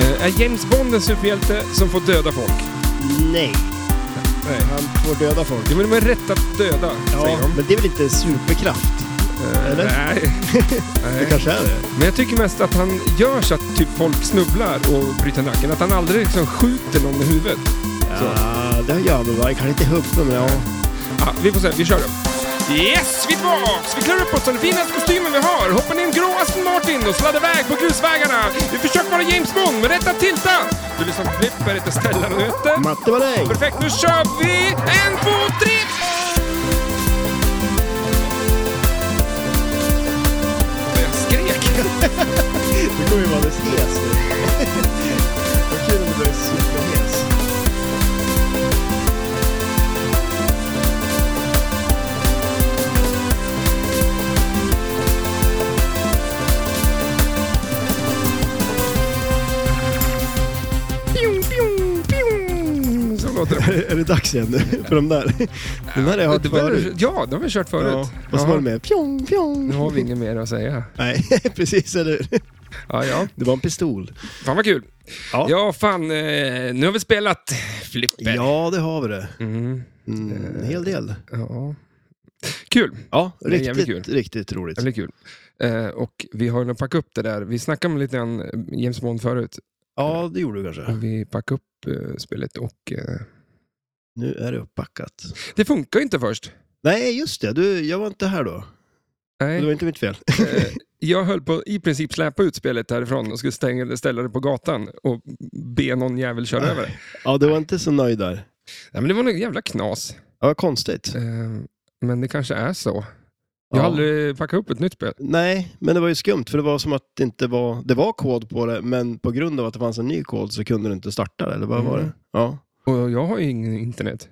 Eh, Är James Bond en superhjälte som får döda folk? Nej, Nej. han får döda folk. Ja, men de har rätt att döda, Ja, säger de. men det är väl inte superkraft? Eh, eller? Nej. Det nej. kanske är det. Men jag tycker mest att han gör så att typ folk snubblar och bryter nacken. Att han aldrig liksom skjuter någon i huvudet. Så. Ja, det gör han väl. va? Jag kan inte hugga, men ja. Ja, Ah, vi får se, vi kör då. Yes, vi är tillbaks! Vi klär upp oss i den finaste kostymen vi har, hoppar ner i en grå Aston Martin och sladdar iväg på grusvägarna. Vi försöker vara James Bond, men rätta tilta! Du liksom lyssnar på Flipper, heter Stellan och heter... Matte var dig! Perfekt, nu kör vi! En, två, tre! Jag skrek! Det kommer ju vara alldeles hes nu. Vad kul om det blir superhes. Pjong, pjong, pjong. Så låter det. Är det dags igen nu för de där? Den här har jag hört Det var, förut. ja, det har vi kört förut. Och så var det Jaha, med pjong, pjong. nu har vi inget mer att säga. Nej, precis, eller hur? Ja, ja. Det var en pistol. Fan vad kul. Ja. Ja, fan. Eh, nu har vi spelat Flipper. Ja, det har vi det. Mm, Mm, en hel del. ja. Kul. Ja, är jävligt riktigt, riktigt roligt. Väldigt kul. Eh, och vi har ju packat upp det där. Vi snackade om lite grann eh, James Bond förut. Ja, det gjorde du kanske. Och vi packade upp eh, spelet och eh, Nu är det uppbackat. det funkar ju inte först. Nej, just det. Du, jag var inte här då. Det Nej, var inte mitt fel. eh, jag höll på att i princip släpa ut spelet härifrån och skulle stänga, ställa det på gatan och be någon jävel köra över det. Ja, du var inte så nöjd där. Nej, men det var nog jävla knas. Ja, vad konstigt. Eh, men det kanske är så. Jag Ja. har aldrig packat upp ett nytt spel. Nej, men det var ju skumt för det var som att det inte var... Det var kod på det, men på grund av att det fanns en ny kod så kunde du inte starta det, eller vad var Mm. det? Ja. Och jag har ju ingen internet.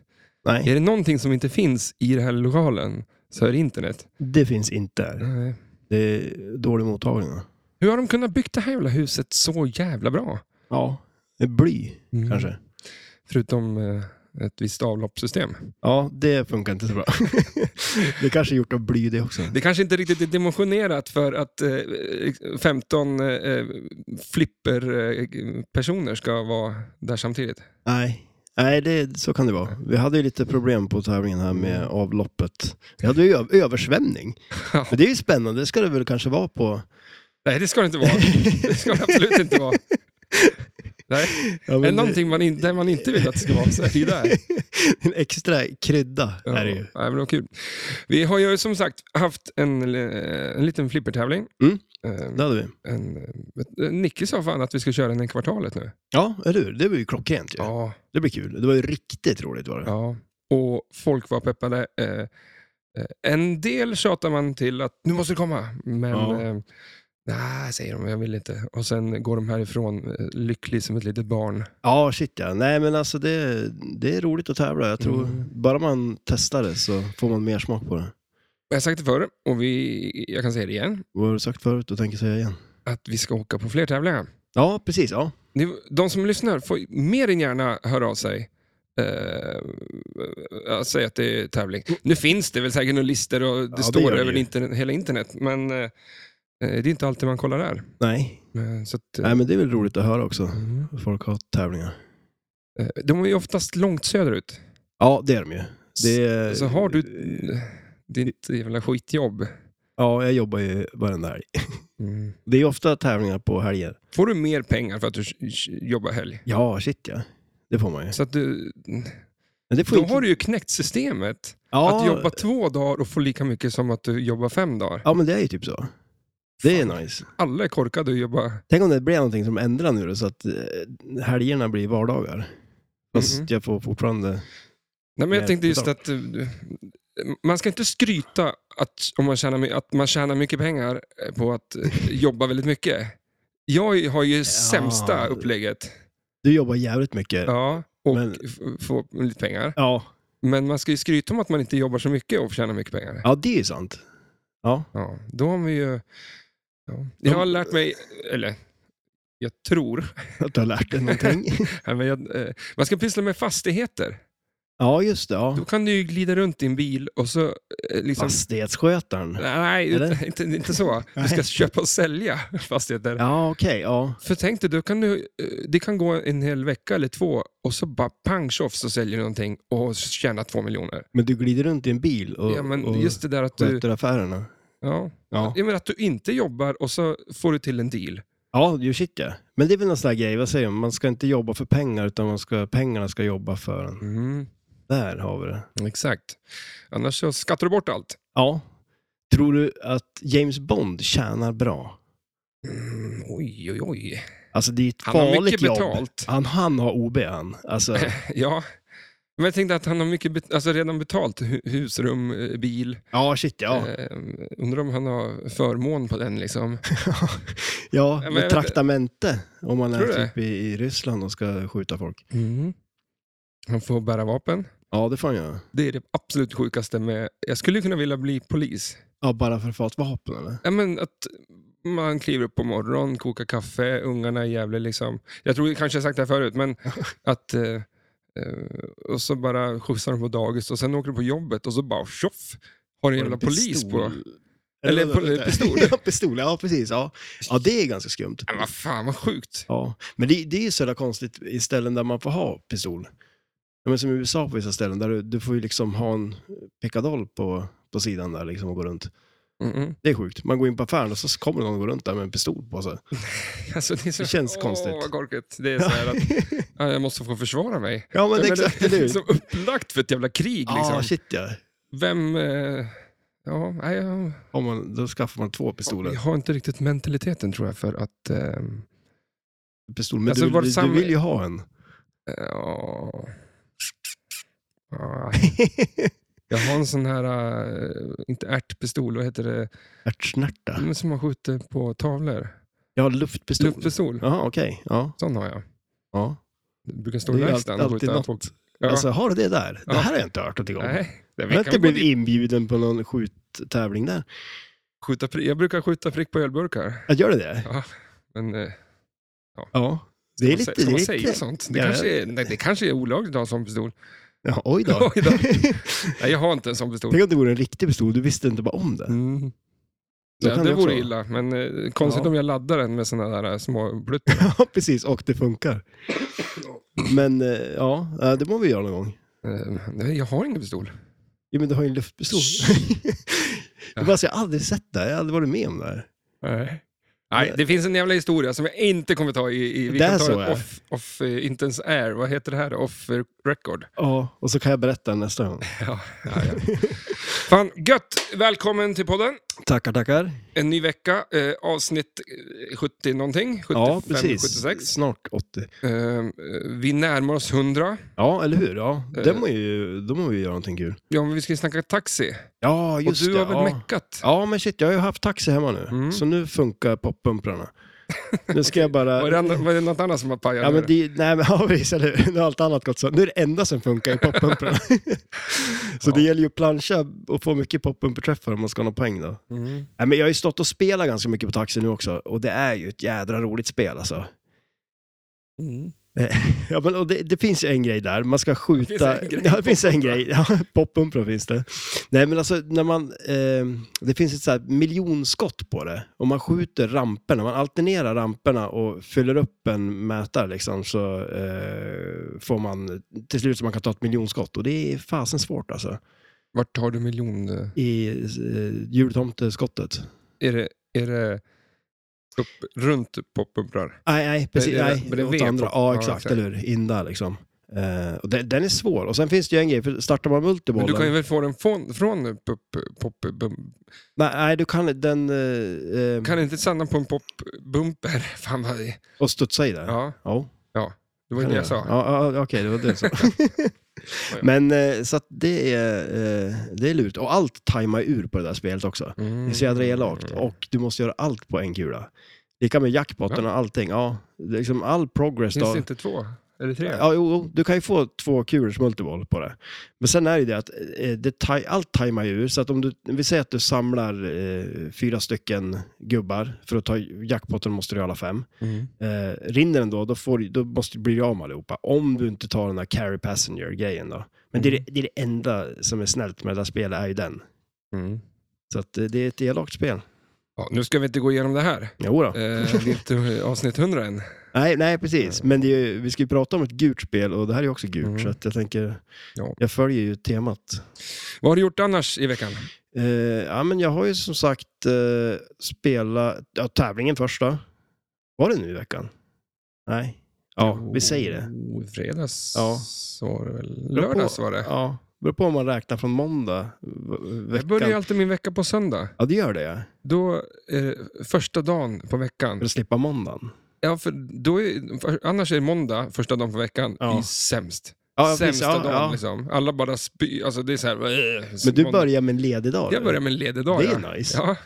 Nej, Är det någonting som inte finns i den här lokalen så är det internet. det finns inte här. Nej. Det är dålig mottagning. va? Hur har de kunnat bygga det här jävla huset så jävla bra? Ja. Det är bly, Mm. kanske. Förutom eh, ett visst avloppssystem. Ja, det funkar inte så bra. det kanske är gjort av bly det också. Det kanske inte riktigt är dimensionerat för att eh, 15 eh, flipper-personer ska vara där samtidigt. Nej, Nej det, så kan det vara. Vi hade ju lite problem på tävlingen här med Mm. avloppet. Vi hade ju ö- översvämning. Ja. Men det är ju spännande, det ska det väl kanske vara på... Nej, det ska det inte vara. Det ska det absolut inte vara. Nej. Ja, Är det men- någonting man inte, man inte vill att det ska vara så är det ju där. En extra krydda Ja, är det ju. ja, men det var kul. Vi har ju som sagt haft en, eh, en liten flippertävling. Mm. Eh, Det hade vi. En, eh, Nicke sa fan att vi ska köra den i kvartalet nu. Ja, eller hur? Det var ju klockrent ju. Ja. Det blir kul. Det var ju riktigt roligt var det. ja. Och folk var peppade. Eh, eh, En del tjatar man till att nu måste det komma, men Ja. eh, nej, säger de, jag vill inte. Och sen går de härifrån eh, lycklig som ett litet barn. Ja, shit ja. Nej, men alltså det, det är roligt att tävla. Jag tror Mm. bara man testar det så får man mer smak på det. Jag har sagt det förr och vi, jag kan säga det igen, Vad har du sagt förut och tänker säga igen? att vi ska åka på fler tävlingar. Ja, precis. Ja. Ni, de som lyssnar får mer än gärna höra av sig. Eh, jag säger att det är tävling. Nu finns det väl säkert några listor och det det gör står det över ju. internet, hela internet, men eh, det är inte alltid man kollar där. Nej. Eh, så att, eh, Nej, men det är väl roligt att höra också. mm. Folk har tävlingar. Eh, de är ju oftast långt söderut. Ja, det är de ju. Det är... Så har du eh, ditt jävla skitjobb, Ja, jag jobbar ju varenda helg. mm. Det är ofta tävlingar på helger. får du mer pengar för att du sh- sh- jobbar helg. Ja, shit ja. Det får man ju. Så att du, Men det får då inte- har du ju knäckt systemet. ja, Att jobba två dagar och få lika mycket som att du jobbar fem dagar. Ja, men det är ju typ så. Det är nice. Alla är korkade och jobbar Tänk om det blir någonting som ändrar nu då, så att eh, helgerna blir vardagar. Fast Mhm. jag får fortfarande... Nej, men jag Nej, tänkte just betalt. att eh, man ska inte skryta att, om man tjänar, my- att man tjänar mycket pengar eh, på att eh, jobba väldigt mycket. Jag har ju sämsta upplägget. Du jobbar jävligt mycket. Ja. Ja, och Men- f- få lite pengar. Ja, Men man ska ju skryta om att man inte jobbar så mycket och tjänar mycket pengar. det är ju sant. Ja. Ja, då har vi ju... Ja. Jag har lärt mig, eller jag tror, Att du har lärt dig någonting. nej, men jag, eh, man ska pyssla med fastigheter. Ja, just det. Ja. Då kan du ju glida runt din bil och så eh, liksom... Fastighetsskötaren. Nej, Eller? inte, inte så. Du ska Nej. köpa och sälja fastigheter. Ja, okej. ja. För tänk dig, då kan du, eh, det kan gå en hel vecka eller två och så bara pang tjoff så säljer du någonting och tjänar två miljoner. Men du glider runt i en bil och, ja, men och just det där att du, sköter affärerna. ja, Ja, jag menar att du inte jobbar och så får du till en deal. ja ju shit ja. Men det är väl någon sån där grej, vad säger man? Man ska inte jobba för pengar, utan man ska, pengarna ska jobba för en. Mm, Där har vi det. exakt. Annars så skattar du bort allt. Ja. Tror du att James Bond tjänar bra? Mm, oj, oj, oj. Alltså det är ett Han har farligt mycket jobb. betalt. Han, han har OB han. Alltså, Ja. Men jag tänkte att han har mycket bet- alltså redan betalt hu- husrum, eh, bil. ja shit ja. Eh, undrar om han har förmån på den liksom. ja, men jag med vet- traktamente. Om man är Tror du det? typ i, i Ryssland och ska skjuta folk. Mm. Han får bära vapen. Ja, det får han göra. Det är det absolut sjukaste med... Jag skulle kunna vilja bli polis. Ja, bara för att få ett vapen eller? Ja, men att man kliver upp på morgonen, kokar kaffe, ungarna är jävla liksom... Jag tror kanske jag sagt det här förut, men att... Eh, eh, och så bara skjutsar de på dagis och sen åker du på jobbet och så bara tjoff! Har en jävla polis på... Eller pol- pistol. ja, pistol. Ja, precis. Ja. ja, det är ganska skumt. Ja, vad fan vad sjukt! Ja. Men det, det är ju så jävla konstigt i ställen där man får ha pistol. Ja, men som i USA på vissa ställen, där du, du får ju liksom ha en pickadoll på, på sidan där liksom och gå runt. Mm-mm. Det är sjukt. Man går in på affären och så kommer någon och går runt där med en pistol på sig. Alltså, det, är så, Det känns Åh, konstigt. vad korkat. Det är så här att ja, jag måste få försvara mig. ja, men Jag menar, exakt. det Eller är hur? liksom upplagt för ett jävla krig. Liksom. Ja, shit ja. Vem... Eh, ja, nej, jag, Om man, då skaffar man två pistoler. Jag har inte riktigt mentaliteten tror jag för att... ehm, Pistol. Men Alltså, du, var det du, samma- du vill ju ha en. ja. Ja, jag har en sån här, eh, inte ärtpistol, vad heter det, Ärtsnärta. men som man skjuter på tavlor. Ja, luftpistol. Luftpistol, Jaha, okej. Ja, sån har jag. ja. Det brukar stå i Det är alltid, verkstaden och alltid skjuta något. folk. Ja. Alltså, har du det där? Ja. Det här har jag inte hört någonting om. Nej, det Jag har vi inte kan gå blivit dit. inbjuden på någon skjuttävling där. skjuta, pri- jag brukar skjuta prick på ölburkar. Ja, Gör du det? Ja, men eh, Ja. Det är man, ska lite... det man är säga lite... sånt? Det, Ja, kanske är, nej, det kanske är olagligt att ha en sån pistol. Ja, oj då. Oj då. Nej, jag har inte en sån pistol. Tänk om det vore en riktig pistol, du visste inte bara om det. Mm. Då Ja, kan det det också vore vara. illa, men eh, konstigt Ja. om jag laddar den med såna där eh, små pluttar. Ja, precis. Och det funkar. Men eh, ja, eh, det må vi göra någon gång. Eh, nej, jag har ingen pistol. Jo, men du har ju en luftpistol. Ja. Jag, bara, alltså, jag har aldrig sett det här. Jag har aldrig varit med om det här. Nej. Nej, det finns en jävla historia som jag inte kommer ta i... i vi Det kan är ta så, det ja. off, off, eh, inte ens air. Vad heter det här? då? Off eh, record. Ja, och så kan jag berätta nästa gång. Ja, ja, ja. Fan, gött! Välkommen till podden. Tackar, tackar. En ny vecka, eh, avsnitt eh, 70 någonting. 75, Ja, precis. 76. Snart 80. Eh, eh, vi närmar oss 100. Ja, eller hur? Ja, det Eh. må ju, då må vi göra någonting kul. Ja, men vi ska ju snacka taxi. Ja, just och du det. har väl ja. meckat? ja, men shit, jag har ju haft taxi hemma nu. Mm. Så nu funkar poppumprarna. Nu ska jag Var bara... det, andra- var det något annat som har pajat? Ja, nu men då? det, nej, men ja, precis, eller hur? Nu har allt annat gått så. Nu är det enda som funkar i poppumprarna. så Ja. det gäller ju att plancha och få mycket poppumperträffar om man ska ha någon poäng då. Mm. Nej, men jag har ju stått och spelat ganska mycket på taxi nu också och det är ju ett jädra roligt spel alltså. Mm. Ja, men, och det, det finns ju en grej där, man ska skjuta... Det finns en grej. ja, det finns en grej. Ja, poppumpra finns det. Nej, men alltså när man... Eh, det finns ett så här miljonskott på det. Om man skjuter ramperna, man alternerar ramperna och fyller upp en mätare liksom, så eh, får man till slut så man kan ta ett miljonskott. Och det är fasen svårt alltså. Vart har du miljon... eh, I eh, jultomteskottet. Är det, är det upp, runt poppumprar? Nej, nej, precis. det är- Nej, men det är åt V-pop. andra. Ja, Ja, exakt. exakt. Eller hur? In där liksom. Eh, och den, den är svår. Och sen finns det ju en grej, för startar man multibollen... Men du kan ju väl få den från, från pop, pop, bum, Nej, nej, du kan den... eh, eh, Kan inte stanna på en popbumper? Fan vad... det- Och studsa i det? Ja, Ja, det var ju kan det jag. jag sa. Ja, ja, okej, det var det jag sa. Men eh, så att det är, eh, det är lurt. Och allt tajmar ur på det där spelet också. Mm. Det är så jädra elakt. Och du måste göra allt på en kula. Lika med jackpotten och allting. Ja, det är liksom all progress Finns då. det inte två? Eller tre? Ja, jo, jo, du kan ju få två kulors multiboll på det. Men sen är det ju det att eh, det taj- allt tajmar ju ur. Så att om du, vi säger att du samlar eh, fyra stycken gubbar för att ta jackpotten måste du göra alla fem. Mm. Eh, rinner den då, då, får, du- då måste, blir du av med allihopa. Om du inte tar den där carry passenger-grejen då. Men det, är, det- det är det enda som är snällt med det här spelet, är ju den. Mm. Så att eh, det är ett elakt spel. Ja, nu ska vi inte gå igenom det här. Jo då. Eh, det är inte eh, avsnitt 100 än. Nej, nej, precis. Men det är, ju- vi ska ju prata om ett gult spel och det här är ju också gult. Mm. Så att jag tänker, Ja. jag följer ju temat. Vad har du gjort annars i veckan? Eh, ja, men jag har ju som sagt eh, spelat ja, tävlingen första. Var det nu i veckan? Nej. Ja, vi säger det. Jo, I fredags Ja. var det väl. Beror på- Lördags var det. Ja, beror på om man räknar från måndag. v- Jag börjar ju Veckan. alltid min vecka på söndag. Ja, det gör det ja. Då är det första dagen på veckan. För att slippa måndagen. Ja, för då är, för, annars är måndag, första dagen på veckan, Ja. är sämst. Ja, precis. Sämsta Ja, dagen ja. liksom. Alla bara spyr. Alltså det är så här... äh, Men du måndag. börjar med en ledig dag? Jag börjar med en ledig dag. Det är ja. nice. Ja.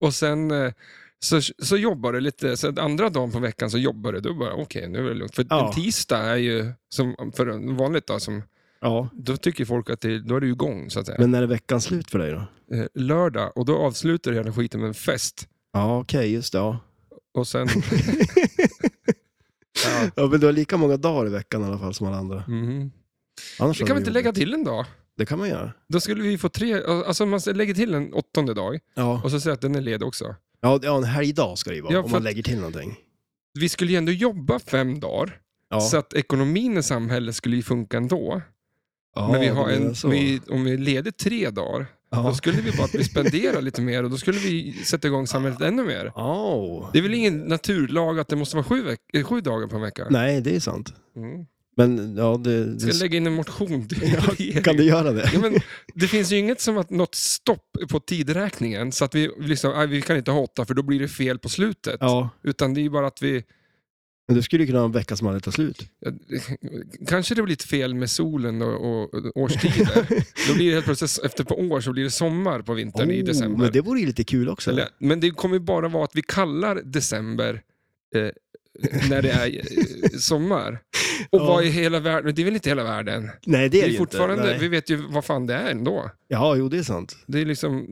Och sen eh, så, så jobbar du lite, så att andra dagen på veckan så jobbar du, då bara okej nu är det lugnt. För Ja. en tisdag är ju, som för en vanligt dag, som, Ja. då tycker folk att det, då är det ju igång så att säga. Men när är veckan slut för dig då? Eh, lördag, och då avslutar du hela skiten med en fest. Ja, okej, just det. Ja. Och sen... ja. ja, men du har lika många dagar i veckan i alla fall som alla andra. Mhm. Annars Det kan hade vi det inte jobbigt. lägga till en dag. Det kan man göra. Då skulle vi få tre, alltså om man lägger till en åttonde dag Ja, och så säger att den är ledig också. ja, det- ja en helgdag ska det ju vara Ja, om för man att- lägger till någonting. Vi skulle ju ändå jobba fem dagar, Ja. så att ekonomin i samhället skulle ju funka ändå. ja, men vi har det är en, så. vi, om vi är ledigt tre dagar, då Ja. skulle vi bara att vi spenderar lite mer och då skulle vi sätta igång samhället ännu mer. Au. Det är väl ingen naturlag att det måste vara sju, veck- eh, sju dagar på en vecka? Nej, det är sant. Mm. Men ja, det... Ska det... jag lägga in en motion till regeringen? Kan du göra det? Ja, men det finns ju inget som att något stopp på tidräkningen, så att vi liksom, "Aj, vi kan inte ha åtta för då blir det fel på slutet. Ja, Utan det är ju bara att vi, men du skulle ju kunna ha en vecka som aldrig tar slut. kanske det blir lite fel med solen och, och, och årstider. då blir det helt plötsligt, efter ett par år så blir det sommar på vintern i Oh, december. Men det vore ju lite kul också. Eller, men det kommer ju bara vara att vi kallar december eh, när det är eh, sommar. Och Ja. vad är hela världen? Det är väl inte hela världen? Nej, det är vi, det ju fortfarande, inte. vi Nej. vet ju vad fan det är ändå. Ja, jo, det är sant. Det är liksom,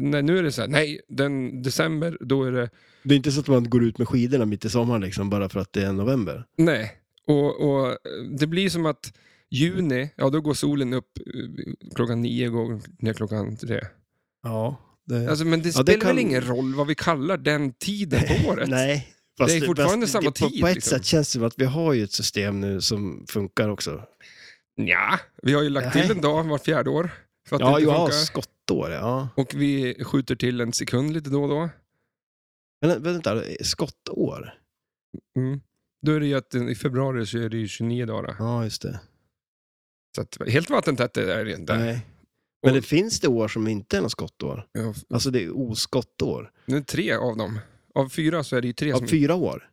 nej, nu är det så här, nej, den december, då är det, Det är inte så att man går ut med skidorna mitt i sommaren liksom, bara för att det är november. nej. Och, och eh, det blir som att juni, ja då går solen upp eh, klockan nio, går ner klockan tre. Ja. Det... Alltså, men det Ja, det spelar kan- väl ingen roll vad vi kallar den tiden på året? Nej. Det är fortfarande samma på, tid, På ett liksom. sätt känns det som att vi har ju ett system nu som funkar också. Ja, vi har ju lagt Nej. till en dag vart fjärde år. För att Ja, det jo, inte ja, funkar. skottår, ja. Och vi skjuter till en sekund lite då och då. Men vänta, skottår? Mm. Då är det ju att eh, i februari så är det ju 29 dagar. Ja, just det. Så att, helt vattentätt är det inte. Nej. Men Och- det finns det år som inte är något skottår? Ja, Alltså det är oskottår. Det är tre av dem. Av fyra så är det ju tre Ja, som... fyra år?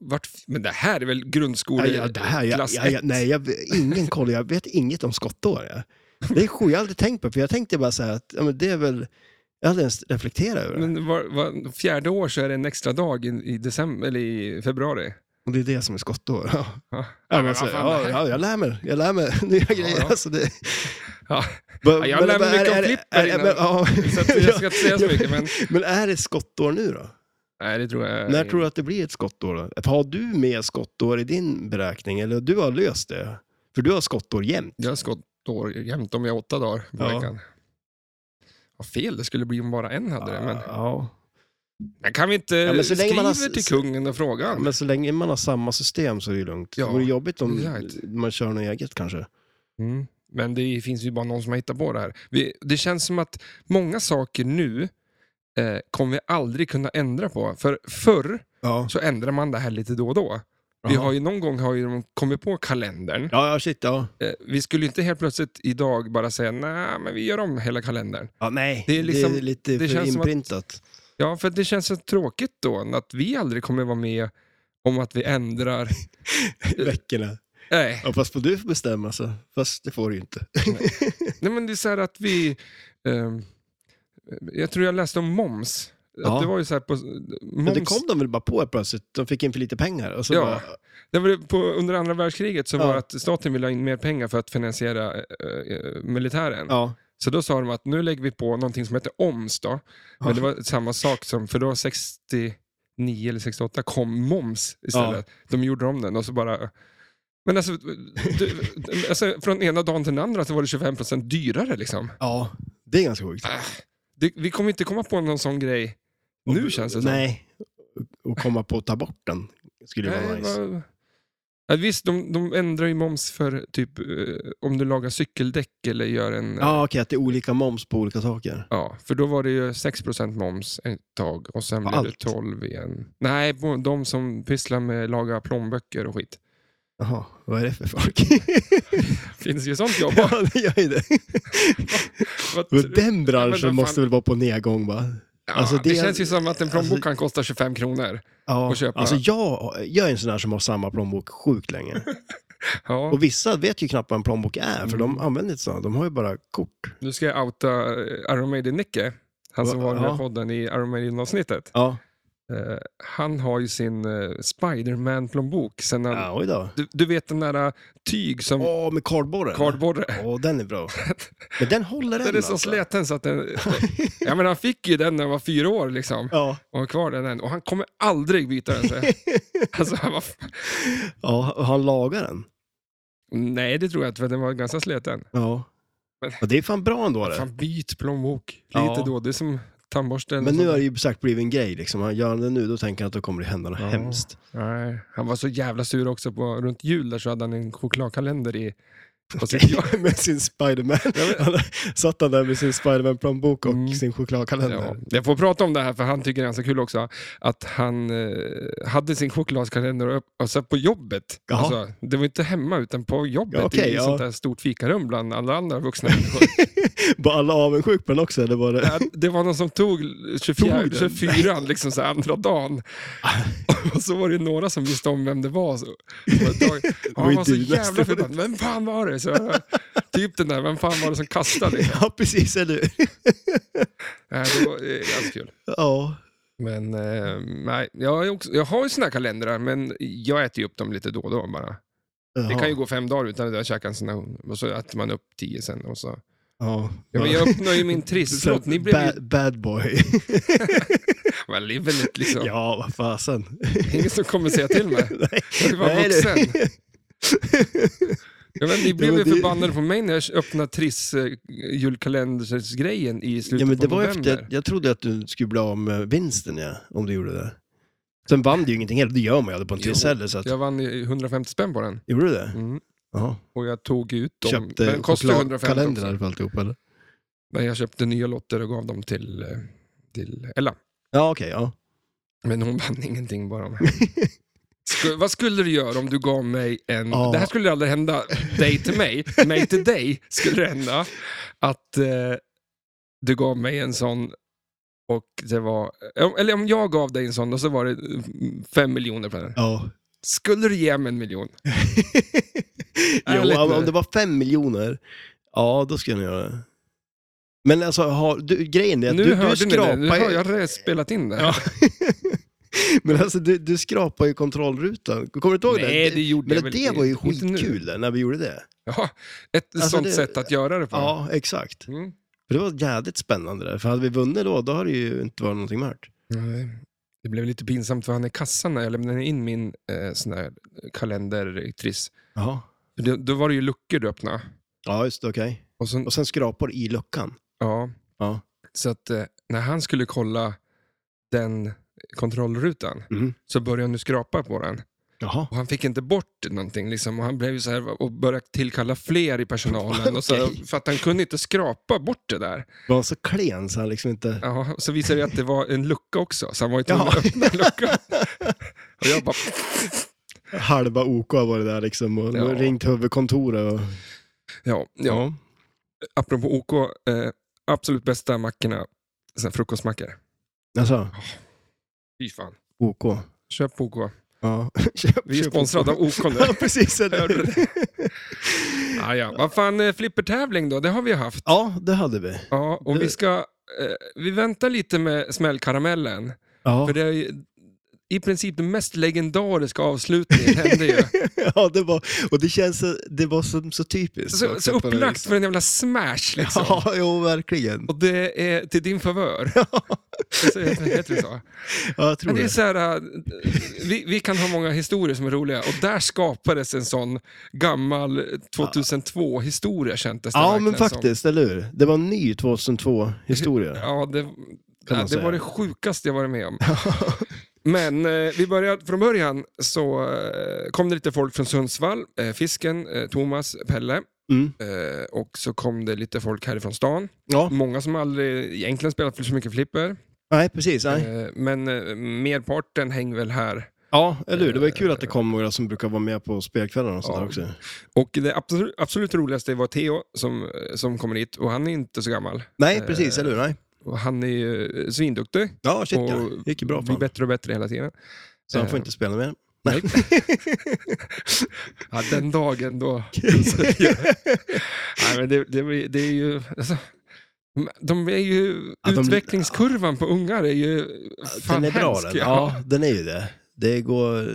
Vart, men det här är väl Ja, grundskole... ja, det här, jag, klass jag, jag, ett. nej, jag, ingen koll. Jag vet inget om skottår. Jag. Det är sjukt, jag har aldrig tänkt på det, för jag tänkte bara så här att ja, men det är väl... Jag hade ens reflekterat över det. Men var, var, fjärde år så är det en extra dag i, i, december, eller i februari. Och det är det som är skottår. Ja. Ja. Ja, men vad alltså, fan, det ja, här- ja, jag lär mig. Jag lär mig nya grejer. ja. Alltså det... Ja. Bara- jag men lär mig bara, är- mycket om är det- Flipper är det- innan. men- ja. Så att jag ska inte säga så mycket, men Men är det skottår nu då? nej, det tror jag När tror du att det blir ett skottår? Då? Har du med skottår i din beräkning eller du har löst det? För du har skottår jämt. Jag har skottår jämt om jag har åtta dagar på Ja. veckan. Vad fel det skulle bli om bara en hade det. Men, Ja. men kan vi inte Ja, men så länge skriva man har- till kungen och fråga? Ja, honom? men så länge man har samma system så är det ju lugnt. Ja, Det vore jobbigt om exakt. man kör något eget kanske. Mm. Men det finns ju bara någon som har hittat på det här. Vi, det känns som att många saker nu eh, kommer vi aldrig kunna ändra på. För förr Ja, så ändrar man det här lite då och då. Vi har ju någon gång har ju de kommit på kalendern. ja, ja, shit, ja. Eh, vi skulle ju inte helt plötsligt idag bara säga nej, men vi gör om hela kalendern. ja nej, Det är liksom- det är lite det för känns som att- inprintat. Ja, för det känns så tråkigt då att vi aldrig kommer vara med om att vi ändrar... Veckorna. Nej, Ja, fast får du bestämma så. Fast det får du ju inte. nej men det är så här att vi... ehm, jag tror jag läste om moms. Ja. Att det var ju så här på... Men Moms, det kom de väl bara på plötsligt. De fick in för lite pengar. Och så Ja. bara, det var ju på, under andra världskriget så Ja. var det att staten ville ha in mer pengar för att finansiera eh, eh, militären. ja. Så då sa de att nu lägger vi på någonting som heter OMS då. Men Ja. det var samma sak som, för då 69 eller 68 kom moms istället. De gjorde om den och så bara Men alltså, du, alltså, från ena dagen till den andra så var det 25 dyrare liksom. Ja, det är ganska sjukt. Det, vi kommer inte komma på någon sån grej nu känns det som. Nej, och komma på att ta bort den skulle ju vara Nej, nice. vad- Ja, visst, de, de ändrar ju moms för typ eh, om du lagar cykeldäck eller gör en... Ja, okej, att det är olika moms på olika saker. Ja, för då var det ju 6% moms ett tag och sen På blev allt? det 12 igen. Nej, på de som pysslar med att laga plånböcker och skit. Jaha, vad är det för folk? Finns ju sånt jobb. ja, det gör ju det. Vad Men tror du? den men vad branschen måste fan- väl vara på nedgång, va? ja, alltså, det, det- känns ju som att en plånbok kan kosta 25 kronor. Ja, Och köpa- alltså jag, jag är en sån där som har samma plånbok sjukt länge. Ja, Och vissa vet ju knappt vad en plånbok är, för de Mm. använder inte sådana. De har ju bara kort. nu ska jag outa eh, Iron Maiden-Nicke. Han som Va- var med ja. i podden i Iron Maiden-avsnittet. Ja, Eh, han har ju sin eh, Spiderman-plånbok. Sen han, ja oj då. du, du vet den där eh, tyg som Åh, med kardborren. kardborre. Åh, den är bra. Men den håller än Den är så alltså. släten så att den... ja, men han fick ju den när han var fyra år liksom. Ja, Och har kvar den än. Och han kommer aldrig byta den. säger jag. alltså, han var... f- ja och han lagar den. Nej, det tror jag inte, för den var ganska sleten. Ja. Men- Och det är fan bra ändå det. Fan, byt plånbok lite Ja. då. Det är som tandborsten. liksom. Men nu Så- har det ju sagt blivit en grej liksom. Han gör det nu, då tänker han att då kommer det hända något Ja. hemskt. Nej, han var så jävla sur också. På, runt jul där så hade han en chokladkalender i... På sitt jobb. med sin Spiderman. Han satt han där med sin Spiderman-plånbok och Mm. sin chokladkalender. Ja, jag får prata om det här för han tycker det är ganska kul också. Att han eh, hade sin chokladkalender upp, alltså på jobbet. Jaha. Alltså, det var inte hemma utan på jobbet Ja, okej, i ja. sånt där stort fikarum bland alla andra vuxna människor. Var alla avundsjuka på den också? Eller var det... Ja, det var någon som tog 24, Tog den? 24 liksom så här andra dagen. Och så var det några som visste om vem det var. Så, på ett tag. Ja, var han ju var så du jävla nästan. förbannad. Vem fan var det? Så, jag- typ den där, vem fan var det som kastade? Liksom. Ja, precis, eller hur? Nej, det var eh, ganska kul. Ja. Men eh, nej, jag, är också, jag har ju såna här kalendrar, men jag äter ju upp dem lite då och då bara. Det kan ju gå fem dagar utan att jag käkar en sån här, och så äter man upp tio sen. Och så. Ja. Ja, men jag uppnår ju min Så, trisslott. Ni blev ju... bad, bad boy. Well, live it, liksom. Ja, vad fasen. Ingen som kommer säga till mig. Nej. Jag vill vara Nej, du. vuxen. Ja, men ni blev men ju det- förbannade på mig när jag öppnade Triss-julkalendersgrejen i slutet Ja, men det på var ju november. efter, jag trodde att du skulle bli av med vinsten, ja, om du gjorde det. Sen vann du ju ingenting heller, det gör man ju aldrig på en Jo, tillställelse. Så att, Jag vann ju 150 spänn på den. Gjorde du det? Mm. Ja. Och jag tog ut dem. men Köpte den kostade 150 också. chokladkalendrar för alltihop, eller? Nej, jag köpte nya lotter och gav dem till, eh, till Ella. Ja, okej, ja. Men hon vann ingenting bara. Sku- vad skulle du göra om du gav mig en... Ja. Det här skulle aldrig hända dig till mig. Mig till dig skulle det hända. Att eh, du gav mig en sån och det var... om- Eller om jag gav dig en sån och så var det mm, fem miljoner på den. ja. Skulle du ge mig en miljon? Ärligt jo, om, nu. om det var fem miljoner, ja, då skulle jag nog göra det. Men alltså, har, du, grejen är att nu du, hörde du skrapar ni det. Nu har jag redan spelat in det. Ja. Men alltså du, du skrapar ju kontrollrutan. Kommer du inte ihåg Nej, det? det gjorde jag Men väl det var ju inte. Inte nu. skitkul där, när vi gjorde det. Ja, ett Alltså, sånt det- sätt att göra det på. Ja, exakt. Mm. För det var jävligt spännande där. För hade vi vunnit då, då hade det ju inte varit någonting mört. Nej. Det blev lite pinsamt för han i kassan när jag lämnade in min eh, sån här kalendertriss. Jaha. Då, då var det ju luckor du öppnade. Ja, just det, okej. Och sen, Och sen skrapar i luckan. ja. Ja. Så att eh, när han skulle kolla den kontrollrutan Mm. så började han nu skrapa på den. Jaha. Och han fick inte bort någonting liksom. och han blev ju så här och började tillkalla fler i personalen. Och så, här, Okej. för att han kunde inte skrapa bort det där. Var han så klen så han liksom inte... Ja, och så visade det att det var en lucka också, så han var ju tvungen Ja. att öppna luckan. Och jag bara, Halva OK var det där liksom. Och Ja. ringt huvudkontoret och... ja, ja. apropå OK, eh, absolut bästa mackorna, såna här frukostmackor. Alltså, Fy fan. OK. Köp på OK. Ja. Köp- Vi är köp sponsrade OK. av OK nu. Ja, precis. Eller? Hörde hur? du Ah, ja. Vad fan, eh, flippertävling då, det har vi ju haft. Ja, det hade vi. Ja, och vi ska, eh, vi väntar lite med smällkaramellen. Ja. För det är ju, i princip den mest legendariska avslutningen hände ju. ja, det var, och det känns så- det var så, så typiskt. Så, också så på något upplagt vis. för en jävla smash liksom. liksom. Ja, jo, verkligen. Och det är till din favör. Så heter heter det så? Ja, jag tror Men det är det. så här, äh, vi, vi kan ha många historier som är roliga och där skapades en sån gammal 2002-historia kändes det Ja, verkligen men faktiskt, eller hur? Det var en ny Som. 2002-historia. Ja, det, man nej, det säga. var det sjukaste jag varit med om. Men eh, vi började, från början så eh, kom det lite folk från Sundsvall, eh, Fisken, eh, Thomas, Pelle. Mm. Eh, och så kom det lite folk härifrån stan. Ja, Många som aldrig egentligen spelat för så mycket flipper. nej, precis. Nej. Eh, men eh, merparten häng väl här Ja, eller hur? Det var ju kul att det kom några som brukar vara med på spelkvällarna och sånt eh, Ja. där också. Och det absolut, absolut roligaste var Theo som, som kommer hit och han är inte så gammal. Nej, precis, eller hur? Nej. Och han är ju eh, svinduktig. Ja, shit ja. och Det gick ju bra för Blir honom. bättre och bättre hela tiden. Så han får eh, inte spela mer. Nej. ja, den dagen då. Nej, men det, det, blir- det är ju... Alltså, de är ju, Ja, de- utvecklingskurvan på ungar är ju fan Den är bra hemsk, den. Ja, den är ju det. Det går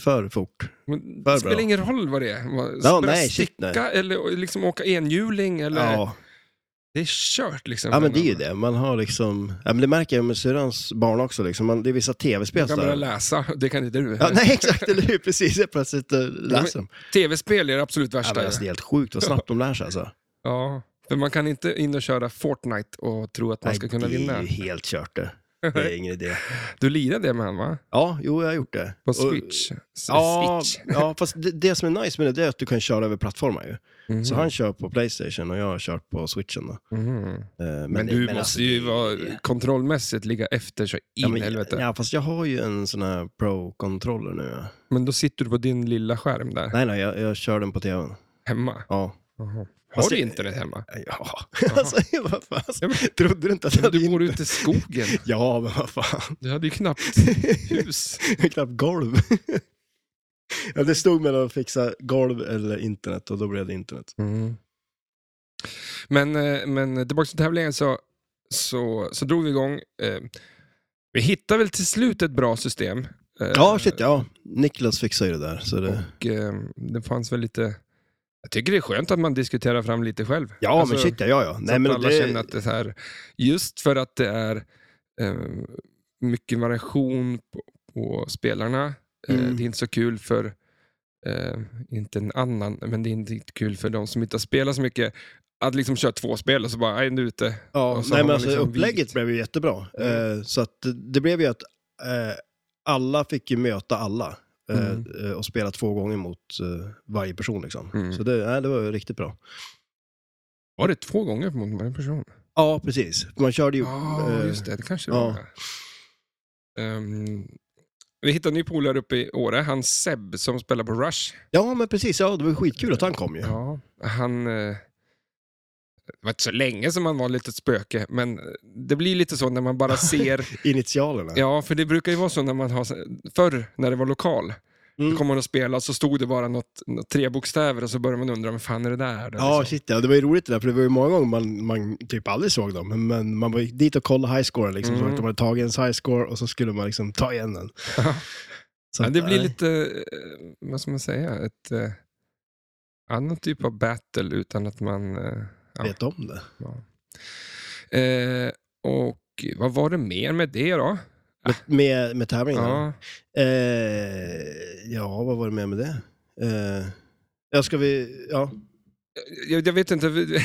för fort. Men För Det spelar bra. ingen roll vad det är. Man Ja, börjar nej, shit, nej. sticka eller liksom åka enhjuling. Eller, Ja, Det är kört liksom. ja men det är ju det. Man har liksom... Ja, men det märker jag med syrrans barn också. Liksom. Man, det är vissa tv-spel Du kan börja där. läsa, det kan inte du. Alltså- Ja, nej, exakt. Eller hur? Precis. Jag plötsligt eh, läser dem. Tv-spel är det absolut Ja, värsta. men Ja, alltså, det är helt sjukt vad snabbt de lär sig alltså. För man kan inte in och köra Fortnite och tro att man Nej, ska kunna Det är vinna. ju helt kört det. Det är ingen idé. Du lirade det med han va? Ja, jo, jag har gjort det. På Och- Switch? S- Ja, Switch. ja, fast det, det som är nice med det det är att du kan köra över plattformar ju. Mhm, Så han kör på Playstation och jag har kört på Switchen. Då. Eh, mhm. Men, Men du måste alltså, ju det- vara kontrollmässigt ligga efter så in Ja, men- i helvete. Ja, fast jag har ju en sån här pro-controller nu. Ja. Men då sitter du på din lilla skärm där Nej, nej, jag, jag kör den på tvn. hemma. Ja. Jaha. Har Fast du det- internet hemma? Ja, alltså, vad fan. Ja, men- Trodde du inte att jag Men hade du bor in... ute i skogen. Ja, men vad fan. Du hade ju knappt hus. Jag har knappt golv. ja, det stod mellan att fixa golv eller internet och då blev det internet. Mm. Men, eh, men tillbaka till tävlingen så, så, så drog vi igång. eh, Vi hittade väl till slut ett bra system. eh, Ja, shit, ja. Niklas fixar ju det där. Så det... Och eh, det fanns väl lite... Jag tycker det är skönt att man diskuterar fram lite själv. Ja, Alltså, men shit, ja, ja. ja. så Nej, att men alla det... känner att det är så här, just för att det är eh, mycket variation på, på spelarna. eh, Mm. Det är inte så kul för, eh, inte en annan, men det är inte kul för de som inte har spelat så mycket, att liksom köra två spel och så bara, "Aj, nu är du ute. Ja, Och så nej, har men man alltså, liksom upplägget vikt. blev ju jättebra. Mm. Eh, så att det, det blev ju att eh, alla fick ju möta alla eh, Mm. eh, och spela två gånger mot eh, varje person. Liksom. Mm. Så det, nej, det var ju riktigt bra. Var det två gånger mot varje person? Ja, precis. Man körde ju... Ja, eh, just det. Det kanske det ja. var. ja. Ehm, vi hittade en ny polare uppe i Åre, han Seb som spelar på Rush. Ja, men precis. Ja, det var ju skitkul att han kom ju. Ja, Ja, han... eh, Det var inte så länge som han var ett litet spöke, men eh, det blir lite så när man bara ser... Initialerna. ja, för det brukar ju vara så när man har... Förr, när det var lokal, Mm. då kom man och spelade och så stod det bara något, något, tre bokstäver och så började man undra, vad fan är det där? då?" Ja, liksom. shit ja. Det var ju roligt det där, för det var ju många gånger man, man typ aldrig såg dem. Men man var ju dit och kollade highscoren liksom. Mm. Så att de hade tagit ens highscore och så skulle man liksom ta igen den. Ja. Så Ja, att, det blir nej. lite, eh, vad ska man säga, ett eh, annan typ av battle utan att man... eh, ja. Vet om det. Eh, och vad var det mer med det då? Med, med tävlingen? Ja, Eh, ja, vad var det med med det? Eh, ja, ska vi... Ja. jag, jag vet inte, vi-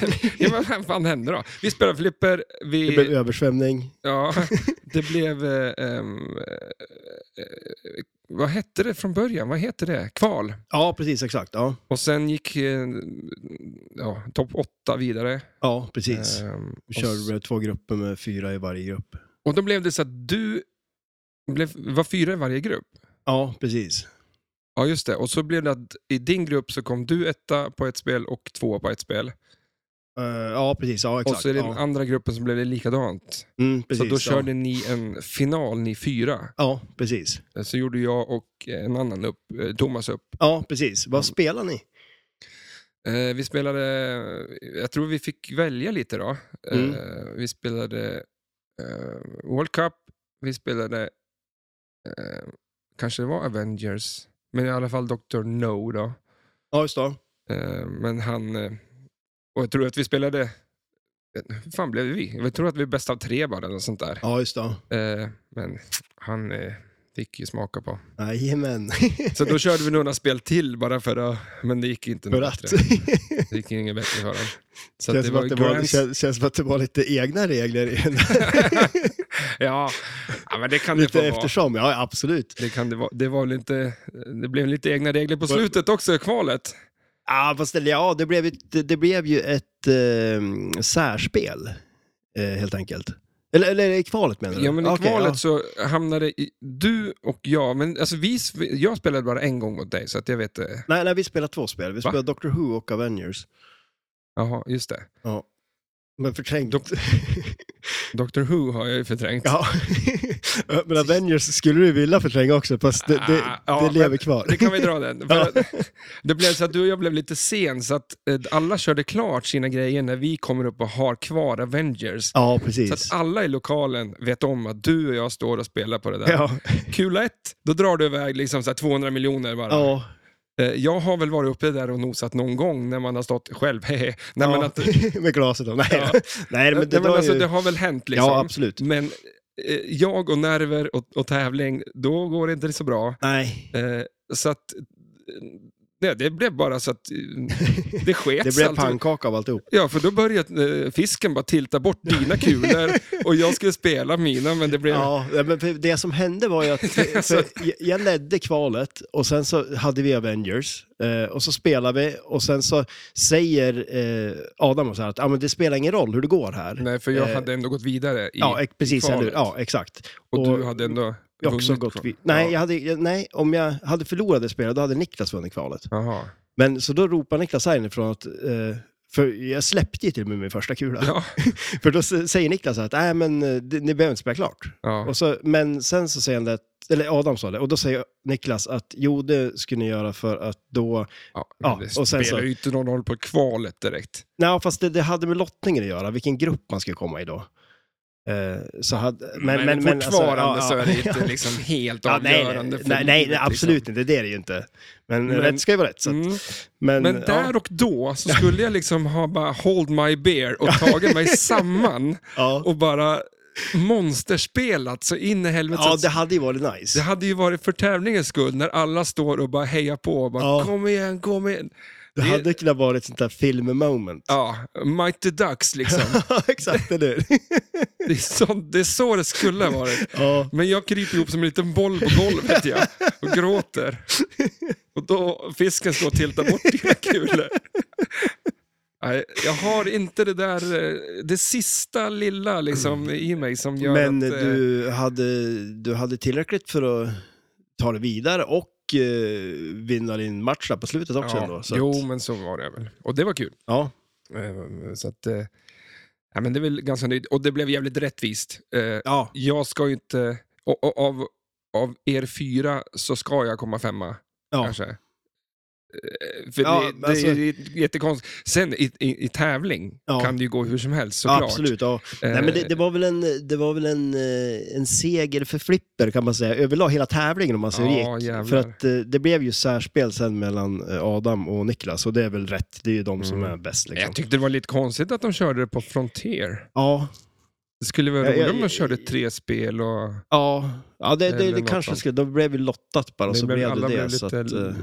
ja, men vad fan hände då? Vi spelade flipper, Det blev vi, översvämning. ja, det blev, eh, ehm, eh, vad hette det från början? Vad heter det? Kval. Ja, precis. Exakt. Ja, Och sen gick eh, ja, topp åtta vidare. ja precis. Ehm, Vi och körde två grupper med fyra i varje grupp. Och då blev det så att du blev, var fyra i varje grupp. Ja, precis. Ja, just det. Och så blev det att i din grupp så kom du etta på ett spel och två på ett spel. Eh, ja, precis. Ja, exakt. och så i den ja. andra gruppen så blev det likadant. Mm, precis. så då ja. körde ni en final, ni fyra. Eh, Ja, precis. Så gjorde jag och en annan upp, eh, Thomas upp. Ja, precis. Vad spelar ni? Eh, Vi spelade, eh, jag tror vi fick välja lite då. Mm. Eh, Vi spelade eh, World Cup, vi spelade eh, kanske det var Avengers, men i alla fall Dr. No då. Ja, just det. Eh, men han, eh, och jag tror att vi spelade, eh, hur fan blev vi? Jag tror att vi är bäst av tre bara, eller något sånt där. Ja, just det. Eh, men han eh, fick ju smaka på. Jajamän. Så då körde vi några spel till bara för att, men det gick inte För något att. bättre. Det gick inget bättre för honom. Så att känns, det som var att det var, Grants- känns, känns som att det var lite egna regler. i den. ja. ja, men det kan det få lite vara. eftersom, ja absolut. Det, kan det, vara. det, var väl inte, det blev lite egna regler på slutet också, i kvalet. Ja, fast det, ja, det, blev, ju- det, det blev ju ett eh, särspel, eh, helt enkelt. Eller, eller i kvalet menar du? Ja, men I Okej, kvalet ja. så hamnade i, du och jag, men alltså vi, sp- jag spelade bara en gång mot dig, så att jag vet... eh, Nej, nej, vi spelar två spel. Vi Va? spelar Doctor Who och Avengers. Jaha, just det. Ja. Men förträngt. Doc- Doctor Who har jag ju förträngt. ja. men Avengers skulle du vilja förtränga också, fast det, det, Ah, ja, det lever men- kvar. Det kan vi dra den. För att- det blev så att du och jag blev lite sen, så att eh, alla körde klart sina grejer när vi kommer upp och har kvar Avengers. Ja, Så precis. att alla i lokalen vet om att du och jag står och spelar på det där. Ja, Kula ett, då drar du iväg liksom så här 200 miljoner bara. ja. Eh, Jag har väl varit uppe där och nosat någon gång när man har stått själv. Hehe. Nej, men att, med glaset då. Nej, Ja. nej men det Nej, men var alltså, ju... det har väl hänt liksom. Ja, absolut. Men eh, jag och nerver och, och tävling, då går det inte så bra. Nej, Eh, Så att, eh, nej, det blev bara så att eh, det sket det blev pannkaka av alltihop. Ja, för då började eh, fisken bara tilta bort dina kulor och jag skulle spela mina, men det blev... Ja, nej, men för det som hände var ju att för, Alltså. för jag ledde kvalet och sen så hade vi Avengers eh, och så spelar vi och sen så säger eh, Adam och så här att ah, men det spelar ingen roll hur det går här. Nej, för jag Eh, hade ändå gått vidare i, ja, ex- precis. kvalet. Eller, ja, exakt. och, du och hade ändå Jag har också vunnit gått kvar. vid, nej, Ja. jag hade, jag- nej, om jag hade förlorat det spelet då hade Niklas vunnit kvalet. Jaha. Men så då ropar Niklas här inifrån att eh, för jag släppte ju till och med min första kula. Ja, För då s- säger Niklas att nej men eh, det- ni behöver inte spela klart. ja. Och så, men sen så säger han det, att- eller Adam sa det, och då säger Niklas att jo, det skulle ni göra för att då... ja. ja, det och sen spelar så- ju inte någon roll på kvalet direkt. Nej, fast det, det hade med lottningen att göra, vilken grupp man skulle komma i då. Eh, så hade, men, men, men, alltså, Mm, fortfarande ja, så är det ja. inte liksom helt Ja, nej, nej, avgörande. nej, för nej, nej, livet, absolut liksom. inte, det är det ju inte. Men, Men- rätt ska ju vara rätt. Så att, Mm. men, Men där ja, och då så skulle jag liksom ha bara hold my beer och tagit mig samman ja, och bara monsterspelat så in i helvete. ja, Så det hade ju varit nice. det hade ju varit för tävlingens skull när alla står och bara hejar på och bara Ja. kom igen, kom igen. det, hade kunnat vara ett sånt där film-moment. Ja, Mighty Ducks liksom. Exakt, eller hur? Det är, så, det är så det skulle ha varit. ja. Men jag kryper ihop som en liten boll på golvet jag, och gråter. Och då fisken står och tiltar bort dina kulor. Nej, jag har inte det där, eh, det sista lilla liksom i mig som gör Men att... eh, du hade, du hade tillräckligt för att ta det vidare och eh, vinna din match där på slutet också. ändå, ja, så jo, Att, men så var det väl. Och det var kul. ja, Eh, Så att, eh, ja, men det är väl ganska nöjd. Och det blev jävligt rättvist. Eh, ja, Jag ska ju inte... Och, och, av, av er fyra så ska jag komma femma. ja. kanske. Eh, För Ja, det, alltså- det är jättekonstigt. Sen i, i, i tävling Ja. kan det ju gå hur som helst såklart. absolut. Ja. Eh, Nej, men det, det var väl, en, det var väl en, eh, en seger för Flipper kan man säga, överlag hela tävlingen om man ser hur Ja, det jävlar. gick. För att eh, det blev ju särspel sen mellan eh, Adam och Niklas och det är väl rätt, det är ju de som Mm. är bäst. Liksom. Jag tyckte det var lite konstigt att de körde det på Frontier. Ja, Det skulle vara Ja, roligare ja, om de ja, körde ja. tre spel och... ja. ja det, det, Eller det något kanske sånt. skulle, då blev vi lottat bara, Det så blev- blev det alla det. blev så lite att, eh,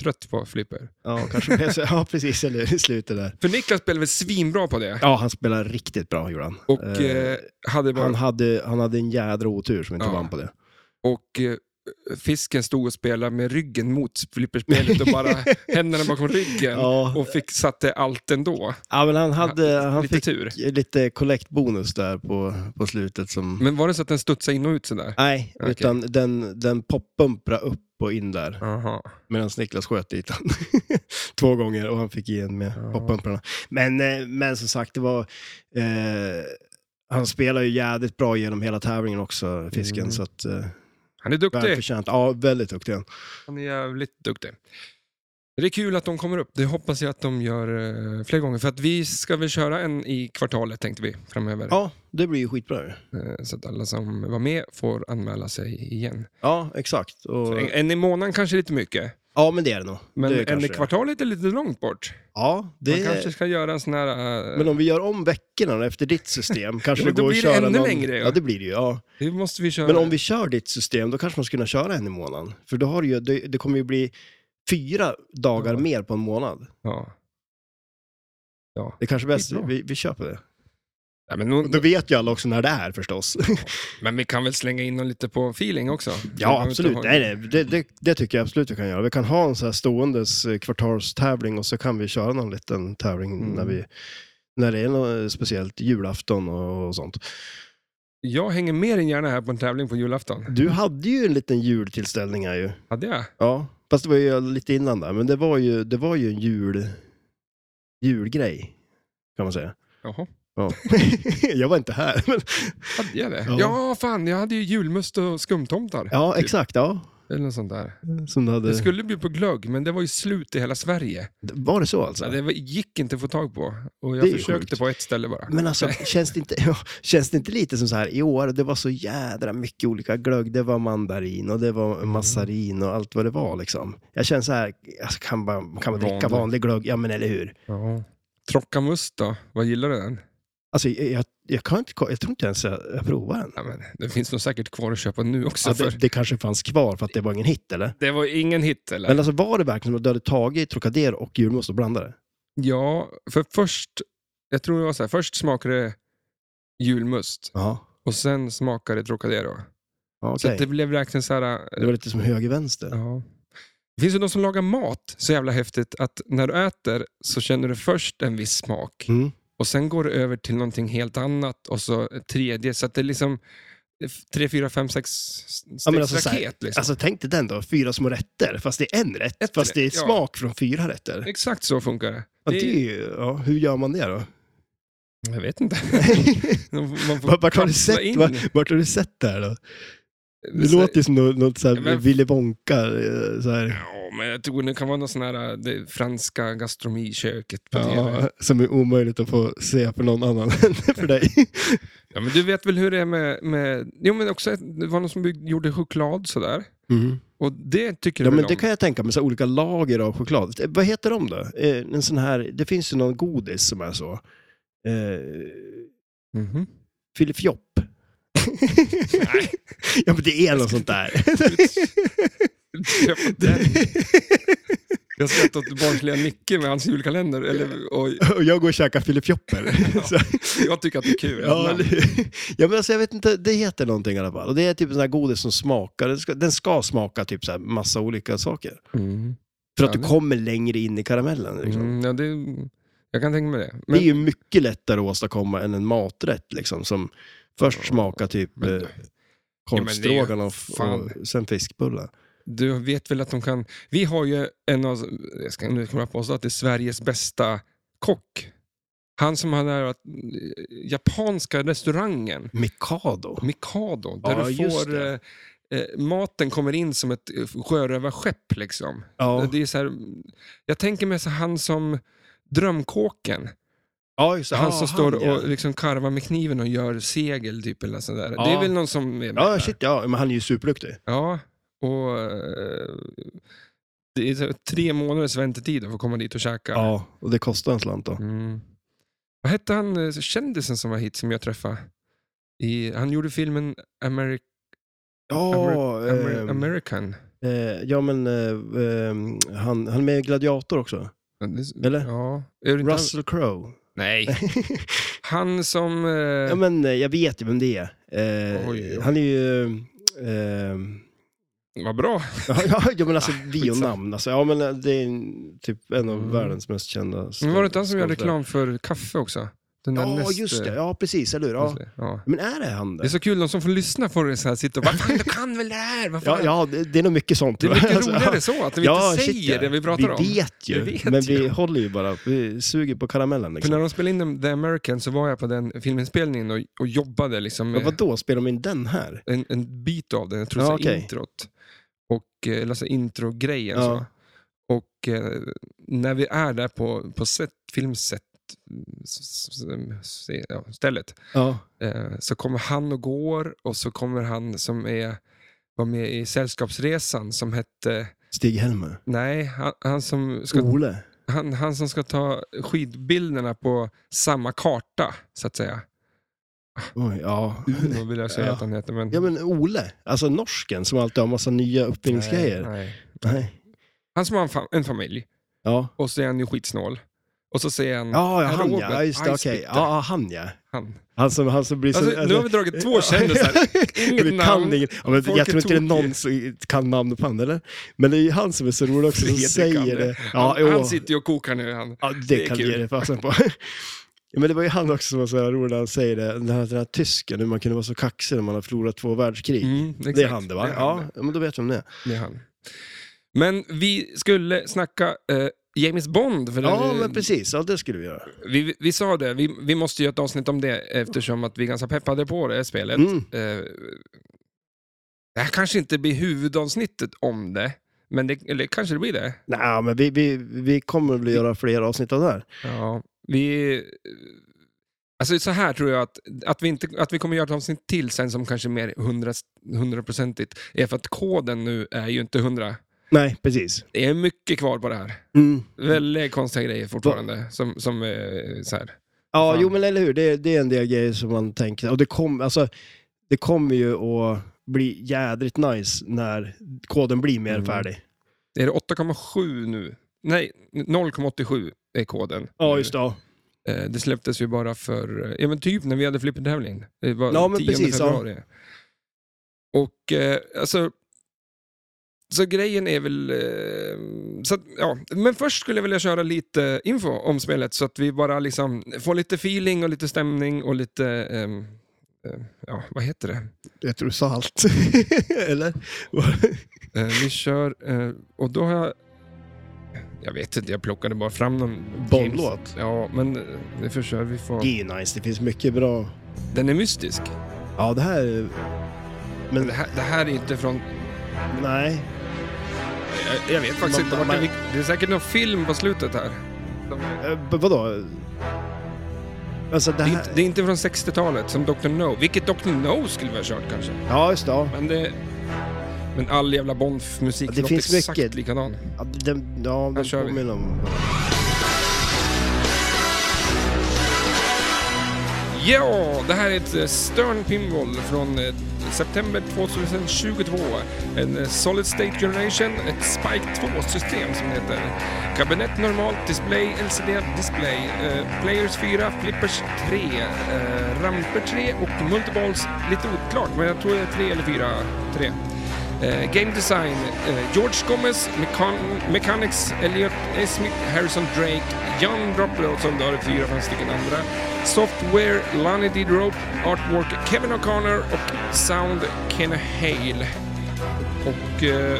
trött på flipper. ja, kanske blev så, ja, precis, eller i slutet där. För Niklas spelade väl svinbra på det. Ja, han spelar riktigt bra, gjorde han. Och Eh, eh, hade bara han, hade, han hade en jädra otur som inte Ja. vann på det. och eh, fisken stod och spelade med ryggen mot flipperspelet och bara händerna bakom ryggen Ja, och fick, satte allt ändå. ja men han, hade, han Lite fick tur. lite kollektbonus där på, på slutet som... Men var det så att den studsade in och ut sådär? Nej, Mm. Okej. utan den, den poppumprade upp och in där Aha. medan Niklas sköt dit han två gånger och han fick igen med Ja. poppumprarna. Men, eh, men som sagt, det var... Eh, han spelar ju jädrigt bra genom hela tävlingen också, fisken. Mm. Så att, eh, Han är duktig. välförtjänt. Ja, väldigt duktig. Han är jävligt duktig. Det är kul att de kommer upp. Det hoppas jag att de gör eh, fler gånger. För att vi ska väl köra en i kvartalet tänkte vi framöver. Ja, det blir ju skitbra ju. Eh, Så att alla som var med får anmäla sig igen. Ja, exakt. Och, Så en, en i månaden kanske är lite mycket. ja, men det är det nog. Men det en kanske i det är. kvartalet är lite långt bort. Ja, Man det kanske ska göra en sån här... eh, Men om vi gör om veckorna efter ditt system kanske Ja, men det då går att blir det köra ännu någon... längre, ja. Ja, det blir det ju. Ja. det måste vi köra. Men om vi kör ditt system, då kanske man skulle kunna köra en i månaden. För då har du ju, det, det kommer ju bli fyra dagar Ja. mer på en månad. Ja. Ja. Det är kanske bäst, Skitbra. vi, vi köper det. Ja, men, nog- Och Då vet ju alla också när det är förstås. men vi kan väl slänga in någon lite på feeling också? Vi behöver ja, inte absolut. ha- Nej, nej, det, det, det tycker jag absolut vi kan göra. Vi kan ha en så här ståendes eh, kvartalstävling och så kan vi köra någon liten tävling Mm. när, vi, när det är något speciellt julafton och, och sånt. Jag hänger mer än gärna här på en tävling på julafton. Du hade ju en liten jultillställning här ju. Hade jag? Ja, fast det var ju lite innan där. Men det var ju, det var ju en jul, julgrej, kan man säga. Jaha. Ja. jag var inte här. Men... Hade jag det? Ja. Ja. fan, jag hade ju julmust och skumtomtar. Ja, typ. exakt. Ja. Eller något sånt där. Som du hade... Det skulle bli på glögg, men det var ju slut i hela Sverige. Var det så alltså? Så det var- gick inte att få tag på. Och Det jag är ju försökte sjukt. på ett ställe bara. Men alltså, känns det, inte, ja, känns det inte lite som så här i år? Det var så jädra mycket olika glögg. Det var mandarin och det var massarin och allt vad det var liksom. Jag känner så här, alltså, kan man, kan man dricka Vanlig. vanlig glögg? Ja, men eller hur? Ja. Trockamust då? Vad gillar du den? Alltså, jag, jag, jag kan inte, jag tror inte ens jag, jag provar den. Ja, men, det finns nog säkert kvar att köpa nu också. Ja, för... det, det kanske fanns kvar för att det var ingen hit, eller? Det var ingen hit eller? Men alltså var det verkligen som att du hade tagit Trocadero och julmust och blandat det? Ja, för först, jag tror det var så här, först smakade det julmust Ja. och sen smakade det Trocadero. Så Okej. att det blev verkligen så här... Det var lite som höger-vänster. Ja. Det finns ju de som lagar mat så jävla häftigt att när du äter så känner du först en viss smak Mm. och sen går det över till någonting helt annat och så ett tredje. Så att det är liksom tre, fyra, fem, sex Ja, men stegsraket. alltså, så här, liksom. Alltså tänk dig den då, fyra små rätter, fast det är en rätt, Ett fast det är rätt, ja. smak från fyra rätter. Exakt så funkar det. alltså- Ja, det det är ju, ja, hur gör man det då? Jag vet inte. Man får Vart- Vart har, du kapsla sett, in. vart, vart har du sett det här då? Det låter ju som något, något så här Ja, men- Willy Wonka. eh, Så här. Ja, men jag tror det kan vara någon sån här eh, det franska gastronomiköket på tv. Ja, som är omöjligt att få se för någon annan än för dig. Ja, men du vet väl hur det är med... med jo, men också, ett- det var någon som byggde, gjorde choklad sådär. Mm. Och det tycker du Ja, väl men det om? kan jag tänka mig, så här olika lager av choklad. Eh, Vad heter de då? Eh, En sån här, det finns ju någon godis som är så. Eh, Mhm. Filifjopp. Nej. ja, men det är något sånt där. Köp den. Jag skrattar åt barnsliga Nicke med hans julkalender. Eller, och Och jag går och käkar filifjopper. Så- jag tycker att det är kul. Ja, namn. eller hur? ja, men alltså, jag vet inte, det heter någonting i alla fall. Och det är typ en sån här godis som smakar, den ska, den ska smaka typ så här massa olika saker. Mm. För att Ja, du det- kommer längre in i karamellen. Liksom. Mm, ja, det, jag kan tänka mig det. Det är ju mycket lättare att åstadkomma än en maträtt liksom, som först smakar typ Men- men eh, det är ju- korvstroganoff fan. och sen fiskbullar. Du vet väl att de kan... Vi har ju en av... Jag ska nu kommer jag påstå att det är Sveriges bästa kock. Han som har den här eh, japanska restaurangen, Mikado? Mikado, där Ja, du just får... Eh, det. eh, maten kommer in som ett eh, sjörövarskepp. Liksom. Ja, Det är så här, jag tänker mig så han som drömkåken. ja just det. han Ja, som står Ah, ja. och liksom karvar med kniven och gör segel. Typ, eller sådär. Ja. Det är väl någon som är med Ja, där. shit ja. Men han är ju superduktig. Ja, och eh, det är så tre månaders väntetid för att komma dit och käka. Ja, och det kostar en slant då. Mm. Vad hette han, eh, kändisen som var hit som jag träffade? I, han gjorde filmen Ameri- Ja, Ameri- ehm, American. eh, ja men eh, ehm, han, han är med i Gladiator också. eller? Ja. Är det inte han- Russell Crowe. Nej. Han som... Eh, ja men eh, jag vet ju vem det är. Eh, Oj, oj. Han är ju... ehm, Vad bra. Ja, ja, ja men alltså Ah, bionamn. Alltså, ja, men eh, det är en- typ en av Mm. världens mest kända Men var det inte han som gjorde skådespelare. reklam för kaffe också? Den där Ja, Neste- just det. Ja, precis. Eller hur? Ja. Nestle, Ja. Men är det han Det är det? så kul, de som får lyssna får det så här sitta och bara, fan du kan väl det här? Vad fan? Ja, ja, det det är nog mycket sånt. Det är mycket Alltså, ja. roligare så, att vi inte säger shit, ja. det vi pratar om. Vi vet ju, Vi vet men ju. vi håller ju bara, vi suger på karamellen. För Liksom. när de spelade in The American så var jag på den filminspelningen och, och jobbade liksom Men med vadå, spelar de in den här? en, en bit av den, jag tror det Ja, var okej. introt. Och, eh, eller alltså introgrejen. Ja. Så. Och eh, när vi är där på, på set, filmset, s- s- s- ja, stället, Ja. eh, så kommer han och går och så kommer han som är, var med i Sällskapsresan som hette, Stig-Helmer. nej, han, han, som ska, Ole. han, han som ska ta skidbilderna på samma karta, så att säga. Oj, ja. Uno vill jag säga Ja. att han heter, men... Ja men Ole, alltså norsken som alltid har massa nya uppfinningsgrejer. Nej, Nej, nej. Mm. Han som har en, fam- en familj Ja. och så är han ju skitsnål. Och så säger han, Ja, ja, han Robert, ja. Just det, okej. Icebitter. Ja, ja, han ja. han. Han som, han som blir så... Alltså, nu har vi dragit två kändisar. Inget vi namn. kan inget, ja, men Folk är jag tror inte det är tokiga. någon som kan namn på honom, eller? Men det är ju han som är så rolig också, som Fredrik han säger är. det. Ja, han, han jo. sitter ju och kokar nu. Han. Ja, det, Det är kan kul. du ge dig fasen på. Ja, Men det var ju han också som var så här rolig när han säger det, den här, den här tysken, hur man kunde vara så kaxig när man har förlorat två världskrig. Mm, exakt. det är han det va? Det är han, ja, men då vet vi om det är. det är han. Men vi skulle snacka eh, James Bond. För Ja, den, men precis. Ja, det skulle vi göra. vi, vi sa det, vi, vi måste göra ett avsnitt om det eftersom att vi är ganska peppade på det här spelet. Mm. Eh, det här kanske inte blir huvudavsnittet om det, men det, eller kanske det blir det. Nej, men vi, vi, vi kommer väl göra fler avsnitt av det här. Ja, vi... Alltså så här tror jag att, att, vi inte, att vi kommer göra ett avsnitt till sen som kanske är mer hundra- hundraprocentigt är för att koden nu är ju inte hundra. Nej, precis. Det är mycket kvar på det här. Mm. Väldigt konstiga grejer fortfarande. Som, som eh, så här. Ja, Fan. jo men eller hur. Det, det är en del grejer som man tänker. Och det, kom, alltså, det kommer ju att bli jädrigt nice när koden blir mer Mm. färdig. Är det 8,7 nu? Nej, 0,87 är koden. Ja, just det. Ja, Eh, Det släpptes ju bara för, eh, ja men typ när vi hade flippertävling. Det var Ja, men 10 precis, ja. februari. Och eh, alltså, så grejen är väl, eh, så att, ja. men först skulle jag vilja köra lite info om spelet så att vi bara liksom får lite feeling och lite stämning och lite, ehm, eh, ja vad heter det? jag tror du sa allt. eller? Eh, vi kör, eh, och då har jag... Jag vet inte, jag plockade bara fram någon... Bondlåt. Ja, men eh, det försöker vi få. Det är ju nice. Det finns mycket bra. Den är mystisk. Ja, det här... är- Men Det här, det här är inte från... nej. Jag, jag vet faktiskt Man- inte. vart man- den gick. Det är säkert någon film på slutet här. Eh, b- vadå? Alltså det Det är, här... inte, det är inte från 60-talet som Dr. No. Vilket Dr. No skulle vi ha kört kanske. Ja, just det. Ja. Men det... Men all jävla Bond-musik Ja, det låter finns exakt mycket. likadan. Ja, den, ja, den kör vi. påminner om... Ja, det här är ett eh, Stern Pinball från eh, september 2022. En eh, Solid State Generation, ett Spike 2-system som det heter. Kabinett normalt, display, LCD display, eh, Players 4, Flippers 3, eh, Ramper 3 och Multiballs lite oklart, men jag tror det är 3 eller 4. 3. Eh, game design, eh, George Gomez, Mechan- Mechanics, Elliot A. Smith, Harrison Drake, John Droplow som då har fyra, fem stycken andra. Software, Lonnie D. Rope, Artwork, Kevin O'Connor och Sound, Ken Hale. Och eh,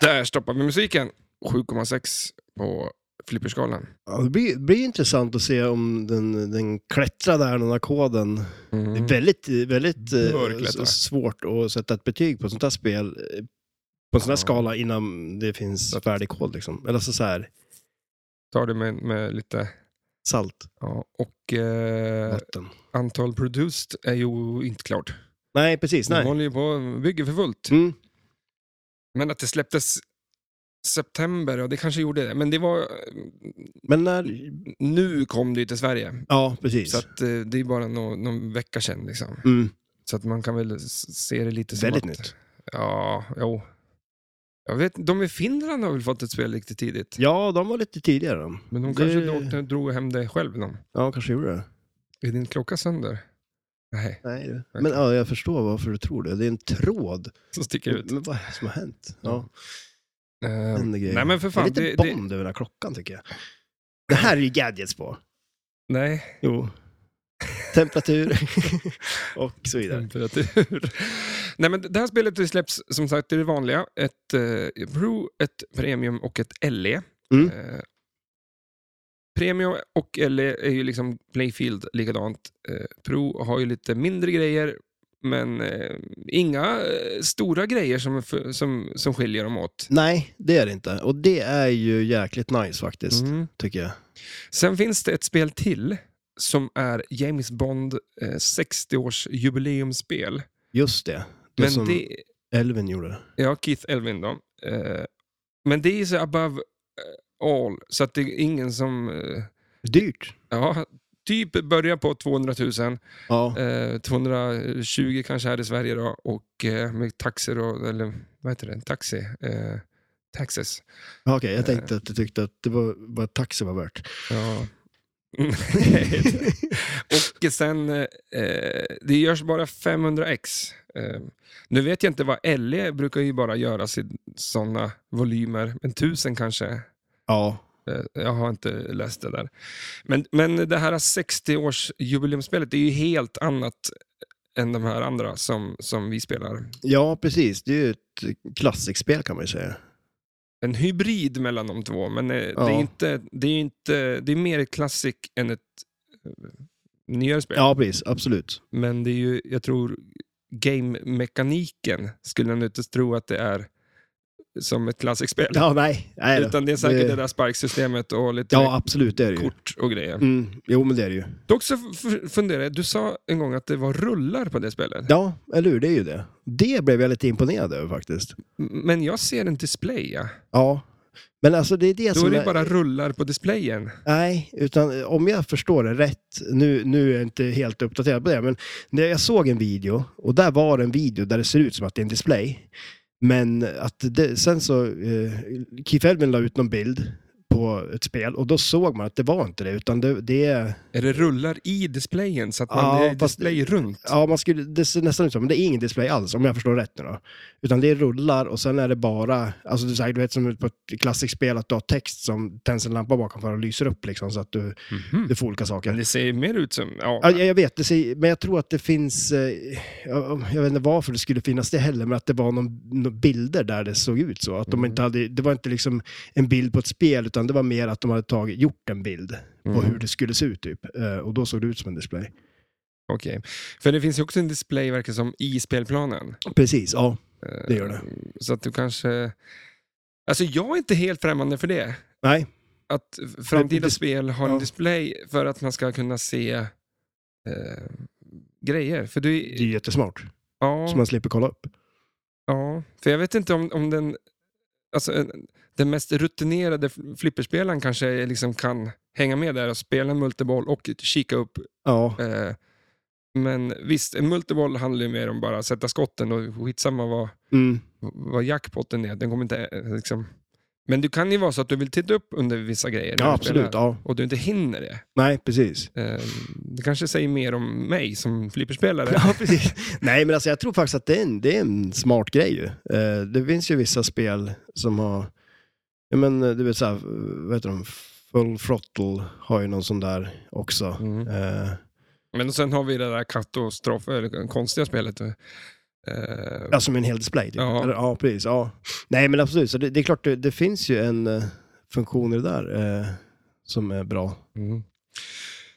där stoppar vi musiken. 7,6 på flipperskalan. Ja, det blir, blir intressant att se om den, den klättrar där, den här koden. Det är väldigt, väldigt eh, Mm. Mörklätt, va? s- svårt att sätta ett betyg på ett sånt här spel eh, på en sån här Ja. skala innan det finns färdig kod. Liksom. Eller så, så här, Tar det med, med lite... salt, Ja, och eh, vatten. antal produced är ju inte klart. Nej, precis. De Nej. håller ju på och bygger för fullt. Mm. Men att det släpptes september, ja det kanske gjorde det. Men det var... Men när... Nu kom det ju till Sverige. Ja, precis. Så att, eh, det är bara någon, någon vecka sedan. Liksom. Mm. Så att man kan väl s- se det lite som Väldigt att, nytt. Ja, jo. Jag vet, de i Finland har väl fått ett spel riktigt tidigt. Ja, de var lite tidigare. de. Men de Det- kanske drog, drog hem det själv. De. Ja, kanske gjorde det. Är din klocka sönder? Nej, Nej, det- Okej. Men ja, jag förstår varför du tror det. Det är en tråd. så sticker ut. Men vad är det som har hänt? Ja. Ja, Eh, händer grejer. nej, men för fan. det är Det, lite det, Bond över den här klockan tycker jag. Det här är ju gadgets på. nej, Jo. Temperatur och så Mm, vidare. Temperatur. Nej, men det här spelet det släpps som sagt i det vanliga. Ett eh, Pro, ett Premium och ett LE. Mm. Eh, Premium E och LE är ju liksom Playfield likadant. Eh, Pro har ju lite mindre grejer, Men eh, inga eh, stora grejer som, som, som skiljer dem åt. Nej, det är det inte. Och det är ju jäkligt nice faktiskt, Mm. tycker jag. Sen finns det ett spel till som är James Bond eh, 60-årsjubileumsspel. Just det. Det Men som det, Elvin gjorde. ja, Keith Elvin då. Eh, men det är så above eh, all, så att det är ingen som... Eh, Dyrt. ja, typ börjar på 200 000. Ja, Eh, 220 kanske här i Sverige då, och eh, med taxer och, eller vad heter det, taxi, eh, taxes. Eh, okej. jag tänkte att du tyckte att det var vad taxi var värt. Ja. och sen, eh, det görs bara 500 ex. Eh, nu vet jag inte vad LE brukar ju bara göras i sådana volymer, men tusen kanske. ja, Eh, Jag har inte läst det där. Men, men det här 60-årsjubileumsspelet det är ju helt annat än de här andra som, som vi spelar. ja, precis. Det är ju ett klassikspel kan man ju säga. En hybrid mellan de två, men eh, det, är Ja. inte, det, är inte, det är mer ett klassik än ett eh, nyare spel. Ja, precis. Absolut. Men det är ju, jag tror, game-mekaniken skulle jag nu inte tro att det är som ett klassikspel. Ja, nej. nej då. Utan det är säkert det, Det- där sparksystemet och lite Ja, absolut. Det är det ju. kort och grejer. Mm. Jo, men det är det ju. Dock så f- f- funderar jag, du sa en gång att det var rullar på det spelet. Ja, eller hur? Det är ju det. Det blev jag lite imponerad över faktiskt. M- Men jag ser en display. Ja. Ja. Men alltså det är det Då som är det bara rullar på displayen. Nej, utan eh, om jag förstår det rätt, nu, nu är jag inte helt uppdaterad på det, men när jag såg en video, och där var det en video där det ser ut som att det är en display, men att det, sen så, eh, Keith Elvin la ut någon bild på ett spel och då såg man att det var inte det, utan det, det är, Är det rullar i displayen så att man Ja, är fast- display runt? ja man skulle, det ser nästan ut som, men det är ingen display alls om jag förstår rätt nu då. Utan det rullar och sen är det bara, alltså du, du vet som på ett klassiskt spel att du har text som tänds en lampa bakom för och lyser upp liksom så att du, Mhm. du får olika saker. Det ser ju mer ut som... Ja, Ja, jag jag vet, det säger, men jag tror att det finns, eh, jag jag vet inte varför det skulle finnas det heller, men att det var någon, någon bilder där det såg ut så. Att de Mm. inte hade, det var inte liksom en bild på ett spel, utan det var mer att de hade tagit, gjort en bild på Mm. hur det skulle se ut typ. Eh, Och då såg det ut som en display. Okej. För det finns ju också en display, verkar som, i spelplanen. Precis, ja. Eh, Det gör det. Så att du kanske... Alltså jag är inte helt främmande för det. Nej, Att framtida dis- spel har en ja. display för att man ska kunna se eh, grejer. För du, det är jättesmart. Så ja, man slipper kolla upp. ja, för jag vet inte om, om den... Alltså, en- den mest rutinerade fl- flipperspelaren kanske liksom kan hänga med där och spela en multiboll och kika upp. Ja, Eh, men visst, en multiboll handlar ju mer om bara att sätta skotten och skitsamma vad, mm. vad jackpotten är. Den kommer inte, eh, liksom. Men det kan ju vara så att du vill titta upp under vissa grejer. när ja du absolut. spelar, Ja. Och du inte hinner det. Nej, precis. Eh, Det kanske säger mer om mig som flipperspelare. Ja, precis. Nej, men alltså, jag tror faktiskt att det är en, det är en smart grej ju. Eh, det finns ju vissa spel som har, ja men eh, du vet såhär, vad heter de, Full Throttle har ju någon sån där också. Mm. Eh, Men sen har vi det där katastrof, eller det konstiga spelet. eh, ja, som en hel display typ. Ja. Eller, ja, precis. Ja. Nej, men absolut. Så det, det är klart, det, det finns ju en eh, funktion i det där eh, som är bra. Mm. Jag,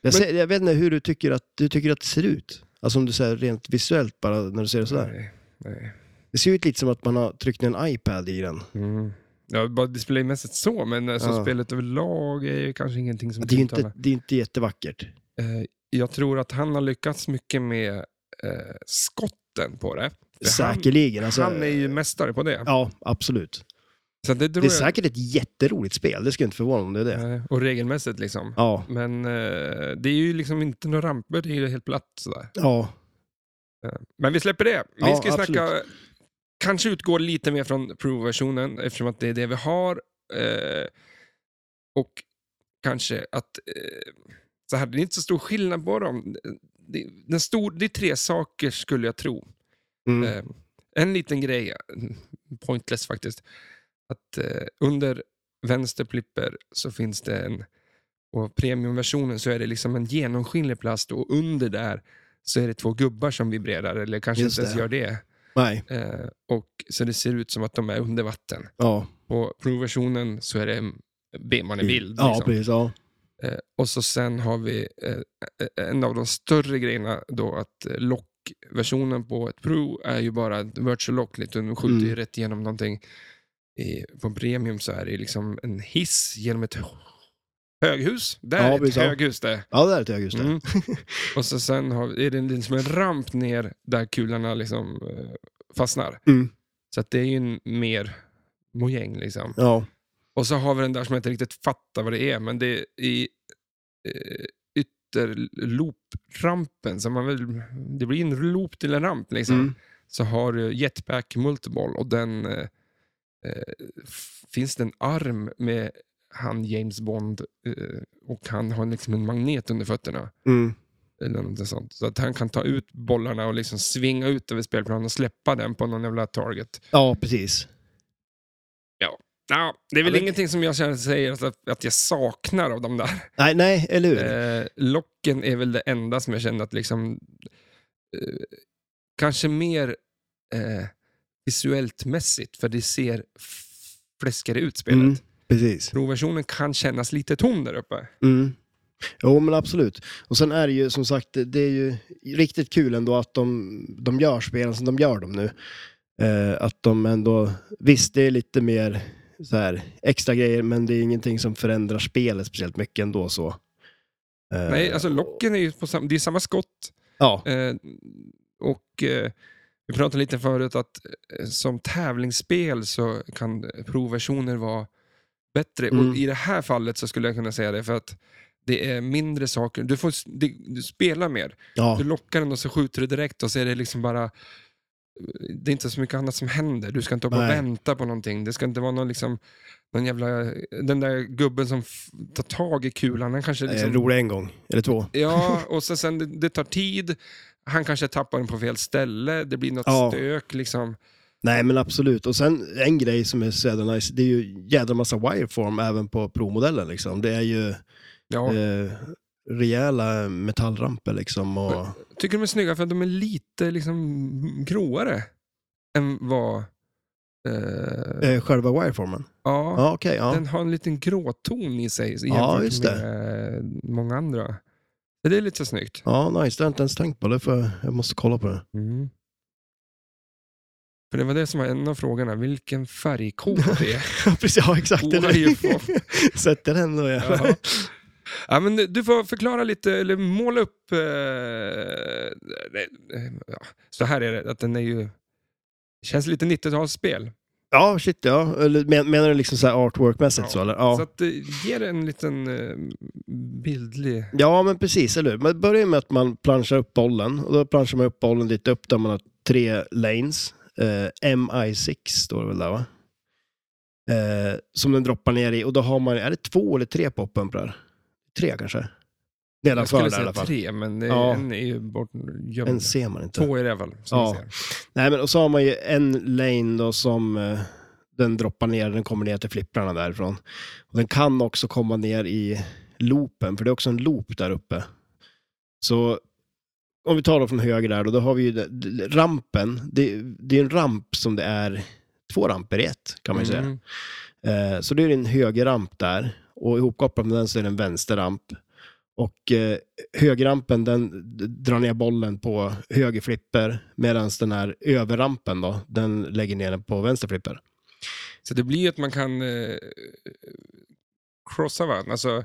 Men- ser, jag vet inte hur du tycker att, du tycker att det ser ut. Alltså om du säger rent visuellt bara när du ser det sådär. Nej, nej. Det ser ju ut lite som att man har tryckt ner en iPad i den. Mm. Ja, bara displaymässigt så, men alltså, Ja. spelet överlag är ju kanske ingenting som Det är ju tilltalar. inte, det är inte jättevackert. Eh, Jag tror att han har lyckats mycket med eh, skotten på det. För han- Säkerligen. Alltså, Han är ju mästare på det. Ja, absolut. Så det tror Det är jag, säkert ett jätteroligt spel, det skulle inte förvåna om det är det. eh, och regelmässigt liksom. Ja, Men eh, det är ju liksom inte några ramper, det är ju helt platt sådär. ja, Eh, Men vi släpper det. Vi Ja, ska ju snacka, absolut. kanske utgå lite mer från Pro-versionen eftersom att det är det vi har. Eh, och kanske att, eh, så här, det är inte så stor skillnad på dem. Det, den stor, det är tre saker skulle jag tro. mm. Eh, en liten grej, eh, pointless faktiskt, att eh, under vänster plipper så finns det en, och premiumversionen så är det liksom en genomskinlig plast och under där så är det två gubbar som vibrerar, eller kanske Just inte ens det. gör det. nej, Eh, och, så det ser ut som att de är under vatten. ja. På provversionen så är det en- man i bild. Ja, liksom. precis. Ja. Eh, och så sen har vi eh, en av de större grejerna då att eh, locket lock-versionen på ett Pro är ju bara ett virtual lock. Lite, de skjuter ju Mm. rätt igenom någonting. I, på en premium så är det ju liksom en hiss genom ett höghus. Där Ja, är ett precis, ja. höghus det. Ja, det där är ett höghus där. Mm. Och så sen har, är det liksom en ramp ner där kulorna liksom eh, fastnar. Mm. Så att det är ju en mer mojäng liksom. Ja. Och så har vi den där som jag inte riktigt fattar vad det är, men det är i eh, ytterlooprampen, så man väl, det blir en loop till en ramp liksom. Mm. Så har du jetpack multiball och den eh, eh, f- finns det en arm med han James Bond eh, och han har liksom en magnet under fötterna. Mm. Eller något sånt. Så att han kan ta ut bollarna och liksom svinga ut över spelplanen och släppa den på någon jävla target. ja, precis. Ja, det är väl Ja, men- ingenting som jag känner säger att, att jag saknar av de där. Nej, nej eller hur? Eh, locken är väl det enda som jag känner att liksom... Eh, kanske mer eh, visuellt mässigt, för det ser f- fläskigare ut spelet. Mm. Precis. Proversionen kan kännas lite tom där uppe. Mm. Jo, men absolut. Och sen är det ju som sagt, det är ju riktigt kul ändå att de, de gör spelen som de gör dem nu. Eh, att de ändå, visst det är lite mer så här, extra grejer, men det är ingenting som förändrar spelet speciellt mycket ändå så. Eh, Nej, alltså locken är ju på sam- det är samma skott. Ja, Eh, och eh, vi pratade lite förut att eh, som tävlingsspel så kan proversioner vara bättre. Mm. Och i det här fallet så skulle jag kunna säga det för att det är mindre saker. Du, får, s- det, du spelar mer. ja, Du lockar den och så skjuter du direkt och så är det liksom bara... Det är inte så mycket annat som händer. Du ska inte bara Nej. vänta på någonting. Det ska inte vara någon, liksom, någon jävla... Den där gubben som f- tar tag i kulan, han kanske liksom... liksom... rolig en gång, eller två. Ja, och så sen det, det tar tid. Han kanske tappar den på fel ställe. Det blir något Ja. stök liksom. Nej, men absolut. Och sen en grej som är så jävla nice, det är ju jädra massa wireform även på provmodellen liksom. Det är ju Ja. eh, rejäla metallramper liksom. Och... Tycker de är snygga för att de är lite liksom gråare än vad... Eh, Eh, själva wireformen? ja, Ja, okej. ja. den har en liten gråton i sig jämfört Ja, just det. med eh, många andra. Så Det är lite snyggt. ja, nice. Det har jag inte ens tänkt på. Det får jag, jag måste kolla på det. Mm. För det var det som var en av frågorna. Vilken färgkod det är. Precis, ja, exakt. Den Wireform. Sätter den då, ja. Ja. Ja, men du får förklara lite, eller måla upp... Eh, nej, eh, ja. Så här är det, att den är ju... Känns lite 90-talsspel. Ja, shit ja. Eller, men, menar du liksom så här artwork-mässigt Ja. så eller? Ja. Så att, eh, ge det en liten eh, bildlig... ja, men precis, eller hur? Man börjar med att man planschar upp bollen. Och då planschar man upp bollen lite upp där man har tre lanes. Eh, MI6 står det väl där va? Eh, som den droppar ner i. Och då har man, är det två eller tre poppumprar? Tre kanske? Jag Nedanför skulle där i säga alla fall. tre, men eh, Ja. en är ju bort, En gömd. ser man inte. Två i det i alla fall. som Ja. vi ser. Nej, men och så har man ju en lane då som eh, den droppar ner, den kommer ner till flipprarna därifrån. Och den kan också komma ner i loopen, för det är också en loop där uppe. Så om vi tar då från höger där då, då har vi ju de- de- rampen. Det, det är en ramp som det är två ramper i ett, kan man ju säga. Mm. Eh, så det är en högerramp där och ihopkopplat med den så är det en vänsterramp. Och eh, högerrampen den d- drar ner bollen på höger flipper medan den här överrampen då, den lägger ner den på vänster flipper. Så det blir ju att man kan eh, crossa varandra. Alltså,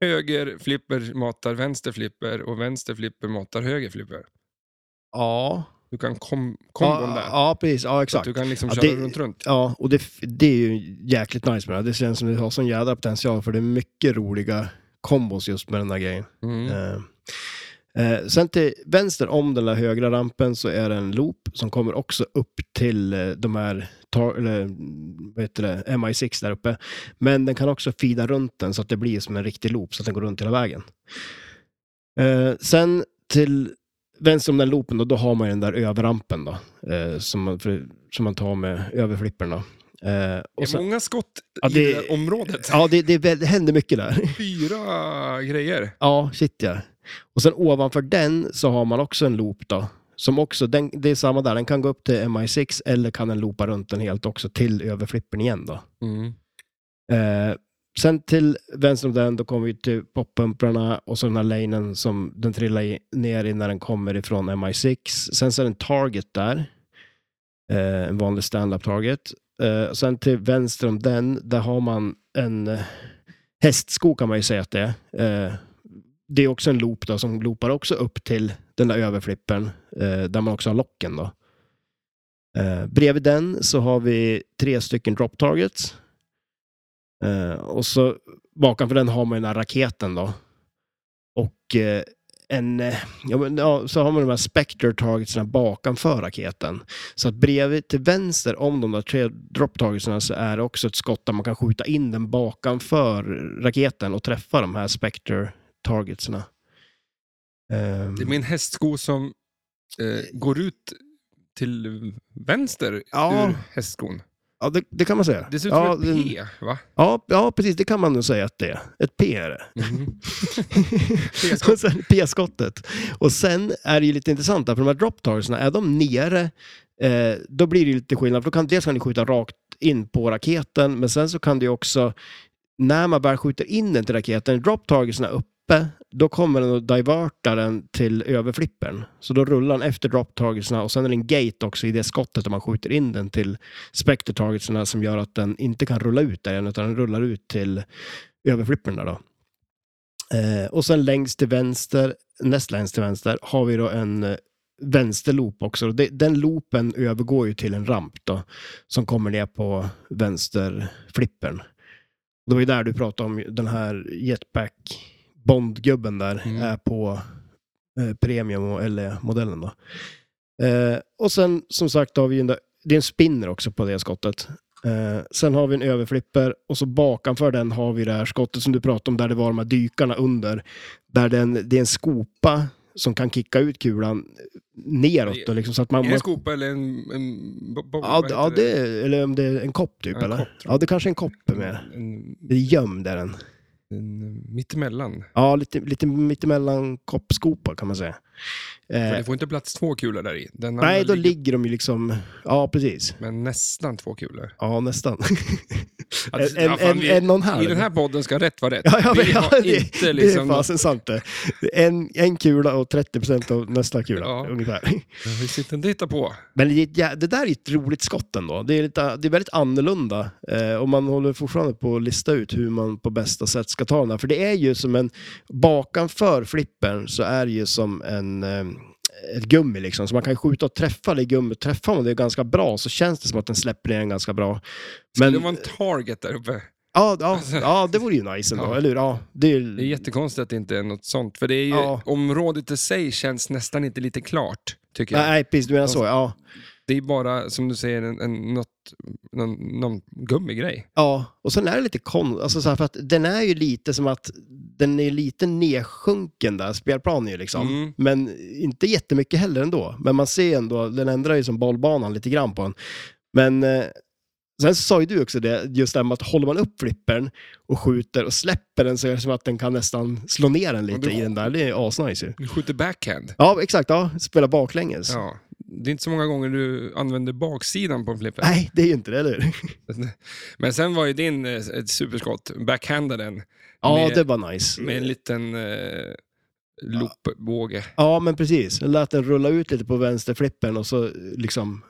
höger flipper matar vänster flipper och vänster flipper matar höger flipper. Ja, Du kan kom, kombon ja, där. ja precis. Ja, Så att exakt. du kan liksom Ja, köra det- runt runt. Ja, och det, f- det är ju jäkligt nice med det här. Det känns som det har sån jädra potential för det är mycket roliga kombos just med den här grejen. Mm. Eh, eh, sen till vänster om den där högra rampen så är det en loop som kommer också upp till eh, de här tar, eller, mm, vad heter det, MI6 där uppe. Men den kan också fida runt den så att det blir som en riktig loop så att den går runt hela vägen. Eh, sen till vänster om den loopen då, då har man ju den där överrampen då. Eh, som, man, för, som man tar med överflippen då. Eh, Det är och sen, många skott Ja, i det det- där området. ja, det, det, är väl- det händer mycket där. Fyra grejer. Ja, shit ja. Och sen ovanför den så har man också en loop då. Som också, den, det är samma där, den kan gå upp till Mm. MI6 eller kan den loopa runt den helt också till överflippen igen då. Eh, Sen till vänster om den, då kommer vi till poppumprarna och så den här lanen som den trillar i, ner i när den kommer ifrån MI6. Sen så är det en target där. Eh, en vanlig stand-up target. Eh, sen till vänster om den, där har man en eh, hästsko kan man ju säga att det är. Eh, det är också en loop då, som loopar också upp till den där överflippen eh, där man också har locken. Då. Eh, bredvid den så har vi tre stycken drop targets. Eh, och så bakom för den har man ju den här raketen då. Och eh, en, eh, ja, men, ja, så har man de här spectre targetsen bakanför raketen. Så att bredvid till vänster om de där tre drop targetsen så är det också ett skott där man kan skjuta in den bakanför raketen och träffa de här spectre targetsen. Ehm. Det är min hästsko som eh, går ut till vänster Ja. ur hästskon. Ja, det, det kan man säga. Det ser ut ja, som ett den- P, va? Ja, ja, precis. Det kan man nog säga att det är. Ett P är det. Mhm. Och sen P-skottet. Och sen är det ju lite intressant, där, för de här drop targetsna, är de nere, eh, då blir det ju lite skillnad. För då kan, dels kan du skjuta rakt in på raketen, men sen så kan du ju också, när man väl skjuter in den till raketen, drop targetsna är uppe, då kommer den att diverta den till överflippen. Så då rullar den efter drop targetsna och sen är det en gate också i det skottet där man skjuter in den till spectre targetsna som gör att den inte kan rulla ut där igen, utan den rullar ut till överflippen där då. Eh, och sen längst till vänster, näst längst till vänster, har vi då en eh, vänsterloop också. Och Det, den loopen övergår ju till en ramp då, som kommer ner på vänsterflippen. Det var ju där du pratade om den här jetpack Bondgubben där Mm. är på eh, Premium och LE-modellen då. Eh, och sen som sagt har vi ju en, det är en spinner också på det skottet. Eh, sen har vi en överflipper och så bakanför den har vi det här skottet som du pratade om där det var de här dykarna under. Där den, det är en skopa som kan kicka ut kulan neråt. Då, liksom, så att man, Är det man, en skopa eller en... en bo, bo, ja, vad ja, heter det, är- eller om det är en kopp typ Ja, en eller? kopp, tror Mm. ja, det kanske är en kopp är med. En, Det är gömd är den. en, mittemellan. Ja, lite, lite mittemellan koppskopa kan man säga. För Eh, det får inte plats två kulor där i. Den nej, andra då ligger de ju liksom, ja precis. Men nästan två kulor. Ja, nästan. Ja, en, ja, en, fan, en, vi- en och en halv. I den här podden ska rätt vara rätt. Ja, ja, men, vi ja, har det, inte det är liksom... fasen sant det. En, en kula och 30 av nästa kula, Ja. ungefär. Vi sitter inte och hittar på. Men det, är ett jä- det där är ett roligt skott ändå. Det är, lite, det är väldigt annorlunda eh, och man håller fortfarande på att lista ut hur man på bästa sätt ska ta den här. För det är ju som en, bakanför flippern så är det ju som en, eh, ett gummi liksom. Så man kan ju skjuta och träffa det gummit. Träffar man det ganska bra så känns det som att den släpper ner den ganska bra. Men... Men Det var en target där uppe. ja, ja, ja, det vore ju nice ändå, Ja. eller hur? Ja, det är ju... Det är jättekonstigt att det inte är något sånt. För det är ju, Ja. området i sig känns nästan inte lite klart, tycker jag. Nej, precis, du menar så. Ja, Det är bara, som du säger, en, en, något, någon, någon gummigrej. Ja, och sen är det lite konstigt, alltså så här, för att den är ju lite som att den är lite nedsjunken där, spelplanen ju liksom. Mm. Men inte jättemycket heller ändå. Men man ser ändå, den ändrar ju som bollbanan lite grann på en. Men eh, sen sa ju du också det, just det här med att håller man upp flippern och skjuter och släpper den så är det som att den kan nästan slå ner den lite Ja, du- i den där. Det är asnice ju. Du skjuter backhand. Ja, exakt. Ja, spela baklänges. Ja. Det är inte så många gånger du använder baksidan på en flipper. Nej, det är ju inte det, eller hur? Men sen var ju din eh, ett superskott, backhandaren, Ja, Med- det var nice. med en liten eh, loopbåge. Ja, men precis. Jag lät den rulla ut lite på vänsterflippen och så eh, liksom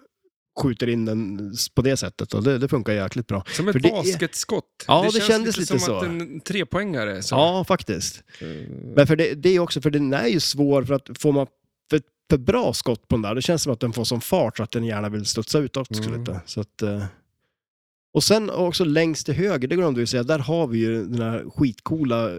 skjuter in den på det sättet. Och det, det funkar jäkligt bra. Som ett För det är- basketskott. Ja, det känns kändes lite lite som så. att en trepoängare. Så. Ja, faktiskt. Eh, Men för det, det är också, för den är ju svår för att får man för, för bra skott på den där, det känns som att den får sån fart så att den gärna vill studsa utåt också Mm. lite. Så att, eh. och sen också längst till höger, det glömde vi säga, där har vi ju den här skitcoola eh,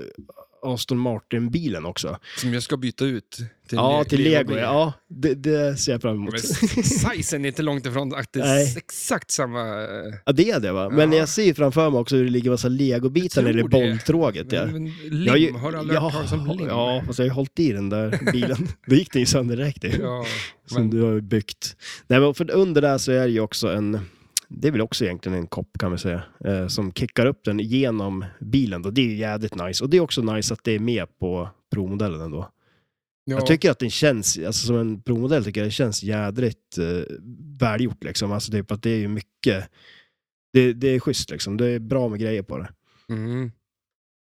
Aston Martin-bilen också. Som jag ska byta ut till, Ja, le- till Lego. legobil. Ja, det, det ser jag fram emot. Men s- sizen är inte långt ifrån att det är Nej. exakt samma... eh, Ja, det är det va. Men Ja. jag ser ju framför mig också hur det ligger massa legobitar Jag nere i tror det. bolltråget. Ja. men Jag ju- Lim, har du aldrig hört talas om lim? Ja, fast jag har ju hållit i den där bilen. Då gick den ju sönder direkt ju, Ja, som men, du har byggt. Nej, men för under där så är det ju också en, det är väl också egentligen en kopp kan man säga, eh, som kickar upp den genom bilen. Då. Det är ju jädrigt nice. Och det är också nice att det är med på provmodellen ändå. ja, Jag tycker att den känns, alltså som en provmodell tycker jag det känns jädrigt eh, välgjort liksom. Alltså typ att det är ju mycket, det, det är schysst liksom. Det är bra med grejer på det. Mm.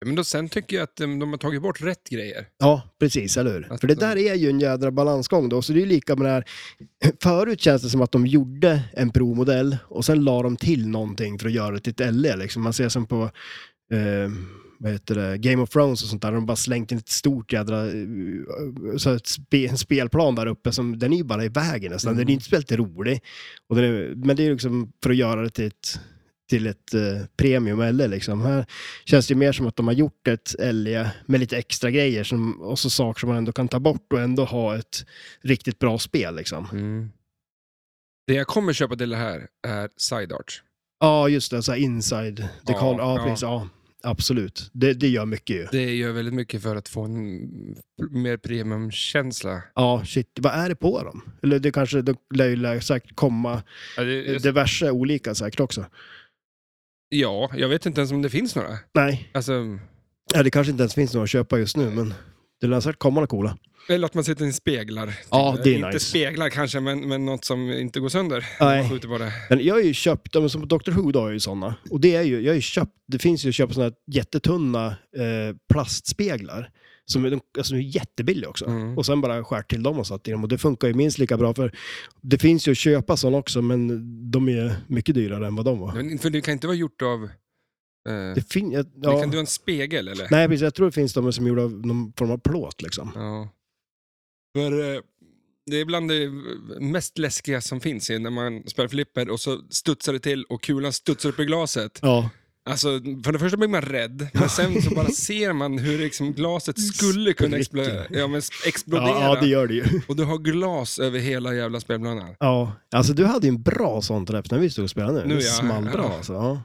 Men då, sen tycker jag att eh, de har tagit bort rätt grejer. Ja, precis, eller hur? Att För det de- där är ju en jädra balansgång då, så det är ju lika med det här. Förut känns det som att de gjorde en provmodell och sen la de till någonting för att göra det till ett LE. Liksom. Man ser som på eh, vad heter det? Game of Thrones och sånt där, de har bara slängt in ett stort jädra eh, så här ett spe, en spelplan där uppe, som, den är ju bara i vägen nästan. Den är inte speciellt rolig. Och den är, men det är liksom för att göra det till ett till ett eh, premium LE liksom. Här känns det ju mer som att de har gjort ett LE med lite extra grejer som, och så saker som man ändå kan ta bort och ändå ha ett riktigt bra spel liksom. Det jag kommer köpa till det här är sidearts. Ja, just det, så här inside the Ja, ja, ja, ja. precis, ja. Absolut, det, det gör mycket ju. Det gör väldigt mycket för att få en mer premiumkänsla. Ja, shit. Vad är det på dem? Eller det kanske, det lär ju lär säkert komma Ja, det- diverse olika säkert också. Ja, jag vet inte ens om det finns några. Nej, Alltså, ja, det kanske inte ens finns några att köpa just nu, men det lär säkert komma några coola. eller att man sätter in speglar. Ja, det är inte nice. speglar kanske, men, men något som inte går sönder. Nej. Man skjuter på det. Men jag har ju köpt, ja, men som på Dr. Who då har jag ju sådana. Och det är ju, jag har ju köpt, det finns ju att köpa sådana jättetunna eh, plastspeglar. Som är, de- alltså, de är jättebilliga också. Mm. Och sen bara skärt till dem och satt i dem. Och det funkar ju minst lika bra för det finns ju att köpa sådana också men de är ju mycket dyrare än vad de var. Men- För det kan inte vara gjort av... Eh, Mm. det, Det fin- ja, kan du ha en spegel eller? Nej, precis. Jag tror det finns de som är gjorda av någon form av plåt liksom. Ja. För, eh, det är bland det mest läskiga som finns är när man spelar flipper och så studsar det till och kulan studsar upp i glaset. Ja, Alltså, för det första blir man rädd, men sen så bara ser man hur liksom glaset skulle kunna explo- Spricker. ja, men s- explodera. ja, ja det gör det ju. Och du har glas över hela jävla spelplanen. Ja, alltså du hade ju en bra sån träff när vi stod och spelade nu. Nu, det ja. small bra Ja. alltså. Ja.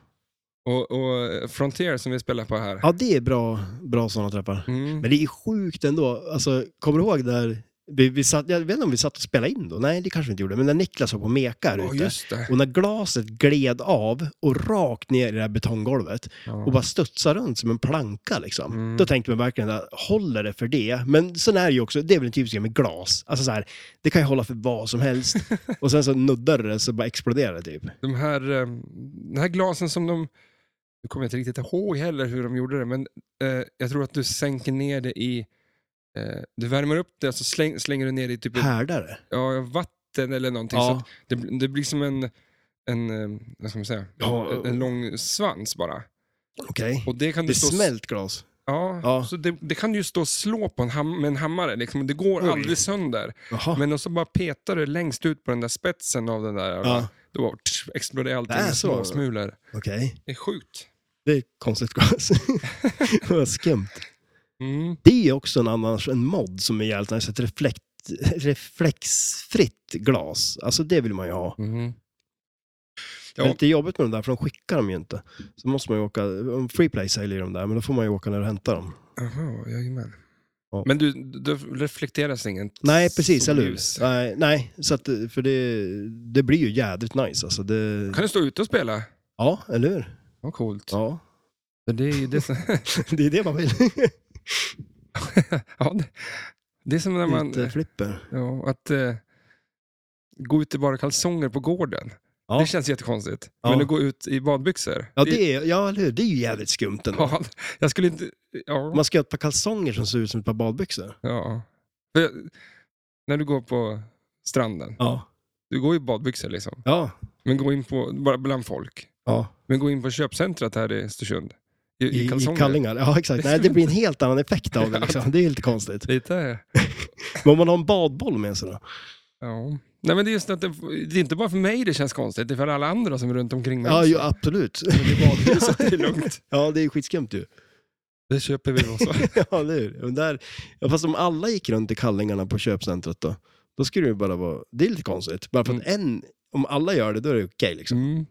Och, och eh, Frontier som vi spelar på här. ja, det är bra, bra såna träffar. Mm. Men det är sjukt ändå. Alltså, kommer du ihåg där, vi, vi satt, jag vet inte om vi satt och spelade in då? Nej, det kanske vi inte gjorde. Men när Niklas var på och mekade Ja, ute. just det. Och när glaset gled av och rakt ner i det här betonggolvet och Ja. bara studsade runt som en planka liksom. Mm. Då tänkte man verkligen att håller det för det? Men sen är det ju också, det är väl en typisk grej med glas. Alltså så här, det kan ju hålla för vad som helst. och sen så nuddar det så bara exploderar det typ. De här, eh, den här glasen som de... Nu kommer jag inte riktigt ihåg heller hur de gjorde det, men eh, jag tror att du sänker ner det i... Eh, du värmer upp det och så släng, slänger du ner det i typ ett- Härdare. ja, vatten eller någonting. Så Ja. att det, det blir som en... En, eh, vad ska man säga? Ja. En, en lång svans bara. Okej. Och det kan du Det är stå och s- smält glas. Ja, Ja. Så det, det kan du ju stå och slå på en ham- med en hammare. Liksom. Det går Oj. aldrig sönder. Jaha. Men och så bara petar du längst ut på den där spetsen av den där. Ja, Då bara, tsch, exploderar allting Det är i så. småsmulor. okej. Det är sjukt. Det är konstigt glas. Vad skumt. Mm. Det är ju också en annan en mod som är jävligt nice. Ett reflekt, reflexfritt glas. Alltså det vill man ju ha. Ja. Men det är jobbigt med de där, för de skickar dem ju inte. Så måste man ju åka, om Freeplay säljer de där, men då får man ju åka ner och hämta dem. Jaha, jajamän. Ja. Men du, det reflekteras inget Nej, precis, eller hur? solljus. Nej, nej, så att, för det, det blir ju jädrigt nice alltså. Det, Kan du stå ute och spela? ja, eller hur? Vad coolt. Ja, För Det är ju det som, det är det man vill. ja, det, det är som när man... Lite flipper. Ja, att eh, gå ut i bara kalsonger på gården. Ja. Det känns jättekonstigt. Ja. Men att gå ut i badbyxor. Ja, det är, ja, eller hur? Det är ju jävligt skumt ändå. ja, jag skulle inte... Ja. Man ska ha ett par kalsonger som ser ut som ett par badbyxor. ja. För jag, när du går på stranden, Ja. du går i badbyxor liksom. Ja. Men gå in på, bara bland folk. ja. Men gå in på köpcentret här i Östersund. I, I, i I kalsonger. kallingar. Ja, exakt. Nej, det blir en helt annan effekt av det. Liksom. Det är lite konstigt. Lite, Men om man har en badboll med sig då? ja. Nej, men det är just att det, det är inte bara för mig det känns konstigt, det är för alla andra som är runt omkring mig. Ja, också. ju, absolut. Men i badhuset är det lugnt. Ja, det är skitskumt ju. Det köper vi också. Ja, eller hur? Men där, ja, fast om alla gick runt i kallingarna på köpcentret då? Då skulle det ju bara vara... Det är lite konstigt. Bara för att en... Om alla gör det, då är det okej liksom. Mm.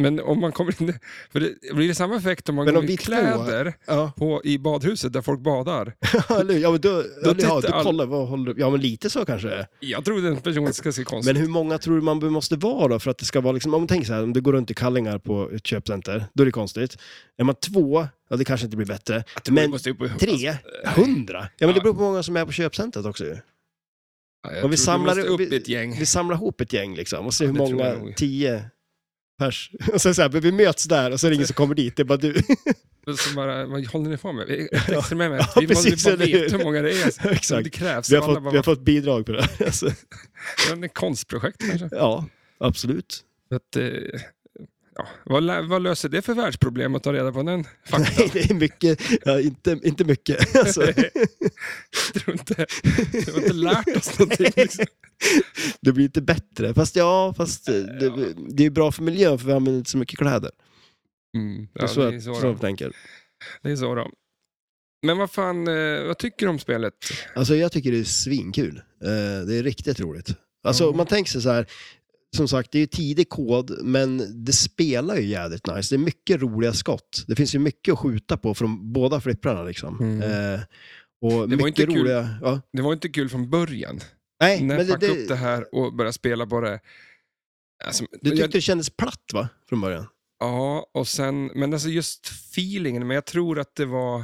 Men om man kommer in... För det blir det samma effekt om man Men går om i vi kläder Ja, på, i badhuset där folk badar. eller hur? Ja, men då... Ja, tittar du all- kollar, vad håller du... Ja, men lite så kanske det är. Jag tror den personen ska se konstigt Men hur många tror du man be- måste vara då för att det ska vara liksom, om man tänker så här, om du går runt i kallingar på ett köpcenter, då är det konstigt. Är man två, ja det kanske inte blir bättre. Men måste upp Alltså, på, tre, hundra? Ja men Ja. det beror på hur många som är på köpcentret också ju. Ja, jag vi tror du samlar måste upp- upp ett gäng. Vi samlar ihop ett gäng liksom och ser hur det tror jag många, nog. tio, pers. Och sen så här, men vi möts där och så är det ingen som kommer dit, det är bara du. Och Så bara, vad håller ni på med? Vi- Ett Ja. experiment. med. Ja, vi, må- precis, vi bara eller vet hur? hur många det är. Alltså. Exakt. Det krävs. Vi har, Alla fått, bara, vi har fått bidrag på det här. Alltså, "Vad- ett konstprojekt kanske. ja, absolut. Så Att, eh, ja. vad, lä- vad löser det för världsproblem att ta reda på den faktan? Nej, det är mycket, ja, inte, inte mycket. Alltså, Jag tror inte, jag har inte lärt oss någonting. Liksom. det blir inte bättre. Fast ja, fast eh, det, det är ju bra för miljön för vi använder inte så mycket kläder. Mm, Det är ja, så, det, är jag- så så då. jag tänker. det är så då. Men vad fan, eh, vad tycker du om spelet? Alltså jag tycker det är svinkul. Eh, Det är riktigt roligt. Alltså Ja. om man tänker sig så här, som sagt det är ju tidig kod, men det spelar ju jädrigt nice. Det är mycket roliga skott. Det finns ju mycket att skjuta på från båda flipprarna liksom. Mm. Eh, Och Det var inte mycket kul. roliga... Ja. Det var inte kul från början. Nej, När jag men det, packade upp det det, här och började spela bara... Alltså, du jag, tyckte det kändes platt va, från början? ja, och sen... Men alltså just feelingen, men jag tror att det var...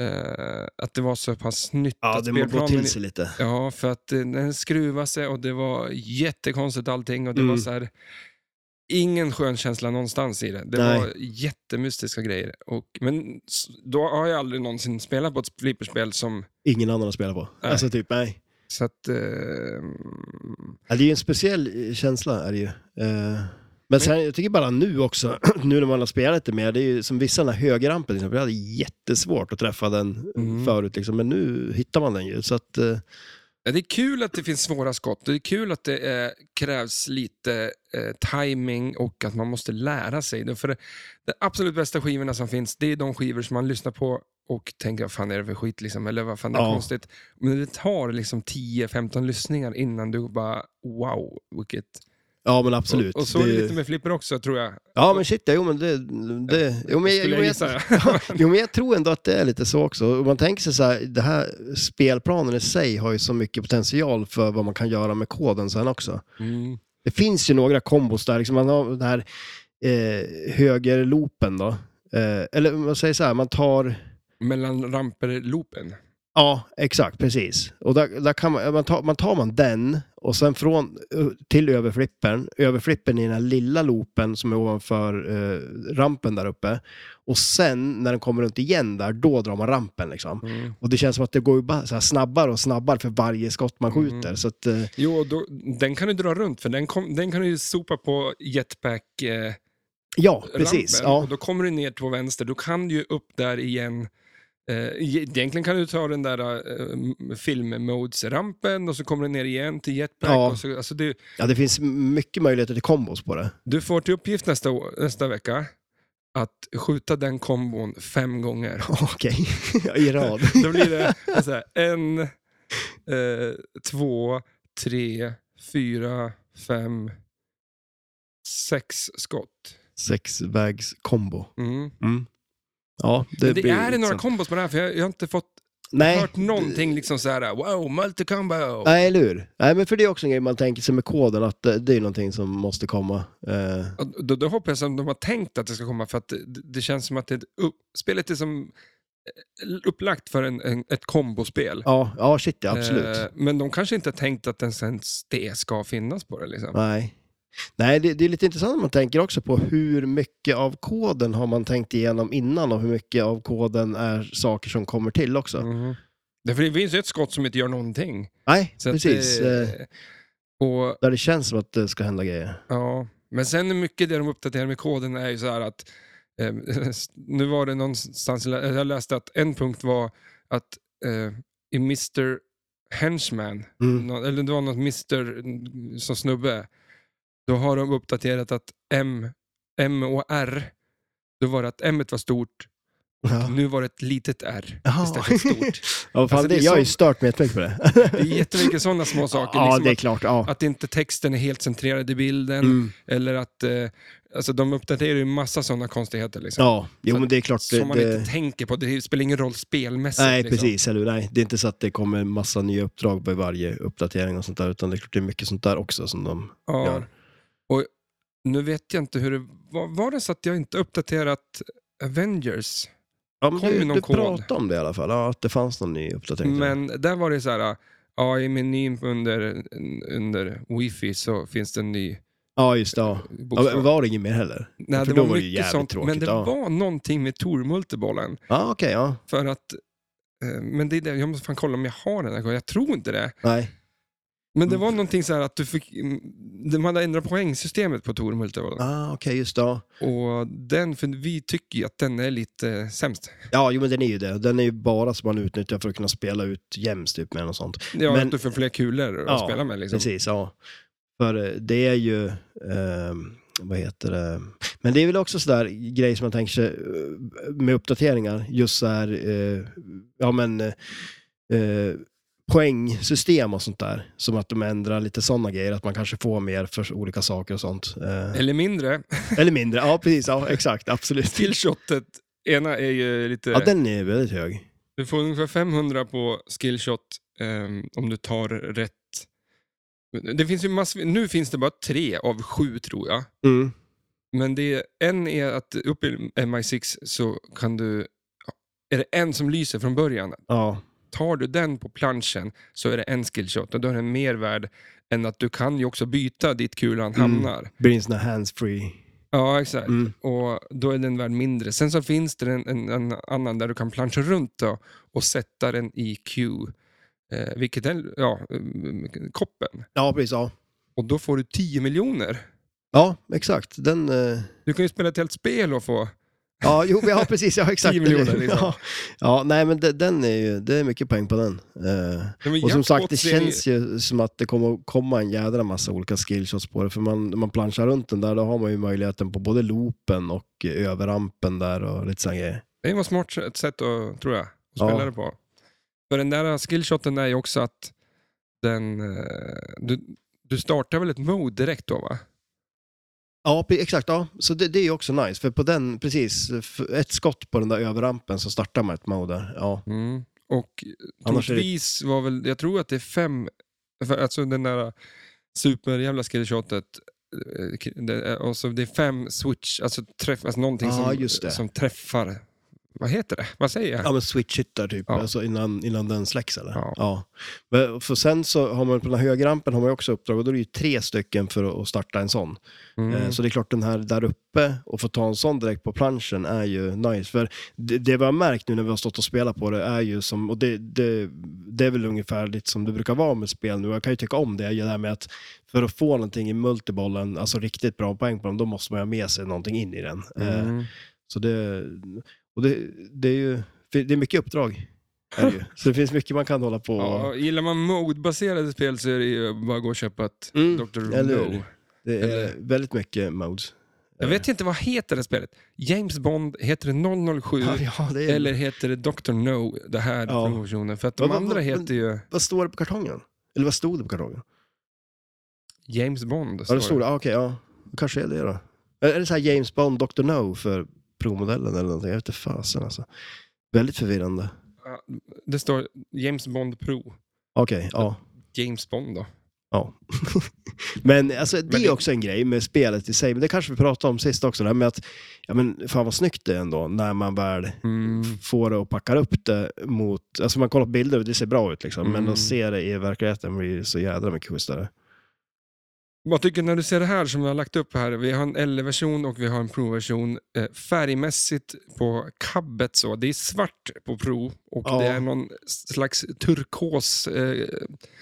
eh, att det var så pass nytt Ja, att det må gå spelplanen- till sig lite. Ja, för att eh, den skruvade sig och det var jättekonstigt allting och det Mm. var så här... Ingen skön känsla någonstans i det. Det Nej. var jättemystiska grejer. Och, men s- då har jag aldrig någonsin spelat på ett flipperspel som... Ingen annan har spelat på. Nej. Alltså typ, nej. Så att... eh, Ja, det är ju en speciell eh, känsla är det ju. Eh, Men sen, jag tycker bara nu också, nu när man har spelat lite mer, det är ju som vissa den här högerrampen, till exempel, jag hade jättesvårt att träffa den Mm. förut, liksom, men nu hittar man den ju. Så att, eh, Ja, Det är kul att det finns svåra skott. Det är kul att det eh, krävs lite eh, timing och att man måste lära sig. Det. För det, de absolut bästa skivorna som finns, det är de skivor som man lyssnar på och tänker, vad fan är det för skit? Liksom? Eller vad fan det är Ja. konstigt? Men det tar liksom 10-15 lyssningar innan du bara, wow, vilket... ja men absolut. Och, och så är det Det- lite med flipper också, tror jag. Ja men shit, ja, jo men det... det jo, men, Skulle jag, jo, jag men gissa. jag, jo men jag tror ändå att det är lite så också. Om man tänker sig så här, det här spelplanen i sig har ju så mycket potential för vad man kan göra med koden sen också. Mm. Det finns ju några kombos där. Liksom man har den här eh, högerloopen då. Eh, eller man säger så här, man tar... Mellan ramper-loopen. Ja, exakt, precis. Och där, där kan man, man, tar, man tar man den och sen från eh, till överflippen. Överflippen i den här lilla loopen som är ovanför eh, rampen där uppe. Och sen när den kommer runt igen där, då drar man rampen liksom. Mm. Och det känns som att det går ju bara så här snabbare och snabbare för varje skott man skjuter. Mm. Så att, eh, Jo, och då, den kan du dra runt, för den, kom, den kan du ju sopa på jetpack... Eh, ja, precis. rampen Ja. och då kommer du ner till vänster. Då kan du ju upp där igen. Eh, e- egentligen kan du ta den där eh, filmmodes-rampen och så kommer du ner igen till jetpack. Ja. Och så, alltså du, ja, det finns mycket möjligheter till kombos på det. du får till uppgift nästa, å- nästa vecka att skjuta den kombon fem gånger. Okej, i rad. Då blir det så här, en, eh, två, tre, fyra, fem, sex skott. Sexvägskombo. Mm. Mm. Ja, det, Det, det blir är några intressant. kombos på det här, för jag, jag har inte fått Nej. hört någonting liksom så här: wow, multicombo. Nej, eller hur? Nej, men för det är också en grej man tänker sig med koden, att eh, det, det är någonting som måste komma. Eh, Och Då, då hoppas jag att de har tänkt att det ska komma, för att det, det känns som att det, är ett upp, spelet är som eh, upplagt för en, en, ett kombospel. ja, ja, shit ja, absolut. Eh, men de kanske inte har tänkt att ens, ens det ska finnas på det. Liksom. Nej. Nej, det, det är lite intressant när man tänker också på hur mycket av koden har man tänkt igenom innan och hur mycket av koden är saker som kommer till också. Mhm. Därför det finns ju ett skott som inte gör någonting. Nej, Så att, precis. eh, eh, och, där det känns som att det ska hända grejer. Ja, men sen är mycket det de uppdaterar med koden är ju så här att eh, nu var det någonstans, jag läste att en punkt var att eh, i Mr. Henchman, Mm. nå- eller det var något Mr. som snubbe, då har de uppdaterat att M, M och R, då var det att M var stort, Ja. nu var det ett litet R Ah. Jaha. istället för stort. Ja, fan, Alltså, det det, är jag är så- ju stört mig jättemycket på det. Det är jättemycket sådana små saker. ja, liksom det är att, klart. Ja. att inte texten är helt centrerad i bilden, Mm. Eller att eh, alltså de uppdaterar ju massa sådana konstigheter. Liksom, Ja, jo Så- men det är klart. Det, som man det, inte tänker på. Det spelar ingen roll spelmässigt. nej, liksom. precis. Eller, hur? nej, det är inte så att det kommer en massa nya uppdrag på varje uppdatering och sånt där, utan det är klart det är mycket sånt där också som de Ja. gör. Och nu vet jag inte hur det var. Var det så att jag inte uppdaterat Avengers? Ja, men Kom ju du, någon du kod. pratade om det i alla fall, ja, att det fanns någon ny uppdatering. Men där var det så här, ja i menyn under, under wifi så finns det en ny Ja, just det. Ja. Ja, bokstav. men var det inget mer heller? Nej, för det då var var det ju mycket jävligt sånt, men tråkigt, det ja. var någonting med Tormultibollen. Ja, okej. ja. För att, eh, men det är det, jag måste fan kolla om jag har den här gången. Jag tror inte det. Nej. Men det Mm. var någonting så här att du fick, mm, de hade ändrat poängsystemet på Tormultibollen. Ah, okej, just det. Ja. Och den, för vi tycker ju att den är lite eh, sämst. Ja, jo, men den är ju det. Den är ju bara som man utnyttjar för att kunna spela ut jämst typ med något sånt. Ja, Men- att du får fler kulor att Ja, spela med. Liksom. Precis, ja. För eh, det är ju, ehm, vad heter det, men det är väl också sådär grej som man tänker sig eh, med uppdateringar, just så här, eh, ja men, eh, eh, poängsystem och sånt där. Som att de ändrar lite sådana grejer, att man kanske får mer för olika saker och sånt. Eh, Eller mindre. eller mindre, ja precis, ja exakt, absolut. Skillshotet, ena är ju lite... Ja, den är väldigt hög. Du får ungefär 500 på skillshot ehm, om du tar rätt. Det finns ju massvis, nu finns det bara tre av sju tror jag. Mm. Men det är, en är att uppe i MI6 så kan du, är det en som lyser från början. Ja, Tar du den på planschen så är det en skillshot och då är den mer värd än att du kan ju också byta dit kulan Mm. hamnar. blir en sån här hands-free. Ja, exakt. Mm. Och då är den värd mindre. Sen så finns det en, en, en annan där du kan plancha runt då och sätta den i Q. Eh, vilket är ja, mm, koppen. Ja, precis, ja. Och då får du 10 miljoner. Ja, exakt. Den... eh, Du kan ju spela ett helt spel och få... Ja, jo, ja precis. Ja, exakt. 10 miljoner, liksom. ja. ja, nej men det, den är ju, det är mycket poäng på den. Eh, Men och som sagt, jackpots det är ju- känns ju som att det kommer att komma en jädra massa olika skillshots på det. För man, när man planchar runt den där, då har man ju möjligheten på både loopen och eh, överrampen där och lite sådana grejer. Det var ett smart sätt- sätt att, tror jag, att Ja. spela det på. För den där skillshoten är ju också att den... eh, Du, du startar väl ett mode direkt då, va? Ja, pre- exakt. Ja. Så det, det är ju också nice. För på den, precis, f- ett skott på den där överrampen så startar man ett mode där. Ja, Mm. Och Annars är det- troligtvis var väl, jag tror att det är fem, för alltså den där superjävla skillshotet, eh, k- det är- och så det är fem switch, alltså, träff, alltså någonting Ja, som, just det. som träffar, vad heter det? Vad säger jag? Ja, men switch-hittar typ, Ja. alltså innan, innan den släcks eller? Ja. Men, för sen så har man på den här högerrampen har man ju också uppdrag och då är det ju tre stycken för att- att starta en sån. Mm. Eh, Så det är klart den här där uppe och få ta en sån direkt på planschen är ju nice. För det, det vi har märkt nu när vi har stått och spelat på det är ju som, och det, det, det är väl ungefär lite som det brukar vara med spel nu. Jag kan ju tycka om det, det här med att för att få någonting i multibollen, alltså riktigt bra poäng på dem, då måste man ju ha med sig någonting in i den. Eh, Mm. så det, och det, det är ju för det är mycket uppdrag. Är det ju. Så det finns mycket man kan hålla på Ja, gillar man mode-baserade spel så är det ju bara att gå och köpa ett Mm, Dr. eller hur? No. Det är eller- väldigt mycket modes. Jag vet inte, vad heter det spelet? James Bond, heter det 007? Ja, ja, det är, Eller heter det Dr. No, det här Ja. promotionen? För att de Vad- vad- andra vad- heter ju Vad står det på kartongen? Eller vad stod det på kartongen? James Bond. Ja, står det stod det. Ah, Okej, ja. Kanske är det då. Är är det så här James Bond Dr. No för promodellen eller någonting? Jag vet inte fasen alltså. Väldigt förvirrande. Det står James Bond Pro. Okej, ja. James Bond då. Ja. men alltså, det Men det- är också en grej med spelet i sig, men det kanske vi pratade om sist också, det här med att, ja men fan vad snyggt det är ändå när man väl Mm. får det och packar upp det mot, alltså man kollar på bilder och det ser bra ut liksom, men Mm. att se det i verkligheten blir så jädra mycket schysstare. Vad tycker du när du ser det här som vi har lagt upp här? Vi har en L-version och vi har en Pro-version. Eh, Färgmässigt på kabbet så, det är svart på Pro och Ja. det är någon slags turkos. Eh,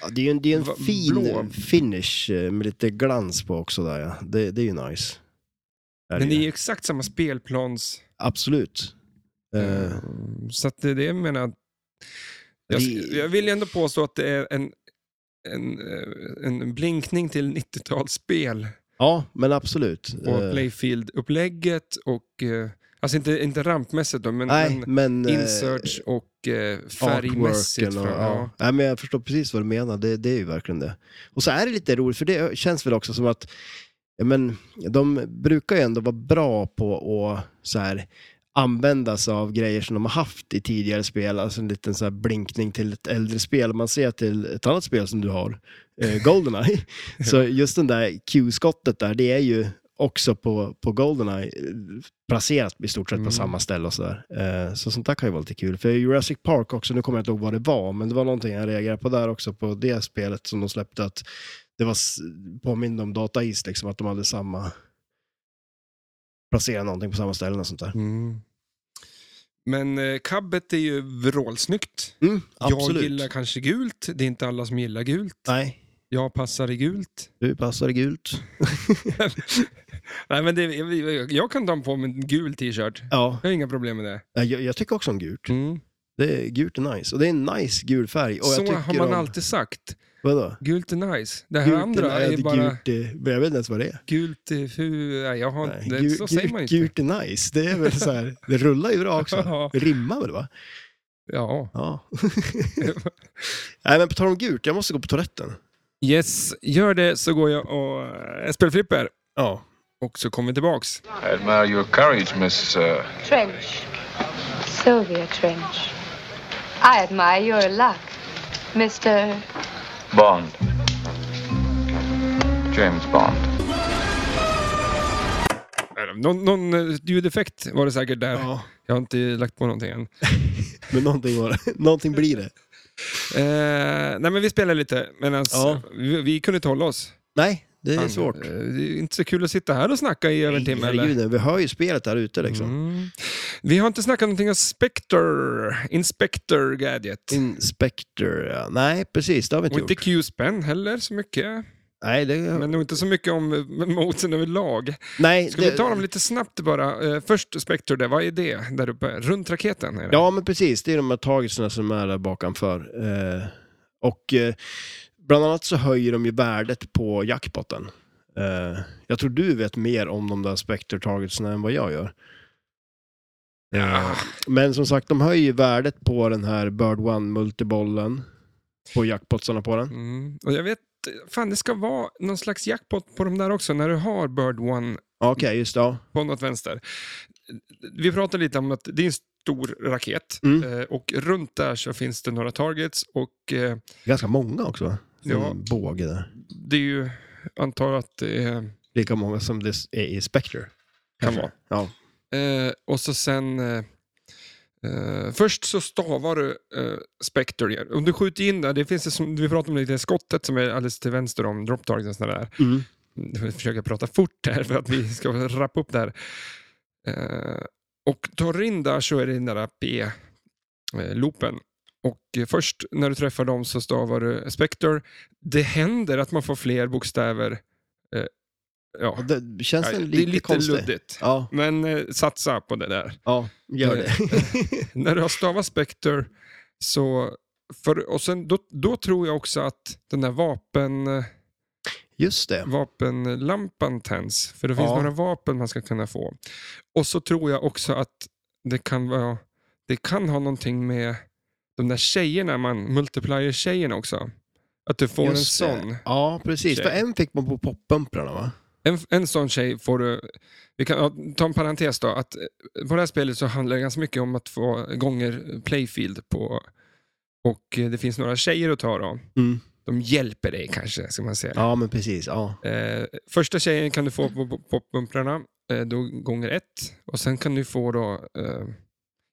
Ja, det är ju en, det är en Va- fin blå. finish eh, med lite glans på också där ja. det, det är ju nice. Är men det ju. är ju exakt samma spelplans. Absolut. Eh, Eh, Så att det, det menar jag- jag, Det- jag vill ju ändå påstå att det är en, en, eh, en blinkning till 90-talsspel. ja, men absolut. på Eh, Playfield-upplägget och, eh, alltså inte, inte rampmässigt då, men, nej, men men... eh, inserts och eh, artworken färgmässigt. och, Från, ja. ja. Nej, men jag förstår precis vad du menar, det, det är ju verkligen det. Och så är det lite roligt, för det känns väl också som att ja, men, de brukar ju ändå vara bra på att så här, använda sig av grejer som de har haft i tidigare spel, alltså en liten så här blinkning till ett äldre spel. Om Man ser till ett annat spel som du har, eh, Goldeneye. så just den där Q-skottet där, det är ju också på, på Goldeneye eh, placerat i stort sett på Mm. samma ställe och sådär. Eh, så sånt där kan ju vara lite kul. För Jurassic Park också, nu kommer jag inte ihåg vad det var, men det var någonting jag reagerade på där också, på det spelet som de släppte, att det var s- påminde om dataist, liksom, att de hade samma... Placera någonting på samma ställe och sånt där. Mm. Men eh, kabbet är ju vrålsnyggt. Mm, Jag absolut. gillar kanske gult, det är inte alla som gillar gult. Nej, Jag passar i gult. du passar i gult. Nej, men det, jag, jag kan ta på mig en gul t-shirt. Ja, Jag har inga problem med det. jag, jag tycker också om gult. Det är, gult är nice. Och det är en nice gul färg. Och Mm. jag Så tycker har man om, alltid sagt. Vadå? Gult är nice. Det här Gult andra är, är bara gult, är- jag vet inte ens vad det är. gult är ful. Nej, jag har, Nej, det, gult, så säger man gult- inte. Gult är nice. Det är väl så här, det rullar ju bra också. Ja. Det rimmar väl va? ja. Ja. Nej men på tal om gult, jag måste gå på toaletten. Yes, gör det så går jag och eh, spelar flipper. Ja. Och så kommer vi tillbaks. I admire your courage, Miss. Uh... Trench. Sylvia Trench. I admire your luck, Mr. Bond. James Bond. Eh, Någon, någon eh, ljudeffekt var det säkert där. ja. Jag har inte lagt på någonting än. Men någonting, var, det. någonting blir det. Eh, nej, men vi spelar lite. Men alltså, Ja. vi, vi kunde inte hålla oss. Nej, det är Fan, svårt. eh, Det är inte så kul att sitta här och snacka i över en timme. Eller? Herregud, vi hör ju spelet där ute liksom. Mm. Vi har inte snackat någonting om Spectre, Inspector Gadget. Inspector, ja. Nej, precis. Det har vi inte och gjort. inte Q-Spen heller så mycket. Nej, det, Men nog inte så mycket om eh, motorn överlag. nej, Ska det, vi ta dem lite snabbt bara? Eh, Först Spectre, där, vad är det där uppe? Runt raketen? Är det? Ja, men precis. Det är de här tagelserna som är där bakanför. Eh, och eh, bland annat så höjer de ju värdet på jackpotten. Eh, jag tror du vet mer om de där Spectre-tagelserna än vad jag gör. Eh, Ja. Men som sagt, de höjer ju värdet på den här Bird One-multibollen. På jackpotsarna på den. Mm. Och jag vet, fan det ska vara någon slags jackpot på de där också när du har Bird One Ja, Okej, just det. Ja. på något vänster. Vi pratade lite om att det är en stor raket Mm. eh, och runt där så finns det några targets och eh, Ganska många också. va? Som Ja. en båge där. det är ju, antar att det eh, Lika många som det är i Spectre. kan vara. Ja. Eh, och så sen... Eh, eh, först så stavar du eh, Spectre. Om du skjuter in där, det finns det som vi pratade om lite, skottet som är alldeles till vänster om drop targets och där. Mm. Jag försöker prata fort här för att vi ska rappa upp det här. Eh, och tar du in där så är det den där P-loopen. Och eh, först när du träffar dem så stavar du Spectre. Det händer att man får fler bokstäver. Eh, ja. Och Det känns Ja, den lite, det är lite konstig. luddigt. Ja, Men eh, satsa på det där. ja, gör det. När du har stavat Spectre så... För, och sen, då, då tror jag också att den där vapen, Just det. vapenlampan tänds. För det finns Ja. några vapen man ska kunna få. Och så tror jag också att det kan, vara, det kan ha någonting med de där tjejerna, man, multiplier-tjejerna också. Att du får Just en det. sån. Ja, precis. tjej. För en fick man på poppumprarna va? En, en sån tjej får du... Vi kan ja, ta en parentes då. Att eh, på det här spelet så handlar det ganska mycket om att få gånger playfield på... Och eh, det finns några tjejer att ta då. Mm. De hjälper dig kanske, ska man säga. Ja, men precis. Ja. Eh, första tjejen kan du få på på- poppumprarna, eh, då gånger ett. Och sen kan du få då... Eh,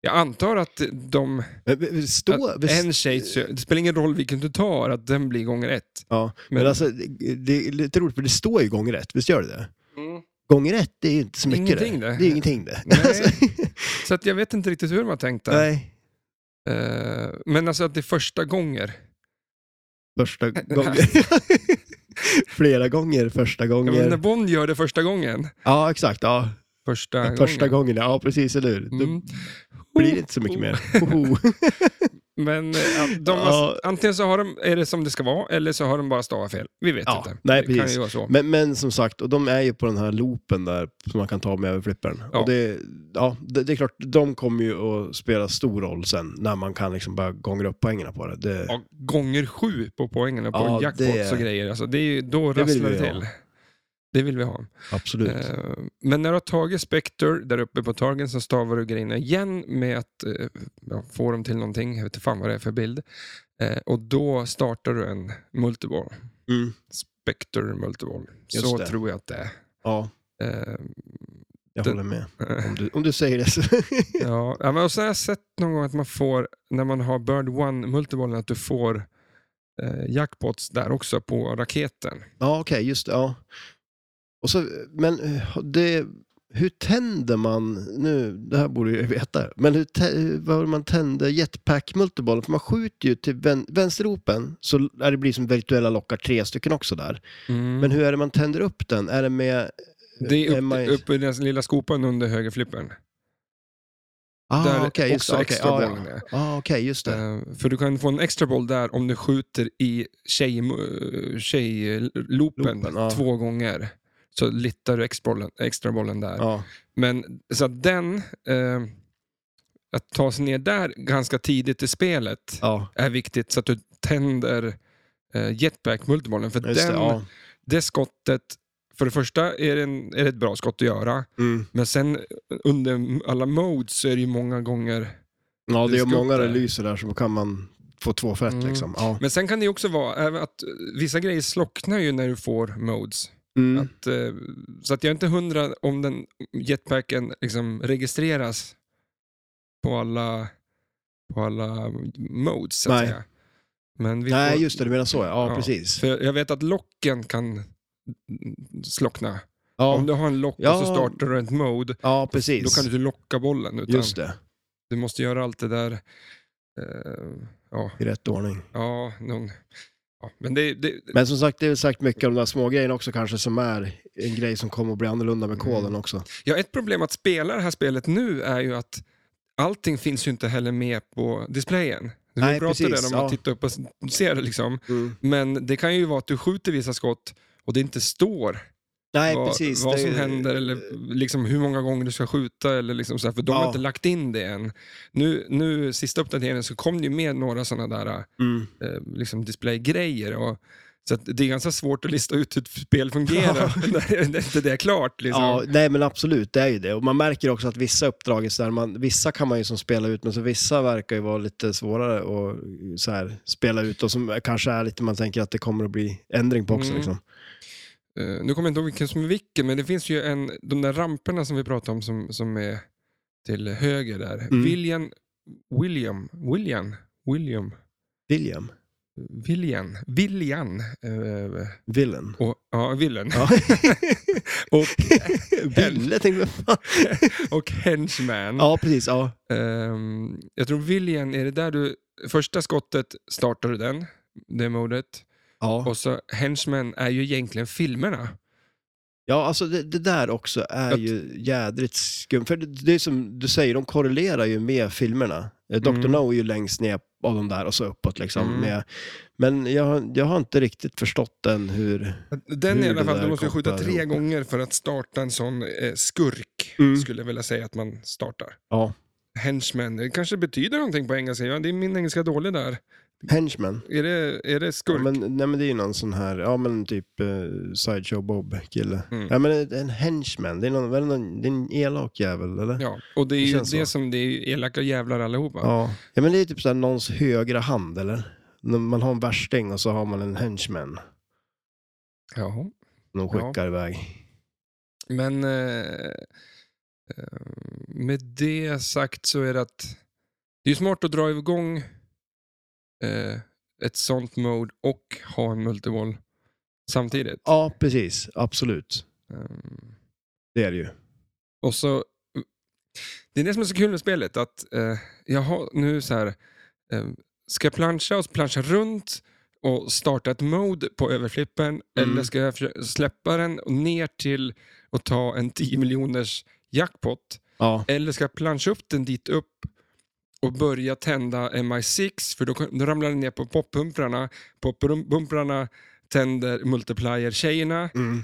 jag antar att de... Men vi- vi Stå, att vi- en tjej, det spelar ingen roll vilken du tar, att den blir gånger ett. ja, men men- alltså, det- det är lite roligt för det står ju gånger ett, visst gör det det? Gånger ett, det är ju inte så mycket Mm. Ingenting det. det. Det är ingenting det. Nej. Alltså, Så att jag vet inte riktigt hur de har tänkt där. nej. Eh, men alltså att det är första gånger. Första gången. Flera gånger första Ja, men när gånger. Bond gör det första gången. Ja, exakt. Ja. Första, Första gången. gången, ja precis, eller hur? Då Mm. blir det inte så mycket mer. Hoho. Men eh, ja, de har, Ja. antingen så har de, är det som det ska vara eller så har de bara stavat fel. Vi vet Ja, inte. nej, det kan precis. ju vara så. Men, men som sagt, och de är ju på den här loopen där som man kan ta med över flippern. Ja. Och det, ja, det, det är klart, de kommer ju att spela stor roll sen när man kan liksom börja gångra upp poängerna på det. det Ja, gånger sju på poängen och på Ja, jackpots det- och grejer. Alltså, det är, ju- då Det vill rasslar vi det ha. till. Det vill vi ha. Absolut. Eh, men när du har tagit Spectre där uppe på targen så stavar du grejerna igen med att eh, ja, få dem till någonting. Jag vet inte fan vad det är för bild. Eh, och då startar du en multiball. Mm. Spectre multiball. Just Så det. tror jag att det är. Ja, Eh, jag det- håller med. Om du, om du säger det så. ja, ja, men och så har jag sett någon gång att man får, när man har Bird One multibollen, att du får eh, jackpots där också på raketen. Ja, okej, just det. Ja. Och så, men eh, det, hur tänder man, nu, det här borde jag ju veta, men hur tä- vad är det man tänder jetpack multibollen? För man skjuter ju till vän, vänsteropen så är det blir som virtuella lockar, tre stycken också där. Mm. Mm. Men hur är det man tänder upp den? Är det med... det är eh, man- upp, upp i den lilla skopan under högerflippen. ah, där okej, just också det, okej, extra ah, bollen ja. är. ah, okej, just det. Eh, För du kan få en extra boll där om du skjuter i tjej, eh, tjejloopen Loopen, ja. två gånger. Så littar du extrabollen, extrabollen där. Ja, Men så att den, eh, att ta sig ner där ganska tidigt i spelet ja, är viktigt så att du tänder eh, jetpack multibollen. För den, just det, det. Ja. skottet, för det första är det, en, är det ett bra skott att göra. Mm. Men sen under alla modes så är det ju många gånger ja, det är ska upp många där. relyser där så kan man få två för ett Mm. liksom. Ja. Men sen kan det ju också vara även att eh, vissa grejer slocknar ju när du får modes. Mm. Att, eh, så att jag är inte hundra om den jetpacken liksom registreras på alla, på alla modes. Så att Nej. Säga. Men vi Nej, får, just det, du menar så. Ja, ja. Ja. precis. För jag vet att locken kan mm, slockna. Om Ja, du har en lock och Ja. så startar du ett mode, ja precis. då kan du inte locka bollen. Utan Just det, Du måste göra allt det där. eh, ja, i rätt ordning. ja, någon, ja, men det, det, Men som sagt, det är väl sagt mycket om de där små grejerna också kanske som är en grej som kommer att bli annorlunda med Mm. koden också. Ja, ett problem att spela det här spelet nu är ju att allting finns ju inte heller med på displayen. Vi Nej, pratar precis, redan om ja. att titta upp och s- se det liksom. Men det kan ju vara att du skjuter vissa skott och det inte står Nej, vad, precis. vad det- som händer eller liksom hur många gånger du ska skjuta. Eller liksom så här, för de Ja. har inte lagt in det än. Nu, nu sista uppdateringen så kom det ju med några sådana där Mm. eh, liksom displaygrejer. Och, så att det är ganska svårt att lista ut hur ett spel fungerar när när inte det är klart. Liksom. Ja, nej men absolut, det är ju det. Och man märker också att vissa uppdrag är så där, man, vissa kan man ju som spela ut, men så vissa verkar ju vara lite svårare att eh, så här, spela ut och som kanske är lite man tänker att det kommer att bli ändring på också. Mm. Liksom. Eh, nu kommer jag inte ihåg vilken som är vilken, men det finns ju en, de där ramperna som vi pratade om som, som är till höger där. Mm. William, William, William, William, William, William, William. eh, Villen. och, ja, Willen. Ja. och, Ville tänkte jag. fan. och Henchman. Ja, precis. Ja. Ehm, jag tror William, är det där du, första skottet startar du den, det modet. Ja. Och så Henchman är ju egentligen filmerna. Ja, alltså det, det där också är Att- ju jädrigt skumt. För det, det är som du säger, de korrelerar ju med filmerna. Eh, Dr. Mm. No är ju längst ner av de där och så uppåt liksom. Mm. Med, men jag, har- jag har inte riktigt förstått den hur... Den Hur i alla det fall, där du måste ju skjuta kopplar tre ihop. gånger för att starta en sån eh, skurk, Mm. skulle jag vilja säga att man startar. Ja, Henchman, det kanske betyder någonting på engelska. Ja, det är min engelska dålig där. henchman. Är det, är det Ja, skurk? men, nej men det är ju någon sån här, ja men typ eh, Sideshow Bob-kille. Mm. Ja men en- en henchman, det är, någon, väl någon, det är en elak jävel eller? Ja, och det är Det ju känns det så. som det är ju elaka jävlar allihopa. Ja. ja men det är typ såhär någons högra hand eller? När Man har en värsting och så har man en henchman. Jaha. De Ja. skickar iväg. Men eh, eh, med det sagt så är det att det är ju smart att dra igång eh, ett sånt mode och ha en multiboll samtidigt. Ja, precis. Absolut. Ehm, Det är det ju. Och så, eh, det är det som är så kul med spelet, att eh, jag har nu så här, eh, ska jag plancha och plancha runt och starta ett mode på överflippen Mm. eller ska jag försöka släppa den och ner till och ta en 10 miljoners jackpot Ja. eller ska jag plancha upp den dit upp och börja tända MI6 för då, kan- då ramlar den ner på poppumprarna, poppumprarna tänder multiplier-tjejerna Mm.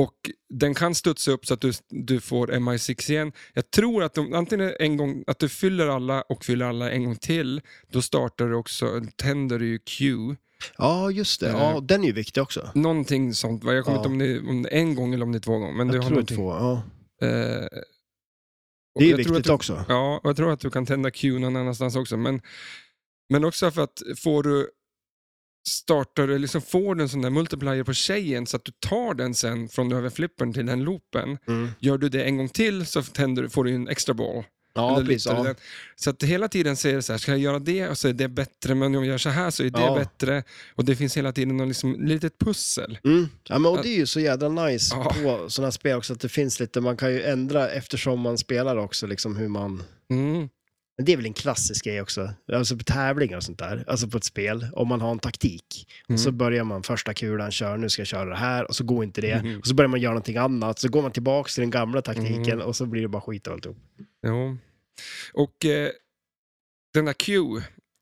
och den kan studsa upp så att du, du får MI6 igen. Jag tror att de, antingen en gång, att du fyller alla och fyller alla en gång till, då startar du också, tänder du ju Q. ja, just det. Ja, Eh. den är ju viktig också. Någonting sånt. va? Jag kommer Ja. inte ihåg om det, om det är en gång eller om det är två gånger. Men du Jag har tror någonting. två. Ja. Eh, och Det är ju jag tror att viktigt du, också. Ja, och jag tror att du kan tända Q någon annanstans också. Men, men också för att får du startar du, liksom får du en sån där multiplier på tjejen så att du tar den sen från överflippen till den loopen. Mm. Gör du det en gång till så tänder, får du ju en extra boll. Ja, Eller precis. luttar i Ja. den. Så att hela tiden säger det så här, ska jag göra det och så är det bättre, men om jag gör så här så är det Ja. bättre. Och det finns hela tiden något liksom, litet pussel. Mm. Ja, men, och det är ju så jädra nice Ja. på sådana här spel också att det finns lite, man kan ju ändra eftersom man spelar också liksom hur man... Mm. Men det är väl en klassisk grej också, alltså på tävlingar och sånt där, alltså på ett spel, om man har en taktik. Och Mm. så börjar man första kulan, kör, nu ska jag köra det här, och så går inte det. Mhm. Och så börjar man göra någonting annat, så går man tillbaka till den gamla taktiken Mm-hmm. och så blir det bara skit av alltihop. Jo. Och eh, den där Q,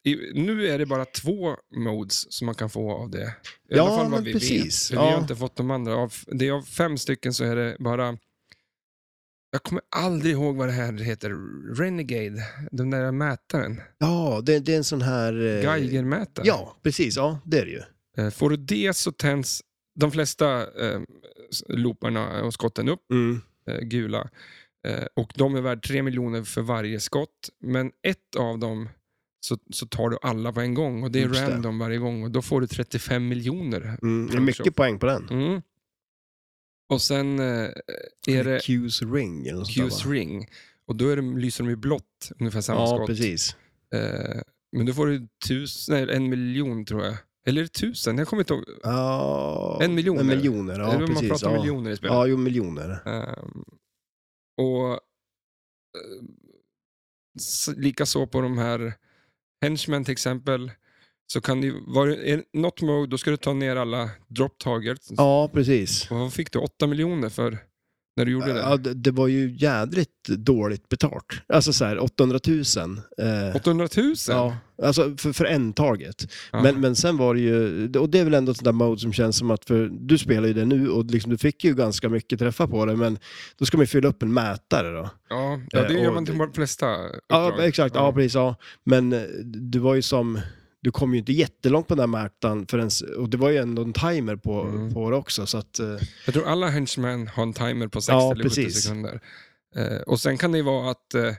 i, nu är det bara två modes som man kan få av det. I Ja, alla fall vad men vi precis. vet. För Vi har Ja. inte fått de andra. Av, det är av fem stycken så är det bara... Jag kommer aldrig ihåg vad det här heter. Renegade, den där mätaren. Ja, det, det är en sån här... eh, Geigermätare. Ja, precis. Ja, det är det ju. Eh, Får du det så tänds de flesta eh, s- looparna och skotten upp Mm, eh, gula. Eh, och de är värd 3 miljoner för varje skott. Men ett av dem så, så tar du alla på en gång och det är Just det. random varje gång och då får du 35 miljoner. Mm. Det är mycket poäng på den. Mm. Och sen eh, är det Q's ring eller något sånt där, Q's va? ring och då är de, lyser de i blått, ungefär samma Ja, skott. precis. Eh, men då får du tus, nej, en miljon tror jag. Eller är det tusen? Jag kommer inte ihåg. Ja, En miljon, En eller? miljoner, ja, Eller om man precis. pratar ja. miljoner i spelet. Ja, jo, miljoner. Ehm, och eh, s- lika så på de här henchmen till exempel, så kan det ju vara är det något mode, då ska du ta ner alla drop targets. Ja, precis. Och Vad fick du? 8 miljoner för när du gjorde Ja, det? det, det var ju jädrigt dåligt betalt. Alltså så här, 800 000. Eh, 800 000? ja, alltså för, för en target. Ja. Men, men sen var det ju, och det är väl ändå ett sånt där mode som känns som att, för du spelar ju det nu och liksom, du fick ju ganska mycket träffar på det, men då ska man ju fylla upp en mätare då. ja, ja, det Eh, gör och- man till de flesta uppdrag. Ja, exakt. Ja, precis. Ja. Men eh, du var ju som... Du kom ju inte jättelångt på den där mätaren förrän... Och det var ju ändå en timer på, Mm. på det också, så att... eh, Jag tror alla henchmen har en timer på 60 Ja, eller 70 precis. sekunder. Eh, och sen kan det ju vara att eh,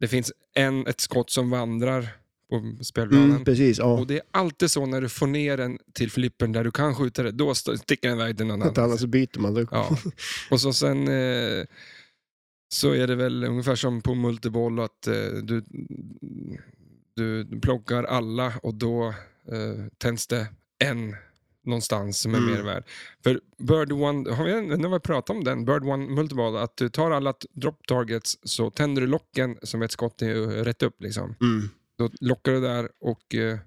det finns en, ett skott som vandrar på spelplanen. Mm, precis, ja. Och det är alltid så när du får ner den till flippen där du kan skjuta det, då st- sticker den iväg till någon Att annars annan. så byter man. Då. Ja. Och så sen eh, så är det väl ungefär som på multiboll att eh, du, du plockar alla och då eh, tänds det en någonstans som är Mm. mer värd. För Bird One, har vi, när vi pratat om den, Bird One Multiball, att du tar alla t- drop targets så tänder du locken som ett skott är eh, rätt upp liksom. Mm. Då lockar du där och eh,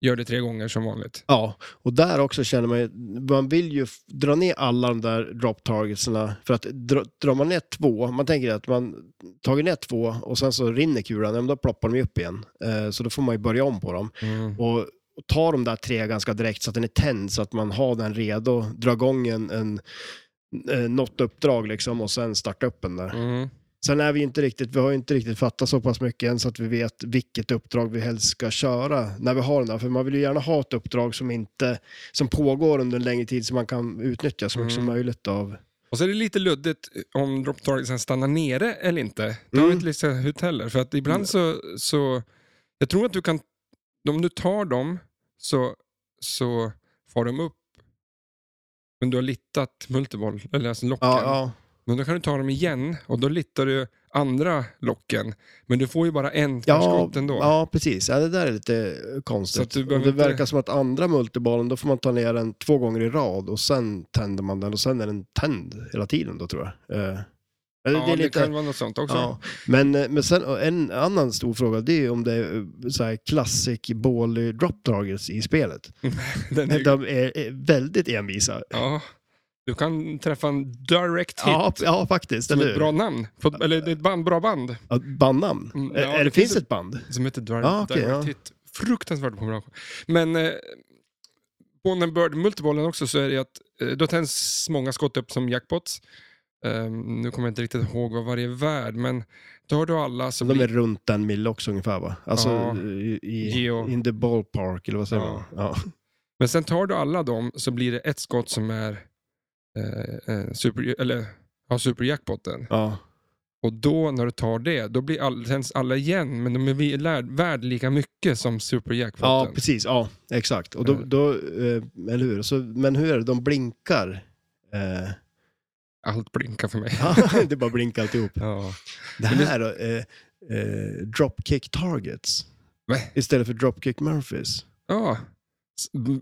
gör det tre gånger som vanligt. Ja, och där också känner man ju, man vill ju f- dra ner alla de där drop targetsna för att dra, drar man ner två, man tänker att man tagit ner två och sen så rinner kulan, ja, men då ploppar de ju upp igen. Eh, så då får man ju börja om på dem. och, och ta de där tre ganska direkt så att den är tänd så att man har den redo, dra igång en, en, eh, något uppdrag liksom och sen starta upp den där. Mm. Sen är vi ju inte riktigt, vi har ju inte riktigt fattat så pass mycket än så att vi vet vilket uppdrag vi helst ska köra när vi har den där. För man vill ju gärna ha ett uppdrag som inte, som pågår under en längre tid så man kan utnyttja så mycket som Mm. möjligt av. Och så är det lite luddigt eh, om drop targetsen stannar nere eller inte. Det har vi Mm. inte listat ut heller. För att ibland så, så... Jag tror att du kan... Om du tar dem så, så far de upp. Men du har littat multiboll, eller alltså locken. Ja, ja. Men då kan du ta dem igen och då littar du andra locken. Men du får ju bara en per Ja, skott ändå. ja, precis. Ja, det där är lite Så att konstigt. du Och behöver Det inte- verkar som att andra multibollen, då får man ta ner den två gånger i rad och sen tänder man den och sen är den tänd hela tiden då tror jag. Eh, eller Ja, det, kan vara något sånt också. Ja, men, eh, men sen och en annan stor fråga, det är ju om det är eh, så här classic ball drop targets i spelet. Den är, Men de är eh, väldigt envisa. ja. Du kan träffa en direct hit. Ja, ja, faktiskt. Som Eller ett hur? bra namn. På, eller det är ett band, bra band Ja, Bandnamn? Mm, Eh, ja, eller det det finns finns ett band? som heter Direct, Ja, Ah, okej, Direct ja. Hit. Fruktansvärt bra. Men eh, på den Bird multibollen också så är det att eh, då tänds många skott upp som jackpots. Eh, nu kommer jag inte riktigt ihåg vad varje är värd, men tar du alla så De blir är runt en mil också ungefär va? Alltså Ja. i, i Geo. in the ballpark eller vad säger Ja. man? Ja. Men sen tar du alla dem så blir det ett skott som är eh, eh, super, eller, ja, superjackpotten. Ja. Och då när du tar det, då blir all, tänds alla igen, men de är vi- lärd- värd lika mycket som ja, superjackpotten. precis. Ja, exakt. Och då, Mm. då eh, eller hur? Så, men hur är det, de blinkar. Eh, Allt blinkar för mig. ja, det bara blinkar alltihop. Ja. Det Men det- här då, eh, eh, dropkick targets Va? istället för dropkick Murphys. Ja. S- b-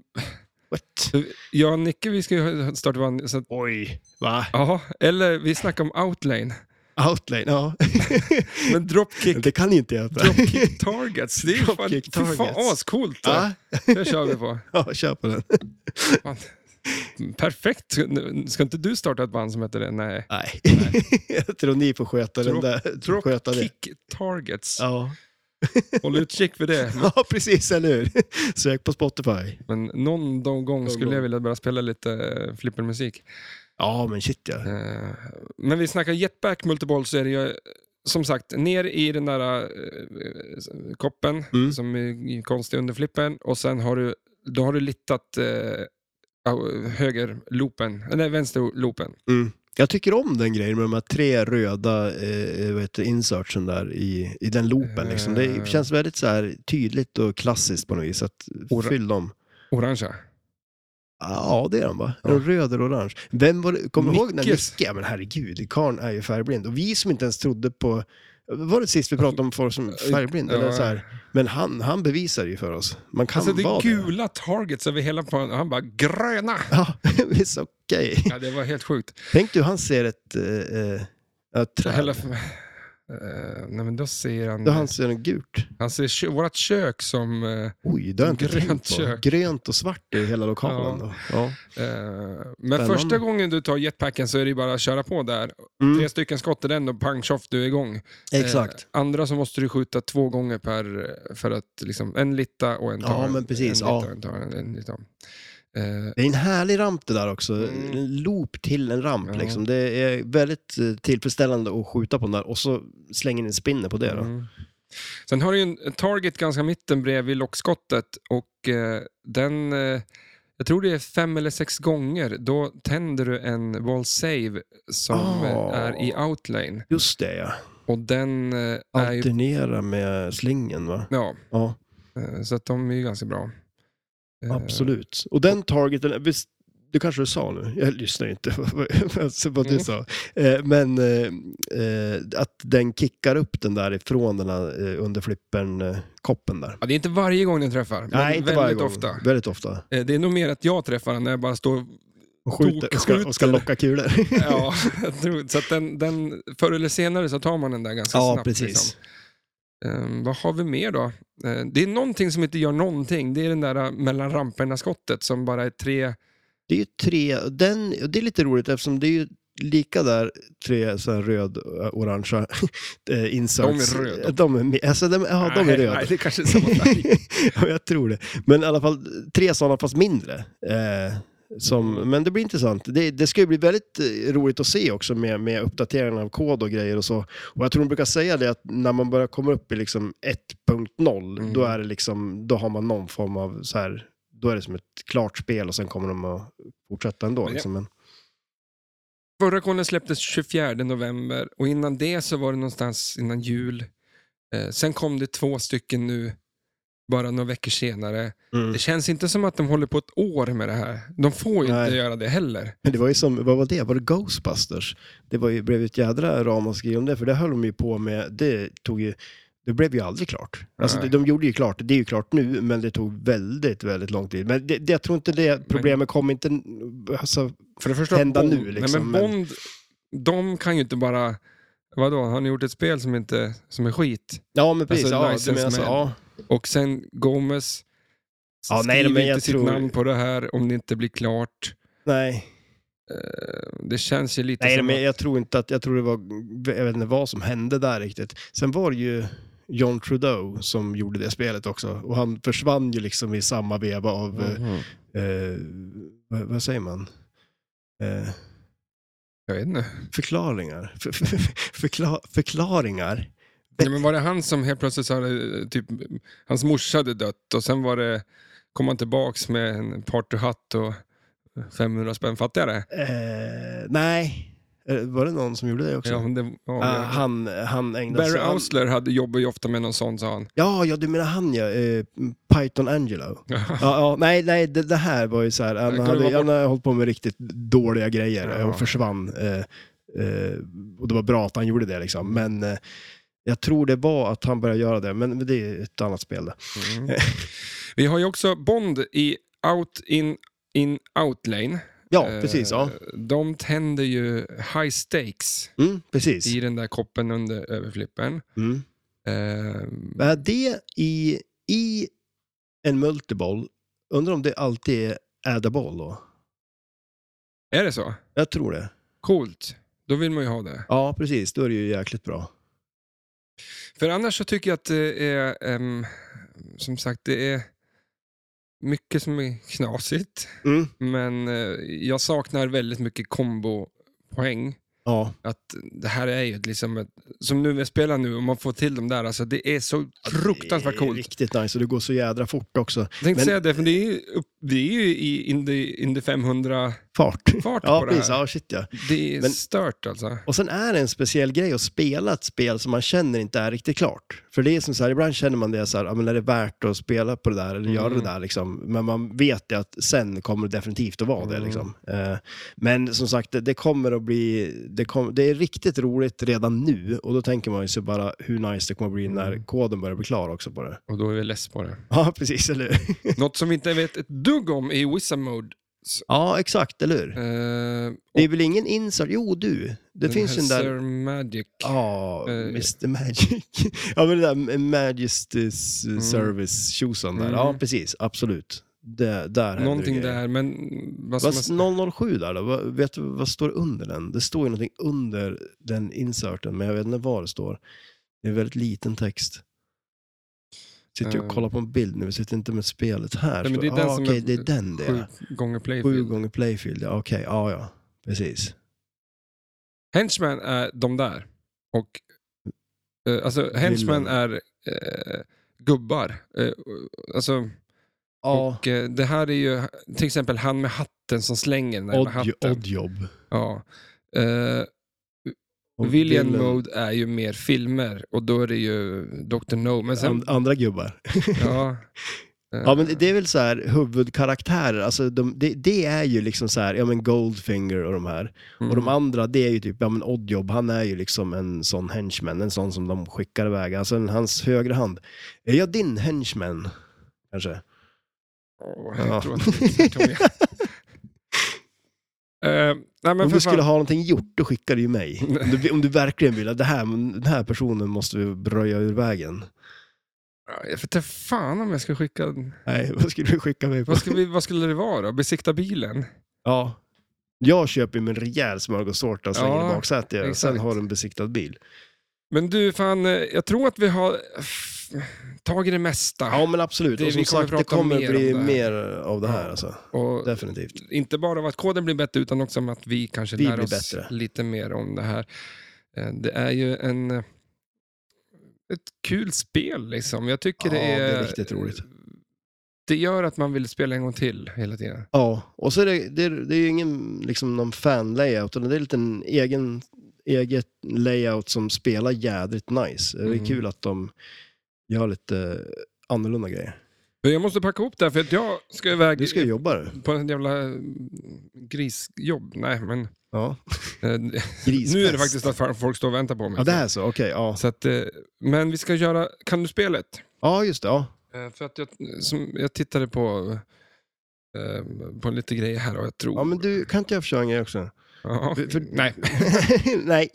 What? Jag och Nicke, vi ska ju ha- starta vår... så att- Oj, va? Ja, eller vi snackar om outlane. Outlane, ja. Men dropkick, det kan inte jag. dropkick targets, det är ju fan, Dropkick fy fan targets. ascoolt. det. Ja, Det kör vi på. ja, kör på den. Fan. Perfekt. Ska inte du starta ett band som heter det? Nej. Nej. jag tror ni får sköta den Drop- där. sköta det. Dropkick targets. Ja. Håll utkik för det. ja, precis, eller hur? Sök på Spotify. Men någon de gång skulle gång. jag vilja börja spela lite eh, flippermusik. Ja, men shit ja. Eh, Men vi snackar jetback multiboll så är det ju eh, som sagt ner i den där eh, koppen Mm. som är konstig under flippen och sen har du, då har du littat eh, au- högerloopen, nej vänsterloopen. Mm. Jag tycker om den grejen med de här tre röda eh, vad heter, det, insertsen där i, i den loopen. Liksom. Eh. Det känns väldigt så här, tydligt och klassiskt på något vis. Att Ora- fyll dem. Orangea. Ja, det är de va? Ja. Är de röd eller orange? Vem var det, kommer du ihåg när Nickes. Micke, ja, men herregud, karln är ju färgblind. Och vi som inte ens trodde på, var det sist vi pratade om folk som är färgblind? Eller Ja. så här. Men han, han bevisar ju för oss. Man kan Alltså det vara är gula targets över hela planen. Han bara gröna! Ja, visst okej. Ja, det var helt sjukt. Tänk du, han ser ett, eh, eh, ett träd. Hela, Eh, nej men då ser han... Då han ser en gult. Han ser kö- vårt kök som... eh, Oj, det har jag inte Grönt tänkt på. kök. Grönt och svart i hela lokalen. Ja. Då. Ja. eh, men första gången du tar jetpacken så är det ju bara att köra på där. Mm, Tre stycken skott i den och pang tjoff, du är igång. exakt. Eh, andra så måste du skjuta två gånger per... För att liksom, en litta och en Ja, tar. men precis, En litta ja. och en tar. En, en litta. Eh, Det är en härlig ramp det där också. Mm. En loop till en ramp. Ja. Liksom. Det är väldigt eh, tillfredsställande att skjuta på den där och så slänger ni en spinner på det. Då. Mm. Sen har du ju en target ganska mitten bredvid lockskottet och eh, den, eh, jag tror det är fem eller sex gånger, då tänder du en wall save som Ah. eh, är i outlane. Just det ja. Och den eh, är ju... Alternera med slingen va? Ja, Ja, eh, så att de är ju ganska bra. Eh, absolut. Och den targeten, eh, visst, det kanske du sa nu, jag lyssnar ju inte på vad du Mm. sa. Eh, Men eh, eh, att den kickar upp den där ifrån den här eh, under flippern, eh, koppen där. Ja, det är inte varje gång den träffar, men Nej, inte väldigt varje gång. ofta. Väldigt ofta. Eh, Det är nog mer att jag träffar den när jag bara står... Och skjuter, och ska, och ska Tokskjuter. locka kulor. Ja, jag tror, så att den, den, förr eller senare så tar man den där ganska ja, snabbt. liksom. precis. Ehm, vad har vi mer då? Ehm, det är någonting som inte gör någonting. Det är den där eh, mellan ramperna-skottet som bara är tre... Det är ju tre, den, och det är lite roligt eftersom det är ju lika där, tre så här röd, eh, orangea eh, inserts. De är röda. De är, med- alltså, de, ja, de är Nej, röda. Nej, det kanske är samma färg. ja, jag tror det. Men i alla fall tre sådana fast mindre. Eh, som, men det blir intressant. Det, det ska ju bli väldigt eh, roligt att se också med, med uppdateringen av kod och grejer och så. Och jag tror de brukar säga det att när man börjar komma upp i liksom 1.0 Mm. då är det liksom, då har man någon form av så här, då är det som ett klart spel och sen kommer de att fortsätta ändå. Men- Liksom. Men, Förra konen släpptes 24 november och innan det så var det någonstans innan jul. Eh, sen kom det två stycken nu, bara några veckor senare. mm. Det känns inte som att de håller på ett år med det här. De får ju Nej. inte göra det heller. Men det var ju som, vad var det? Var det Ghostbusters? Det var ju, blev ju ett jädra ramaskri om det, för det höll de ju på med, det tog ju, det blev ju aldrig klart. Alltså Nej. det, de gjorde ju klart, det är ju klart nu, men det tog väldigt, väldigt lång tid. Men det, det, jag tror inte det problemet kom inte, alltså, För det första, Hända Bond, nu, liksom, nej, men men- Bond, de kan ju inte bara... Vadå, har ni gjort ett spel som, inte, som är skit? ja men precis, Alltså, ja, license du menar så, man. ja. Och sen Gomes. Ja, nej, skriv men inte jag sitt tror- namn på det här om det inte blir klart. Nej, Eh, Det känns ju lite nej som men att- jag tror inte att, jag tror det var, jag vet inte vad som hände där riktigt. Sen var det ju John Trudeau som gjorde det spelet också, och han försvann ju liksom i samma veva av eh, Mhm. eh, vad, vad säger man? Eh, Jag vet inte. förklaringar. För, för, förkla, förklaringar. Nej, men var det han som helt plötsligt sa det, typ, hans morsa hade dött och sen var det, kom han tillbaks med en partyhatt och 500 spänn fattigare? Eh, nej, Eh, var det någon som gjorde det också? Ja, men det, ja, Ah, det- han, han ägnade Barry sig... Han, Ausler hade, jobbar ju ofta med någon sån, sa han. ja, ja, du menar han ja. Eh, Python Angelo. Ja, ja, nej, nej det, det här var ju så här. Han kunde hade, vara han hade hållit på med riktigt dåliga grejer Ja. och försvann. Eh, eh, och det var bra att han gjorde det liksom. Men eh, Jag tror det var att han började göra det, men det är ett annat spel. det. Vi har ju också Bond i Out In In Out Lane. Ja, Eh, precis. Ja. De tänder ju high stakes Mm, precis. i den där koppen under överflippen. Mm. Eh, Men Det i, i en multiboll, undrar om det alltid är add-a-ball då? är det så? Jag tror det. Coolt. Då vill man ju ha det. Ja, precis. Då är det ju jäkligt bra. För annars så tycker jag att det är, ehm, som sagt, det är mycket som är knasigt. Mm. Men eh, jag saknar väldigt mycket kombopoäng. Ja, Att det här är ju ett, liksom ett, som nu vi spelar nu, om man får till de där, alltså det är så fruktansvärt Det är coolt. Riktigt nice och det går så jädra fort också. Jag tänkte Men- säga det, för det är ju, upp- det är ju i in the, in the 500 Fart. fart Ja, på det precis. här. Ja, shit ja. Det är Men- stört alltså. Och sen är det en speciell grej att spela ett spel som man känner inte är riktigt klart. För det är som så här, ibland känner man det så här, ja men är det värt att spela på det där eller göra det Mm. där liksom. Men man vet det att sen kommer det definitivt att vara det Mm. liksom. Eh, Men som sagt, det- det kommer att bli, det, kom, det är riktigt roligt redan nu. Och då tänker man ju sig bara hur nice det kommer att bli när Mm. koden börjar bli klar också på det. Och då är vi less på det. Ja, precis, eller hur? Något som vi inte vet ett dugg om är Wizard Mode. Ja, exakt, eller hur? Eh, Det är väl ingen insert? Jo, du. Det Den finns ju här den där... Sir Magic. Ja, Eh, Mr Magic. ja, men det där Majesty's eh, Mm. service tjosan där. Mm. Ja, precis. Absolut. Det, där händer Någonting det grejer. där, men vad ska man... s- Vad, 007 där då? Vad, vet du vad står under den? Det står ju någonting under den inserten, men jag vet inte var det står. Det är väldigt liten text. Sitter ju och Eh. kollar på en bild nu, vi sitter inte med spelet här. Nej, men det är Står- den ah, som okej, är det är den det. är. Sju gånger Sju playfield. gånger playfield, ja, okej. Ja, ja. Precis. Henchman är de där. Och, eh, alltså, henchman är eh, gubbar. Eh, alltså, Ja, och, eh, det här är ju till exempel han med hatten som slänger den där med odd, hatten. odd jobb. Ja. Eh, Och Villain villain- Mode är ju mer filmer och då är det ju Dr. No. Men sen, And, andra gubbar. ja, eh, Ja, men det är väl så här huvudkaraktärer. Alltså de, det, det är ju liksom så här, ja men Goldfinger och de här. Och mm. de andra, det är ju typ, ja men Oddjob, han är ju liksom en sån henchman, en sån som de skickar iväg. Alltså en, hans högra hand. Är jag din henchman? Kanske. Åh, Ja. jag tror att det är exakt vad jag- Eh, nej, men om för fan. du skulle ha någonting gjort, då skickar du ju mig. Om du, om du verkligen vill att det här, men den här personen måste vi röja ur vägen. Jag vet inte fan om jag ska skicka... Nej, vad skulle du skicka mig på? Vad, ska vi, vad skulle det vara då? Besikta bilen? Ja. Jag köper ju med en rejäl smörgåstårta och slänger Ja, i baksätet. och Sen exakt. har du en besiktad bil. Men du, fan, eh, jag tror att vi har eh, tagit det mesta. Ja, men absolut. Det- och som vi kommer sagt, det prata kommer mer bli om det mer av det här. Ja. Alltså. och Definitivt. inte bara av att koden blir bättre, utan också om att vi kanske Vi lär blir oss bättre. lite mer om det här. Eh, Det är ju en, eh, ett kul spel, liksom. Jag tycker Ja, det är... det är riktigt roligt. Det gör att man vill spela en gång till hela tiden. Ja, och så är det, det, är, det är ju ingen liksom, någon fan-layout, utan det är lite en egen, eget layout som spelar jädrigt nice. Det är Mm. kul att de gör lite annorlunda grejer. Men Jag måste packa ihop det här, för att jag ska iväg Du ska ju jobba du. på en jävla eh, grisjobb. Nej, men... Ja. eh, Grisfest. Nu är det faktiskt att folk står och väntar på mig. Ja, det här är så. Okej, ja. Så att, eh, men vi ska göra Kan du spelet? Ja, just det. Ja. Eh, För att jag, som, jag tittade på, eh, på lite grejer här och jag tror... ja, men du, kan inte jag få köra en grej också? Ja, för- för- nej. Nej.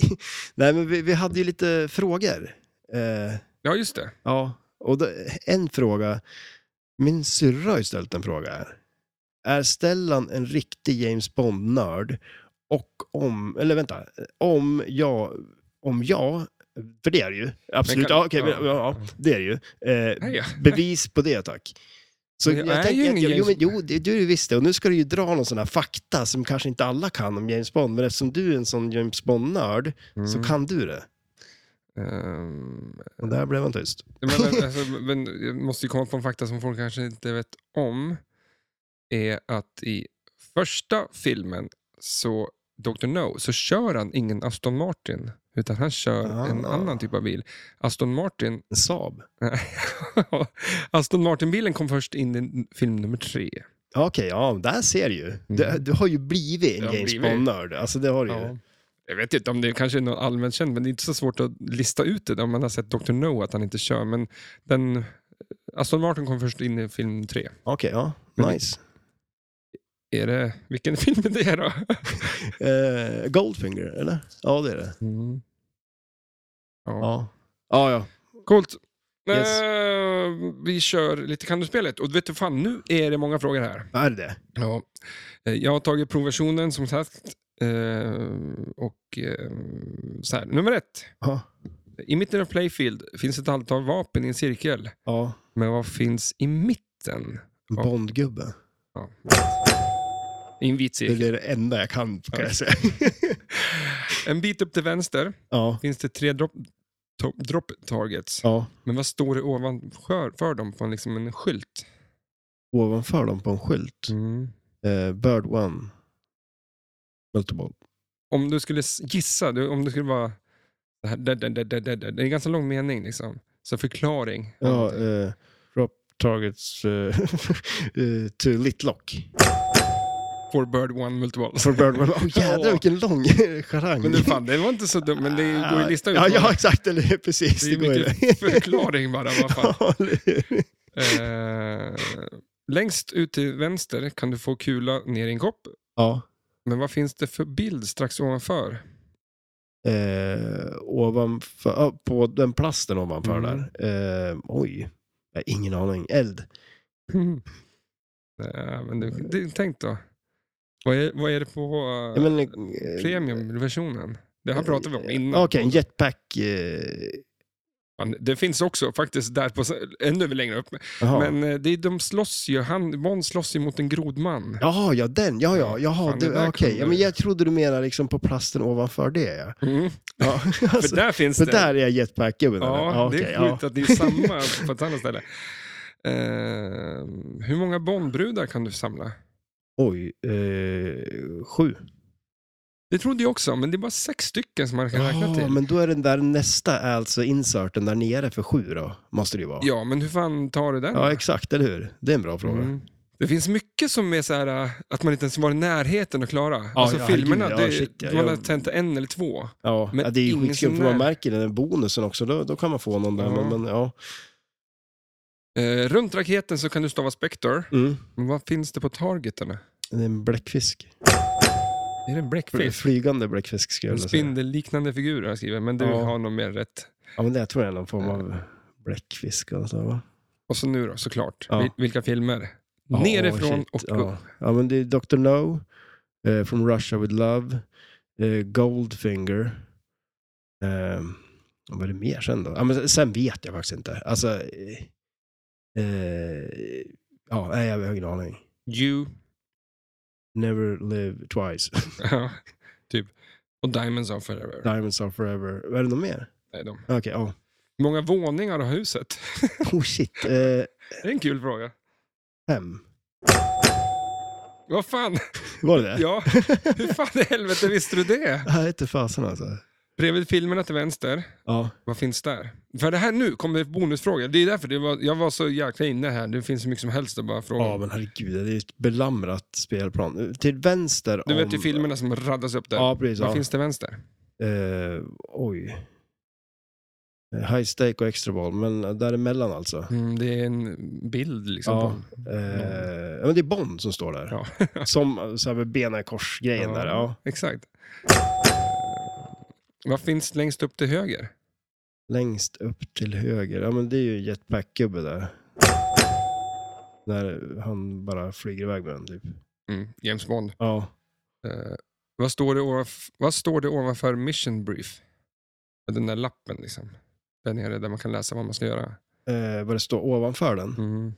Nej, men vi, vi hade ju lite frågor. Eh, ja, just det. Ja, och då, en fråga. Min syrra har ju ställt en fråga här. Är Stellan en riktig James Bond-nörd? Och om, eller vänta, om jag, om jag, för det är det ju, absolut, kan- ja, okej, men, ja. ja, ja, det är det ju. Eh, Nej, ja. bevis på det tack. Så Men jag jag, är ju tänker, att- ingen jo, men, James- jo, det, du är ju visst det. Och nu ska du ju dra någon sån här fakta som kanske inte alla kan om James Bond. Men eftersom du är en sån James Bond-nörd Mm. så Mm. kan du det. Ehm, Och där blev han tyst. men, men, alltså, men, jag måste ju komma på en fakta som folk kanske inte vet om. Är att i första filmen, så Dr. No, så kör han ingen Aston Martin. Utan han kör Ah. en annan typ av bil. Aston Martin En Saab. Aston Martin-bilen kom först in i film nummer tre. Okej, ja, där ser du ju. Du, du har ju blivit en Mm. Jag har James blivit. Bond-nörd. Alltså det har du ju. Ja. Jag vet inte om det kanske är något allmänt känt, men det är inte så svårt att lista ut det om man har sett Dr. No, att han inte kör. Men den... eh, Aston Martin kom först in i film tre. Okej, ja. Men- Nice. Är det... Vilken film är det då? Eh, Goldfinger, eller? Ja, det är det. Mm. Ja. Ja. Ja, ja. Coolt. Yes. Eh, vi kör lite Kandospelet. Och vet du fan, nu är det många frågor här. Är det det? Ja. Eh, Jag har tagit provversionen som sagt. Eh, och eh, så här. Nummer ett. Ja. I mitten av Playfield finns ett antal vapen i en cirkel. Ja. Men vad finns i mitten? Ja. Bondgubbe. Ja. I en vit Det cirkel. är det enda jag kan, kan Ja. jag säga. En bit upp till vänster ja. finns det tre drop, to, drop targets. ja. Men vad står det ovanför för dem på en, liksom en skylt? Ovanför dem på en skylt. Mm. Eh, bird one. Multiple. Om du skulle s- gissa, du- om du skulle vara... Det, här, där, där, där, där, där, där. det är en ganska lång mening. Liksom. Så förklaring. Ja, eh, drop targets eh, eh, to Litlock. For bird one multiple. Från Birdman. Åh Ja. jädrar vilken lång charang. Men det, fan, det var inte så dumt, men det går ju att lista ut. Ja, vad- ja exakt. Eller, hur? precis, det är det, går ju det. mycket förklaring bara. Vad fan. Ja, eller hur? Eh, längst ut till vänster kan du få kula ner i en kopp. ja. Men vad finns det för bild strax ovanför? Eh, ovanför, ja, på den plasten ovanför Mm. där. Eh, oj, jag har ingen aning. Eld. Eh, men du, du, tänk då. Vad är, vad är det på eh, Jag menar, eh, premiumversionen? Det här pratade vi om innan. Okej, en jetpack. Eh, Fan, Det finns också faktiskt där på s- ännu längre upp. jaha. Men eh, det är, de slåss ju. Han, Måns slåss ju mot en grodman. Jaha, ja den. Ja, ja. Jaha, Fan, du, det där ja, okej. kunde Ja, men jag trodde du menade liksom på plasten ovanför det. Ja. Mm. Ja, För alltså, där finns för det. där är jag jetpack-gubben. eller? Ja, ja, det okej, är ja. sjukt att det är samma på ett annat ställe. Eh, hur många Bondbrudar kan du samla? Oj, eh, sju. Det trodde jag också, men det är bara sex stycken som man kan räkna Ja, till. men då är den där nästa alltså inserten där nere för sju då, måste det ju vara. Ja, men hur fan tar du den? Ja, exakt, eller hur? Det är en bra fråga. Mm. Det finns mycket som är så här äh, att man inte ens var i närheten att klara. Ja, alltså ja, filmerna, herregud, det, ja, shit, ja, man har jag- tänt en eller två. Ja, Men ja, det är ju ingen skitskumt som för man är- märker den där bonusen också, då, då kan man få någon där. Ja. Men, men, ja. Eh, runt raketen så kan du stava Spectre. Mm. Men vad finns det på targeterna? Det är en bläckfisk. Är det en Fl- bläckfisk? Flygande bläckfisk skulle jag En vilja säga. spindelliknande figur har jag skrivit, men du Ja. har nog mer rätt. Ja, men det jag tror jag är någon form av bläckfisk. Alltså, va? Och så nu då, såklart. Ja. Vil- Vilka filmer? Ja, Nerifrån shit, och upp. ja. ja, men det är Dr. No, eh, From Russia With Love, eh, Goldfinger. Eh, vad är det mer sen då? Ja, men sen vet jag faktiskt inte. Alltså, eh, eh, ja, nej, jag har ingen aning. You. Never live twice. Ja, typ. Och Diamonds are forever. Diamonds are forever. Vad Är det något mer? Nej, de. Okej, ja. Hur många våningar har huset? Oh shit. Eh, det är en kul fråga. fem. Vad fan? Var det det? Ja, hur fan i helvete visste du det? Jag inte fasen alltså. Bredvid filmerna till vänster, Ja. vad finns där? För det här nu kommer det bonusfrågor. Det är därför det var, jag var så jäkla inne här. Det finns så mycket som helst att bara fråga. ja, men herregud. Det är ett belamrat spelplan. Till vänster du om... vet ju filmerna som raddas upp där. Ja, precis. vad Ja. finns till vänster? Eh, oj. Eh, High stake och extra ball, men däremellan alltså. Mm, det är en bild liksom. Ja. På. Eh, ja, men det är Bond som står där. Ja. Som så här med benen i kors-grejen där. Ja. Exakt. Eh, Vad finns längst upp till höger? Längst upp till höger. Ja, men det är ju jetpack-gubbe där. När han bara flyger iväg med den typ. Mm, James Bond. Ja. Eh, vad, står det ovanf- vad står det ovanför mission brief? Den där lappen liksom. Där nere där man kan läsa vad man ska göra. Eh, vad det står ovanför den. Mm.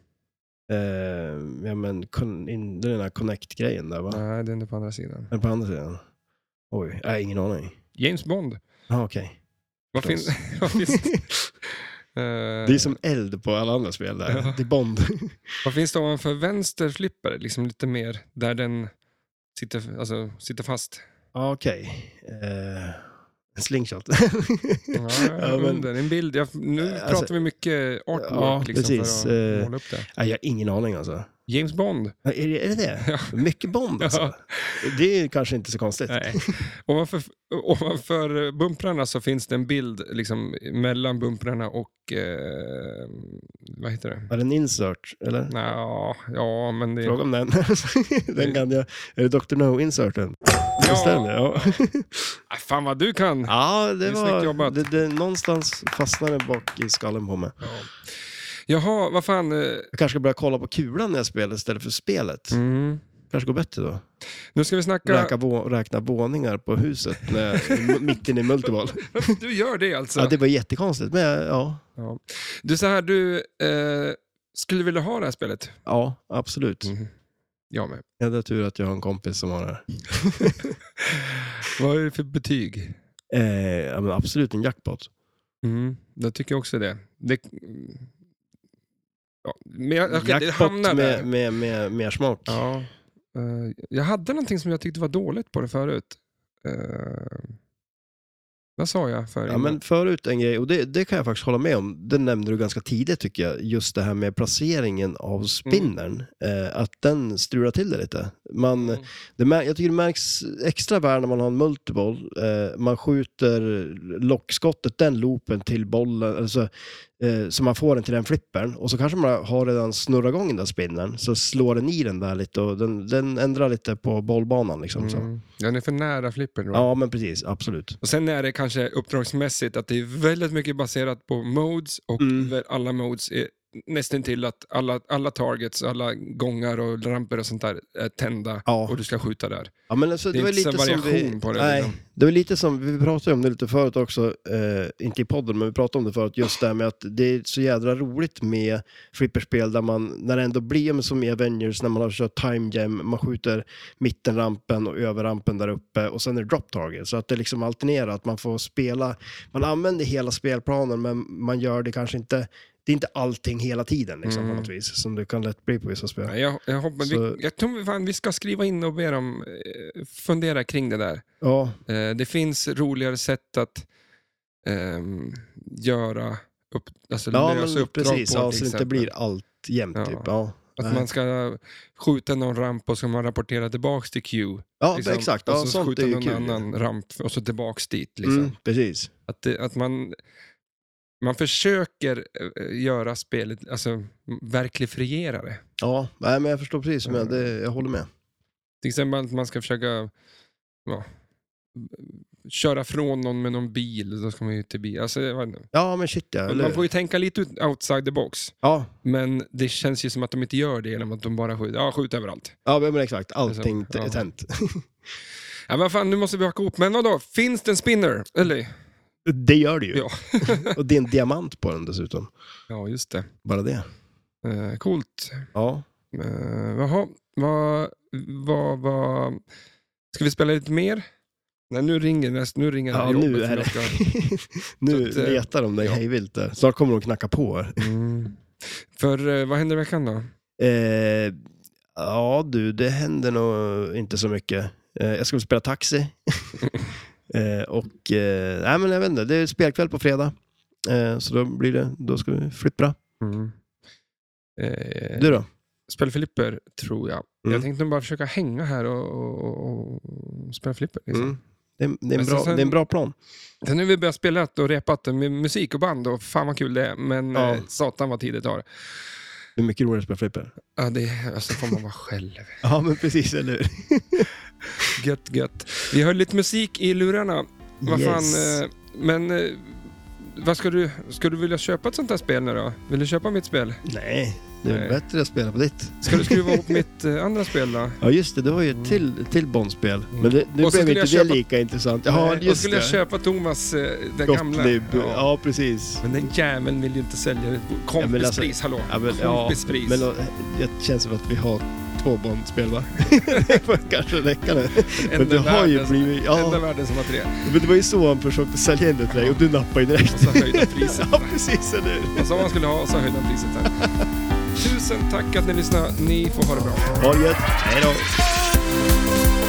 Eh, ja, men kon- in, det är den här connect-grejen där va? Nej, det är inte på andra sidan. Eller på andra sidan? Oj, jag har ingen aning. James Bond. Ja, okej. Vad Förstås. finns... vad finns- eh, Det är som eld på alla andra spel där. Ja. Det är Bond. Vad finns det ovanför vänster flipper? Liksom lite mer där den sitter, alltså, sitter fast. Ja, Okej. Eh, En slingshot. Ja, Ja, men- men... Ah, En bild. Jag, nu Alltså- pratar vi mycket artwork Ja, liksom, precis. för Eh, att måla upp det. Nej, jag har ingen aning alltså. James Bond. Ja, Är det är det? det? Mycket Bond alltså. Det är ju kanske inte så konstigt. Nej. Ovanför, ovanför bumprarna så finns det en bild liksom, mellan bumprarna och... Eh, vad heter det? Var det en insert? Eller? Nå, ja, men det... Fråga om den. den kan jag. Är det Dr. No-inserten? Ja. Just den, ja. Ah, Fan vad du kan! Ja, Det det är snyggt var... jobbat. Det, det, någonstans fastnade det bak i skallen på mig. Jaha, vad fan... eh, Jag kanske ska börja kolla på kulan när jag spelar istället för spelet. Mm. kanske går bättre då. Nu ska vi snacka... Räka vå- räkna våningar på huset när, m- mitt inne i multiball. Du gör det alltså? Ja, det var jättekonstigt, men ja. Ja. Du, så här, du eh, skulle vilja ha det här spelet? Ja, absolut. Mm. Jag med. Jag hade tur att jag har en kompis som har det. Vad är det för betyg? Eh, ja, men absolut en jackpot. Mm, jag tycker också det. det ja, men jag, jag, jag jackpot hamnar med, där. med, med, mer smak. Ja. Eh, jag hade någonting som jag tyckte var dåligt på det förut. Eh, vad sa jag för Ja, men förut en grej, och det, det kan jag faktiskt hålla med om, det nämnde du ganska tidigt tycker jag, just det här med placeringen av spinnern, eh, att den strular till det lite. Man, Mm. det, mär- jag tycker det märks extra väl när man har en multiboll, eh, man skjuter lockskottet, den loopen till bollen, alltså, eh, så man får den till den flippern, och så kanske man har redan snurrat igång den där spinnern, så slår den i den där lite och den, den ändrar lite på bollbanan liksom. Så. Mm. Den är för nära flippen. då. Ja, men precis, absolut. Och sen är det kanske uppdragsmässigt att det är väldigt mycket baserat på modes och Mm. väl alla modes är nästan till att alla, alla targets, alla gångar och ramper och sånt där är tända Ja. och du ska skjuta där. Ja, men alltså, Det det, är var inte så lite som variation vi, på det, Nej, liksom. det var lite som, vi pratade om det lite förut också, eh, inte i podden, men vi pratade om det förut, just det här med att det är så jädra roligt med flipperspel där man, när det ändå blir men som i Avengers, när man har kört time jam, man skjuter mittenrampen och överrampen där uppe och sen är det drop target, så att det liksom alternerar, att man får spela, man använder hela spelplanen men man gör det kanske inte, det är inte allting hela tiden liksom, på något vis, som det kan lätt bli på vissa spel. Mm. Nej, Jag, jag, hoppas, Så- vi, jag tror vi, fan, vi ska skriva in och be dem eh, fundera kring det där. Ja, Eh, det finns roligare sätt att ehm, göra upp, alltså ja lösa men uppdrag precis, på. ja, till så det inte exempel. blir allt jämnt Ja. typ. Ja. Att Nej. man ska skjuta någon ramp och så ska man rapportera tillbaka till Q. Ja, liksom. exakt. Ja, och så sånt skjuta är ju någon kul. annan ramp och så tillbaka dit. Liksom. Mm, precis. Att, det, att man, man försöker eh, göra spelet, alltså verklifiera det. Ja, nej, men jag förstår precis. Men Mm. det, jag håller med. Till exempel att man ska försöka ja, köra från någon med någon bil, då ska man ju till bil. Alltså, jag vet inte. Ja, men shit ja. Eller, man får ju tänka lite ut- outside the box, ja, men det känns ju som att de inte gör det genom att de bara skjuter, ja, skjuter överallt. ja, men exakt. Allting Liksom, ja. är tänt. Ja, vad fan, nu måste vi haka ihop. Men vadå, finns det en spinner? Eller? Det gör det ju. Ja. Och det är en diamant på den dessutom. Ja, just det. Bara det. Eh, coolt. Ja. Uh, jaha, vad, vad, vad... Ska vi spela lite mer? Nej, nu ringer näst, nu ringer Ja, jobbet nu som är det. jag ska- nu Så att, eh, letar de dig ja. hejvilt där. Snart kommer de knacka på er. Mm. För eh, vad händer i veckan då? Eh, ja, du, det händer nog inte så mycket. Eh, jag ska väl spela taxi. eh, och, eh, nej men jag vet inte. Det är spelkväll på fredag. Eh, så då blir det, då ska vi flippra. Mm. Eh, Du då? Spela flipper, tror jag. Mm. Jag tänkte bara försöka hänga här och, och, och, och spela flipper. Liksom. Mm. Det, är, det, är Men en sen- bra, sen- det är en bra plan. Sen nu har vi börjat spela och repat med musik och band och fan vad kul det är. Men Ja. eh, satan vad tid det tar. Det är mycket roligare att spela flipper. Ja, det, alltså får man vara själv. Ja, men precis, eller hur? Gött, gött. Vi har lite musik i lurarna. Vad fan, eh, men eh, vad ska du, ska du vilja köpa ett sånt här spel nu då? Vill du köpa mitt spel? Nej, det är väl Nej. bättre att spela på ditt. Ska du skruva ihop mitt eh, andra spel då? Ja, just det. Du har ju ett till, till Bondspel. Men det, nu Mm. Och så blev skulle inte det jag köpa- lika intressant. Ja, Nej, Eh, och just skulle det. jag köpa Thomas, eh, det gamla. Gottlieb. Ja. precis. Men den jäveln vill ju inte sälja det. Ja, men Kompispris, alltså- hallå. Ja, men, ja, Kompispris. men då- det känns som att vi har två Bondspel, va? det får kanske räcka nu. Men du har ju världens- blivit... Enda Ja, världen som har tre. men det var ju så han försökte sälja in det till dig och du nappade ju direkt. Och så höjda priset. ja, precis, eller hur? Han sa vad han skulle ha och så höjde han priset sen. Tusen tack att ni lyssnade. Ni får ha det bra. Ha det gött. Hej då.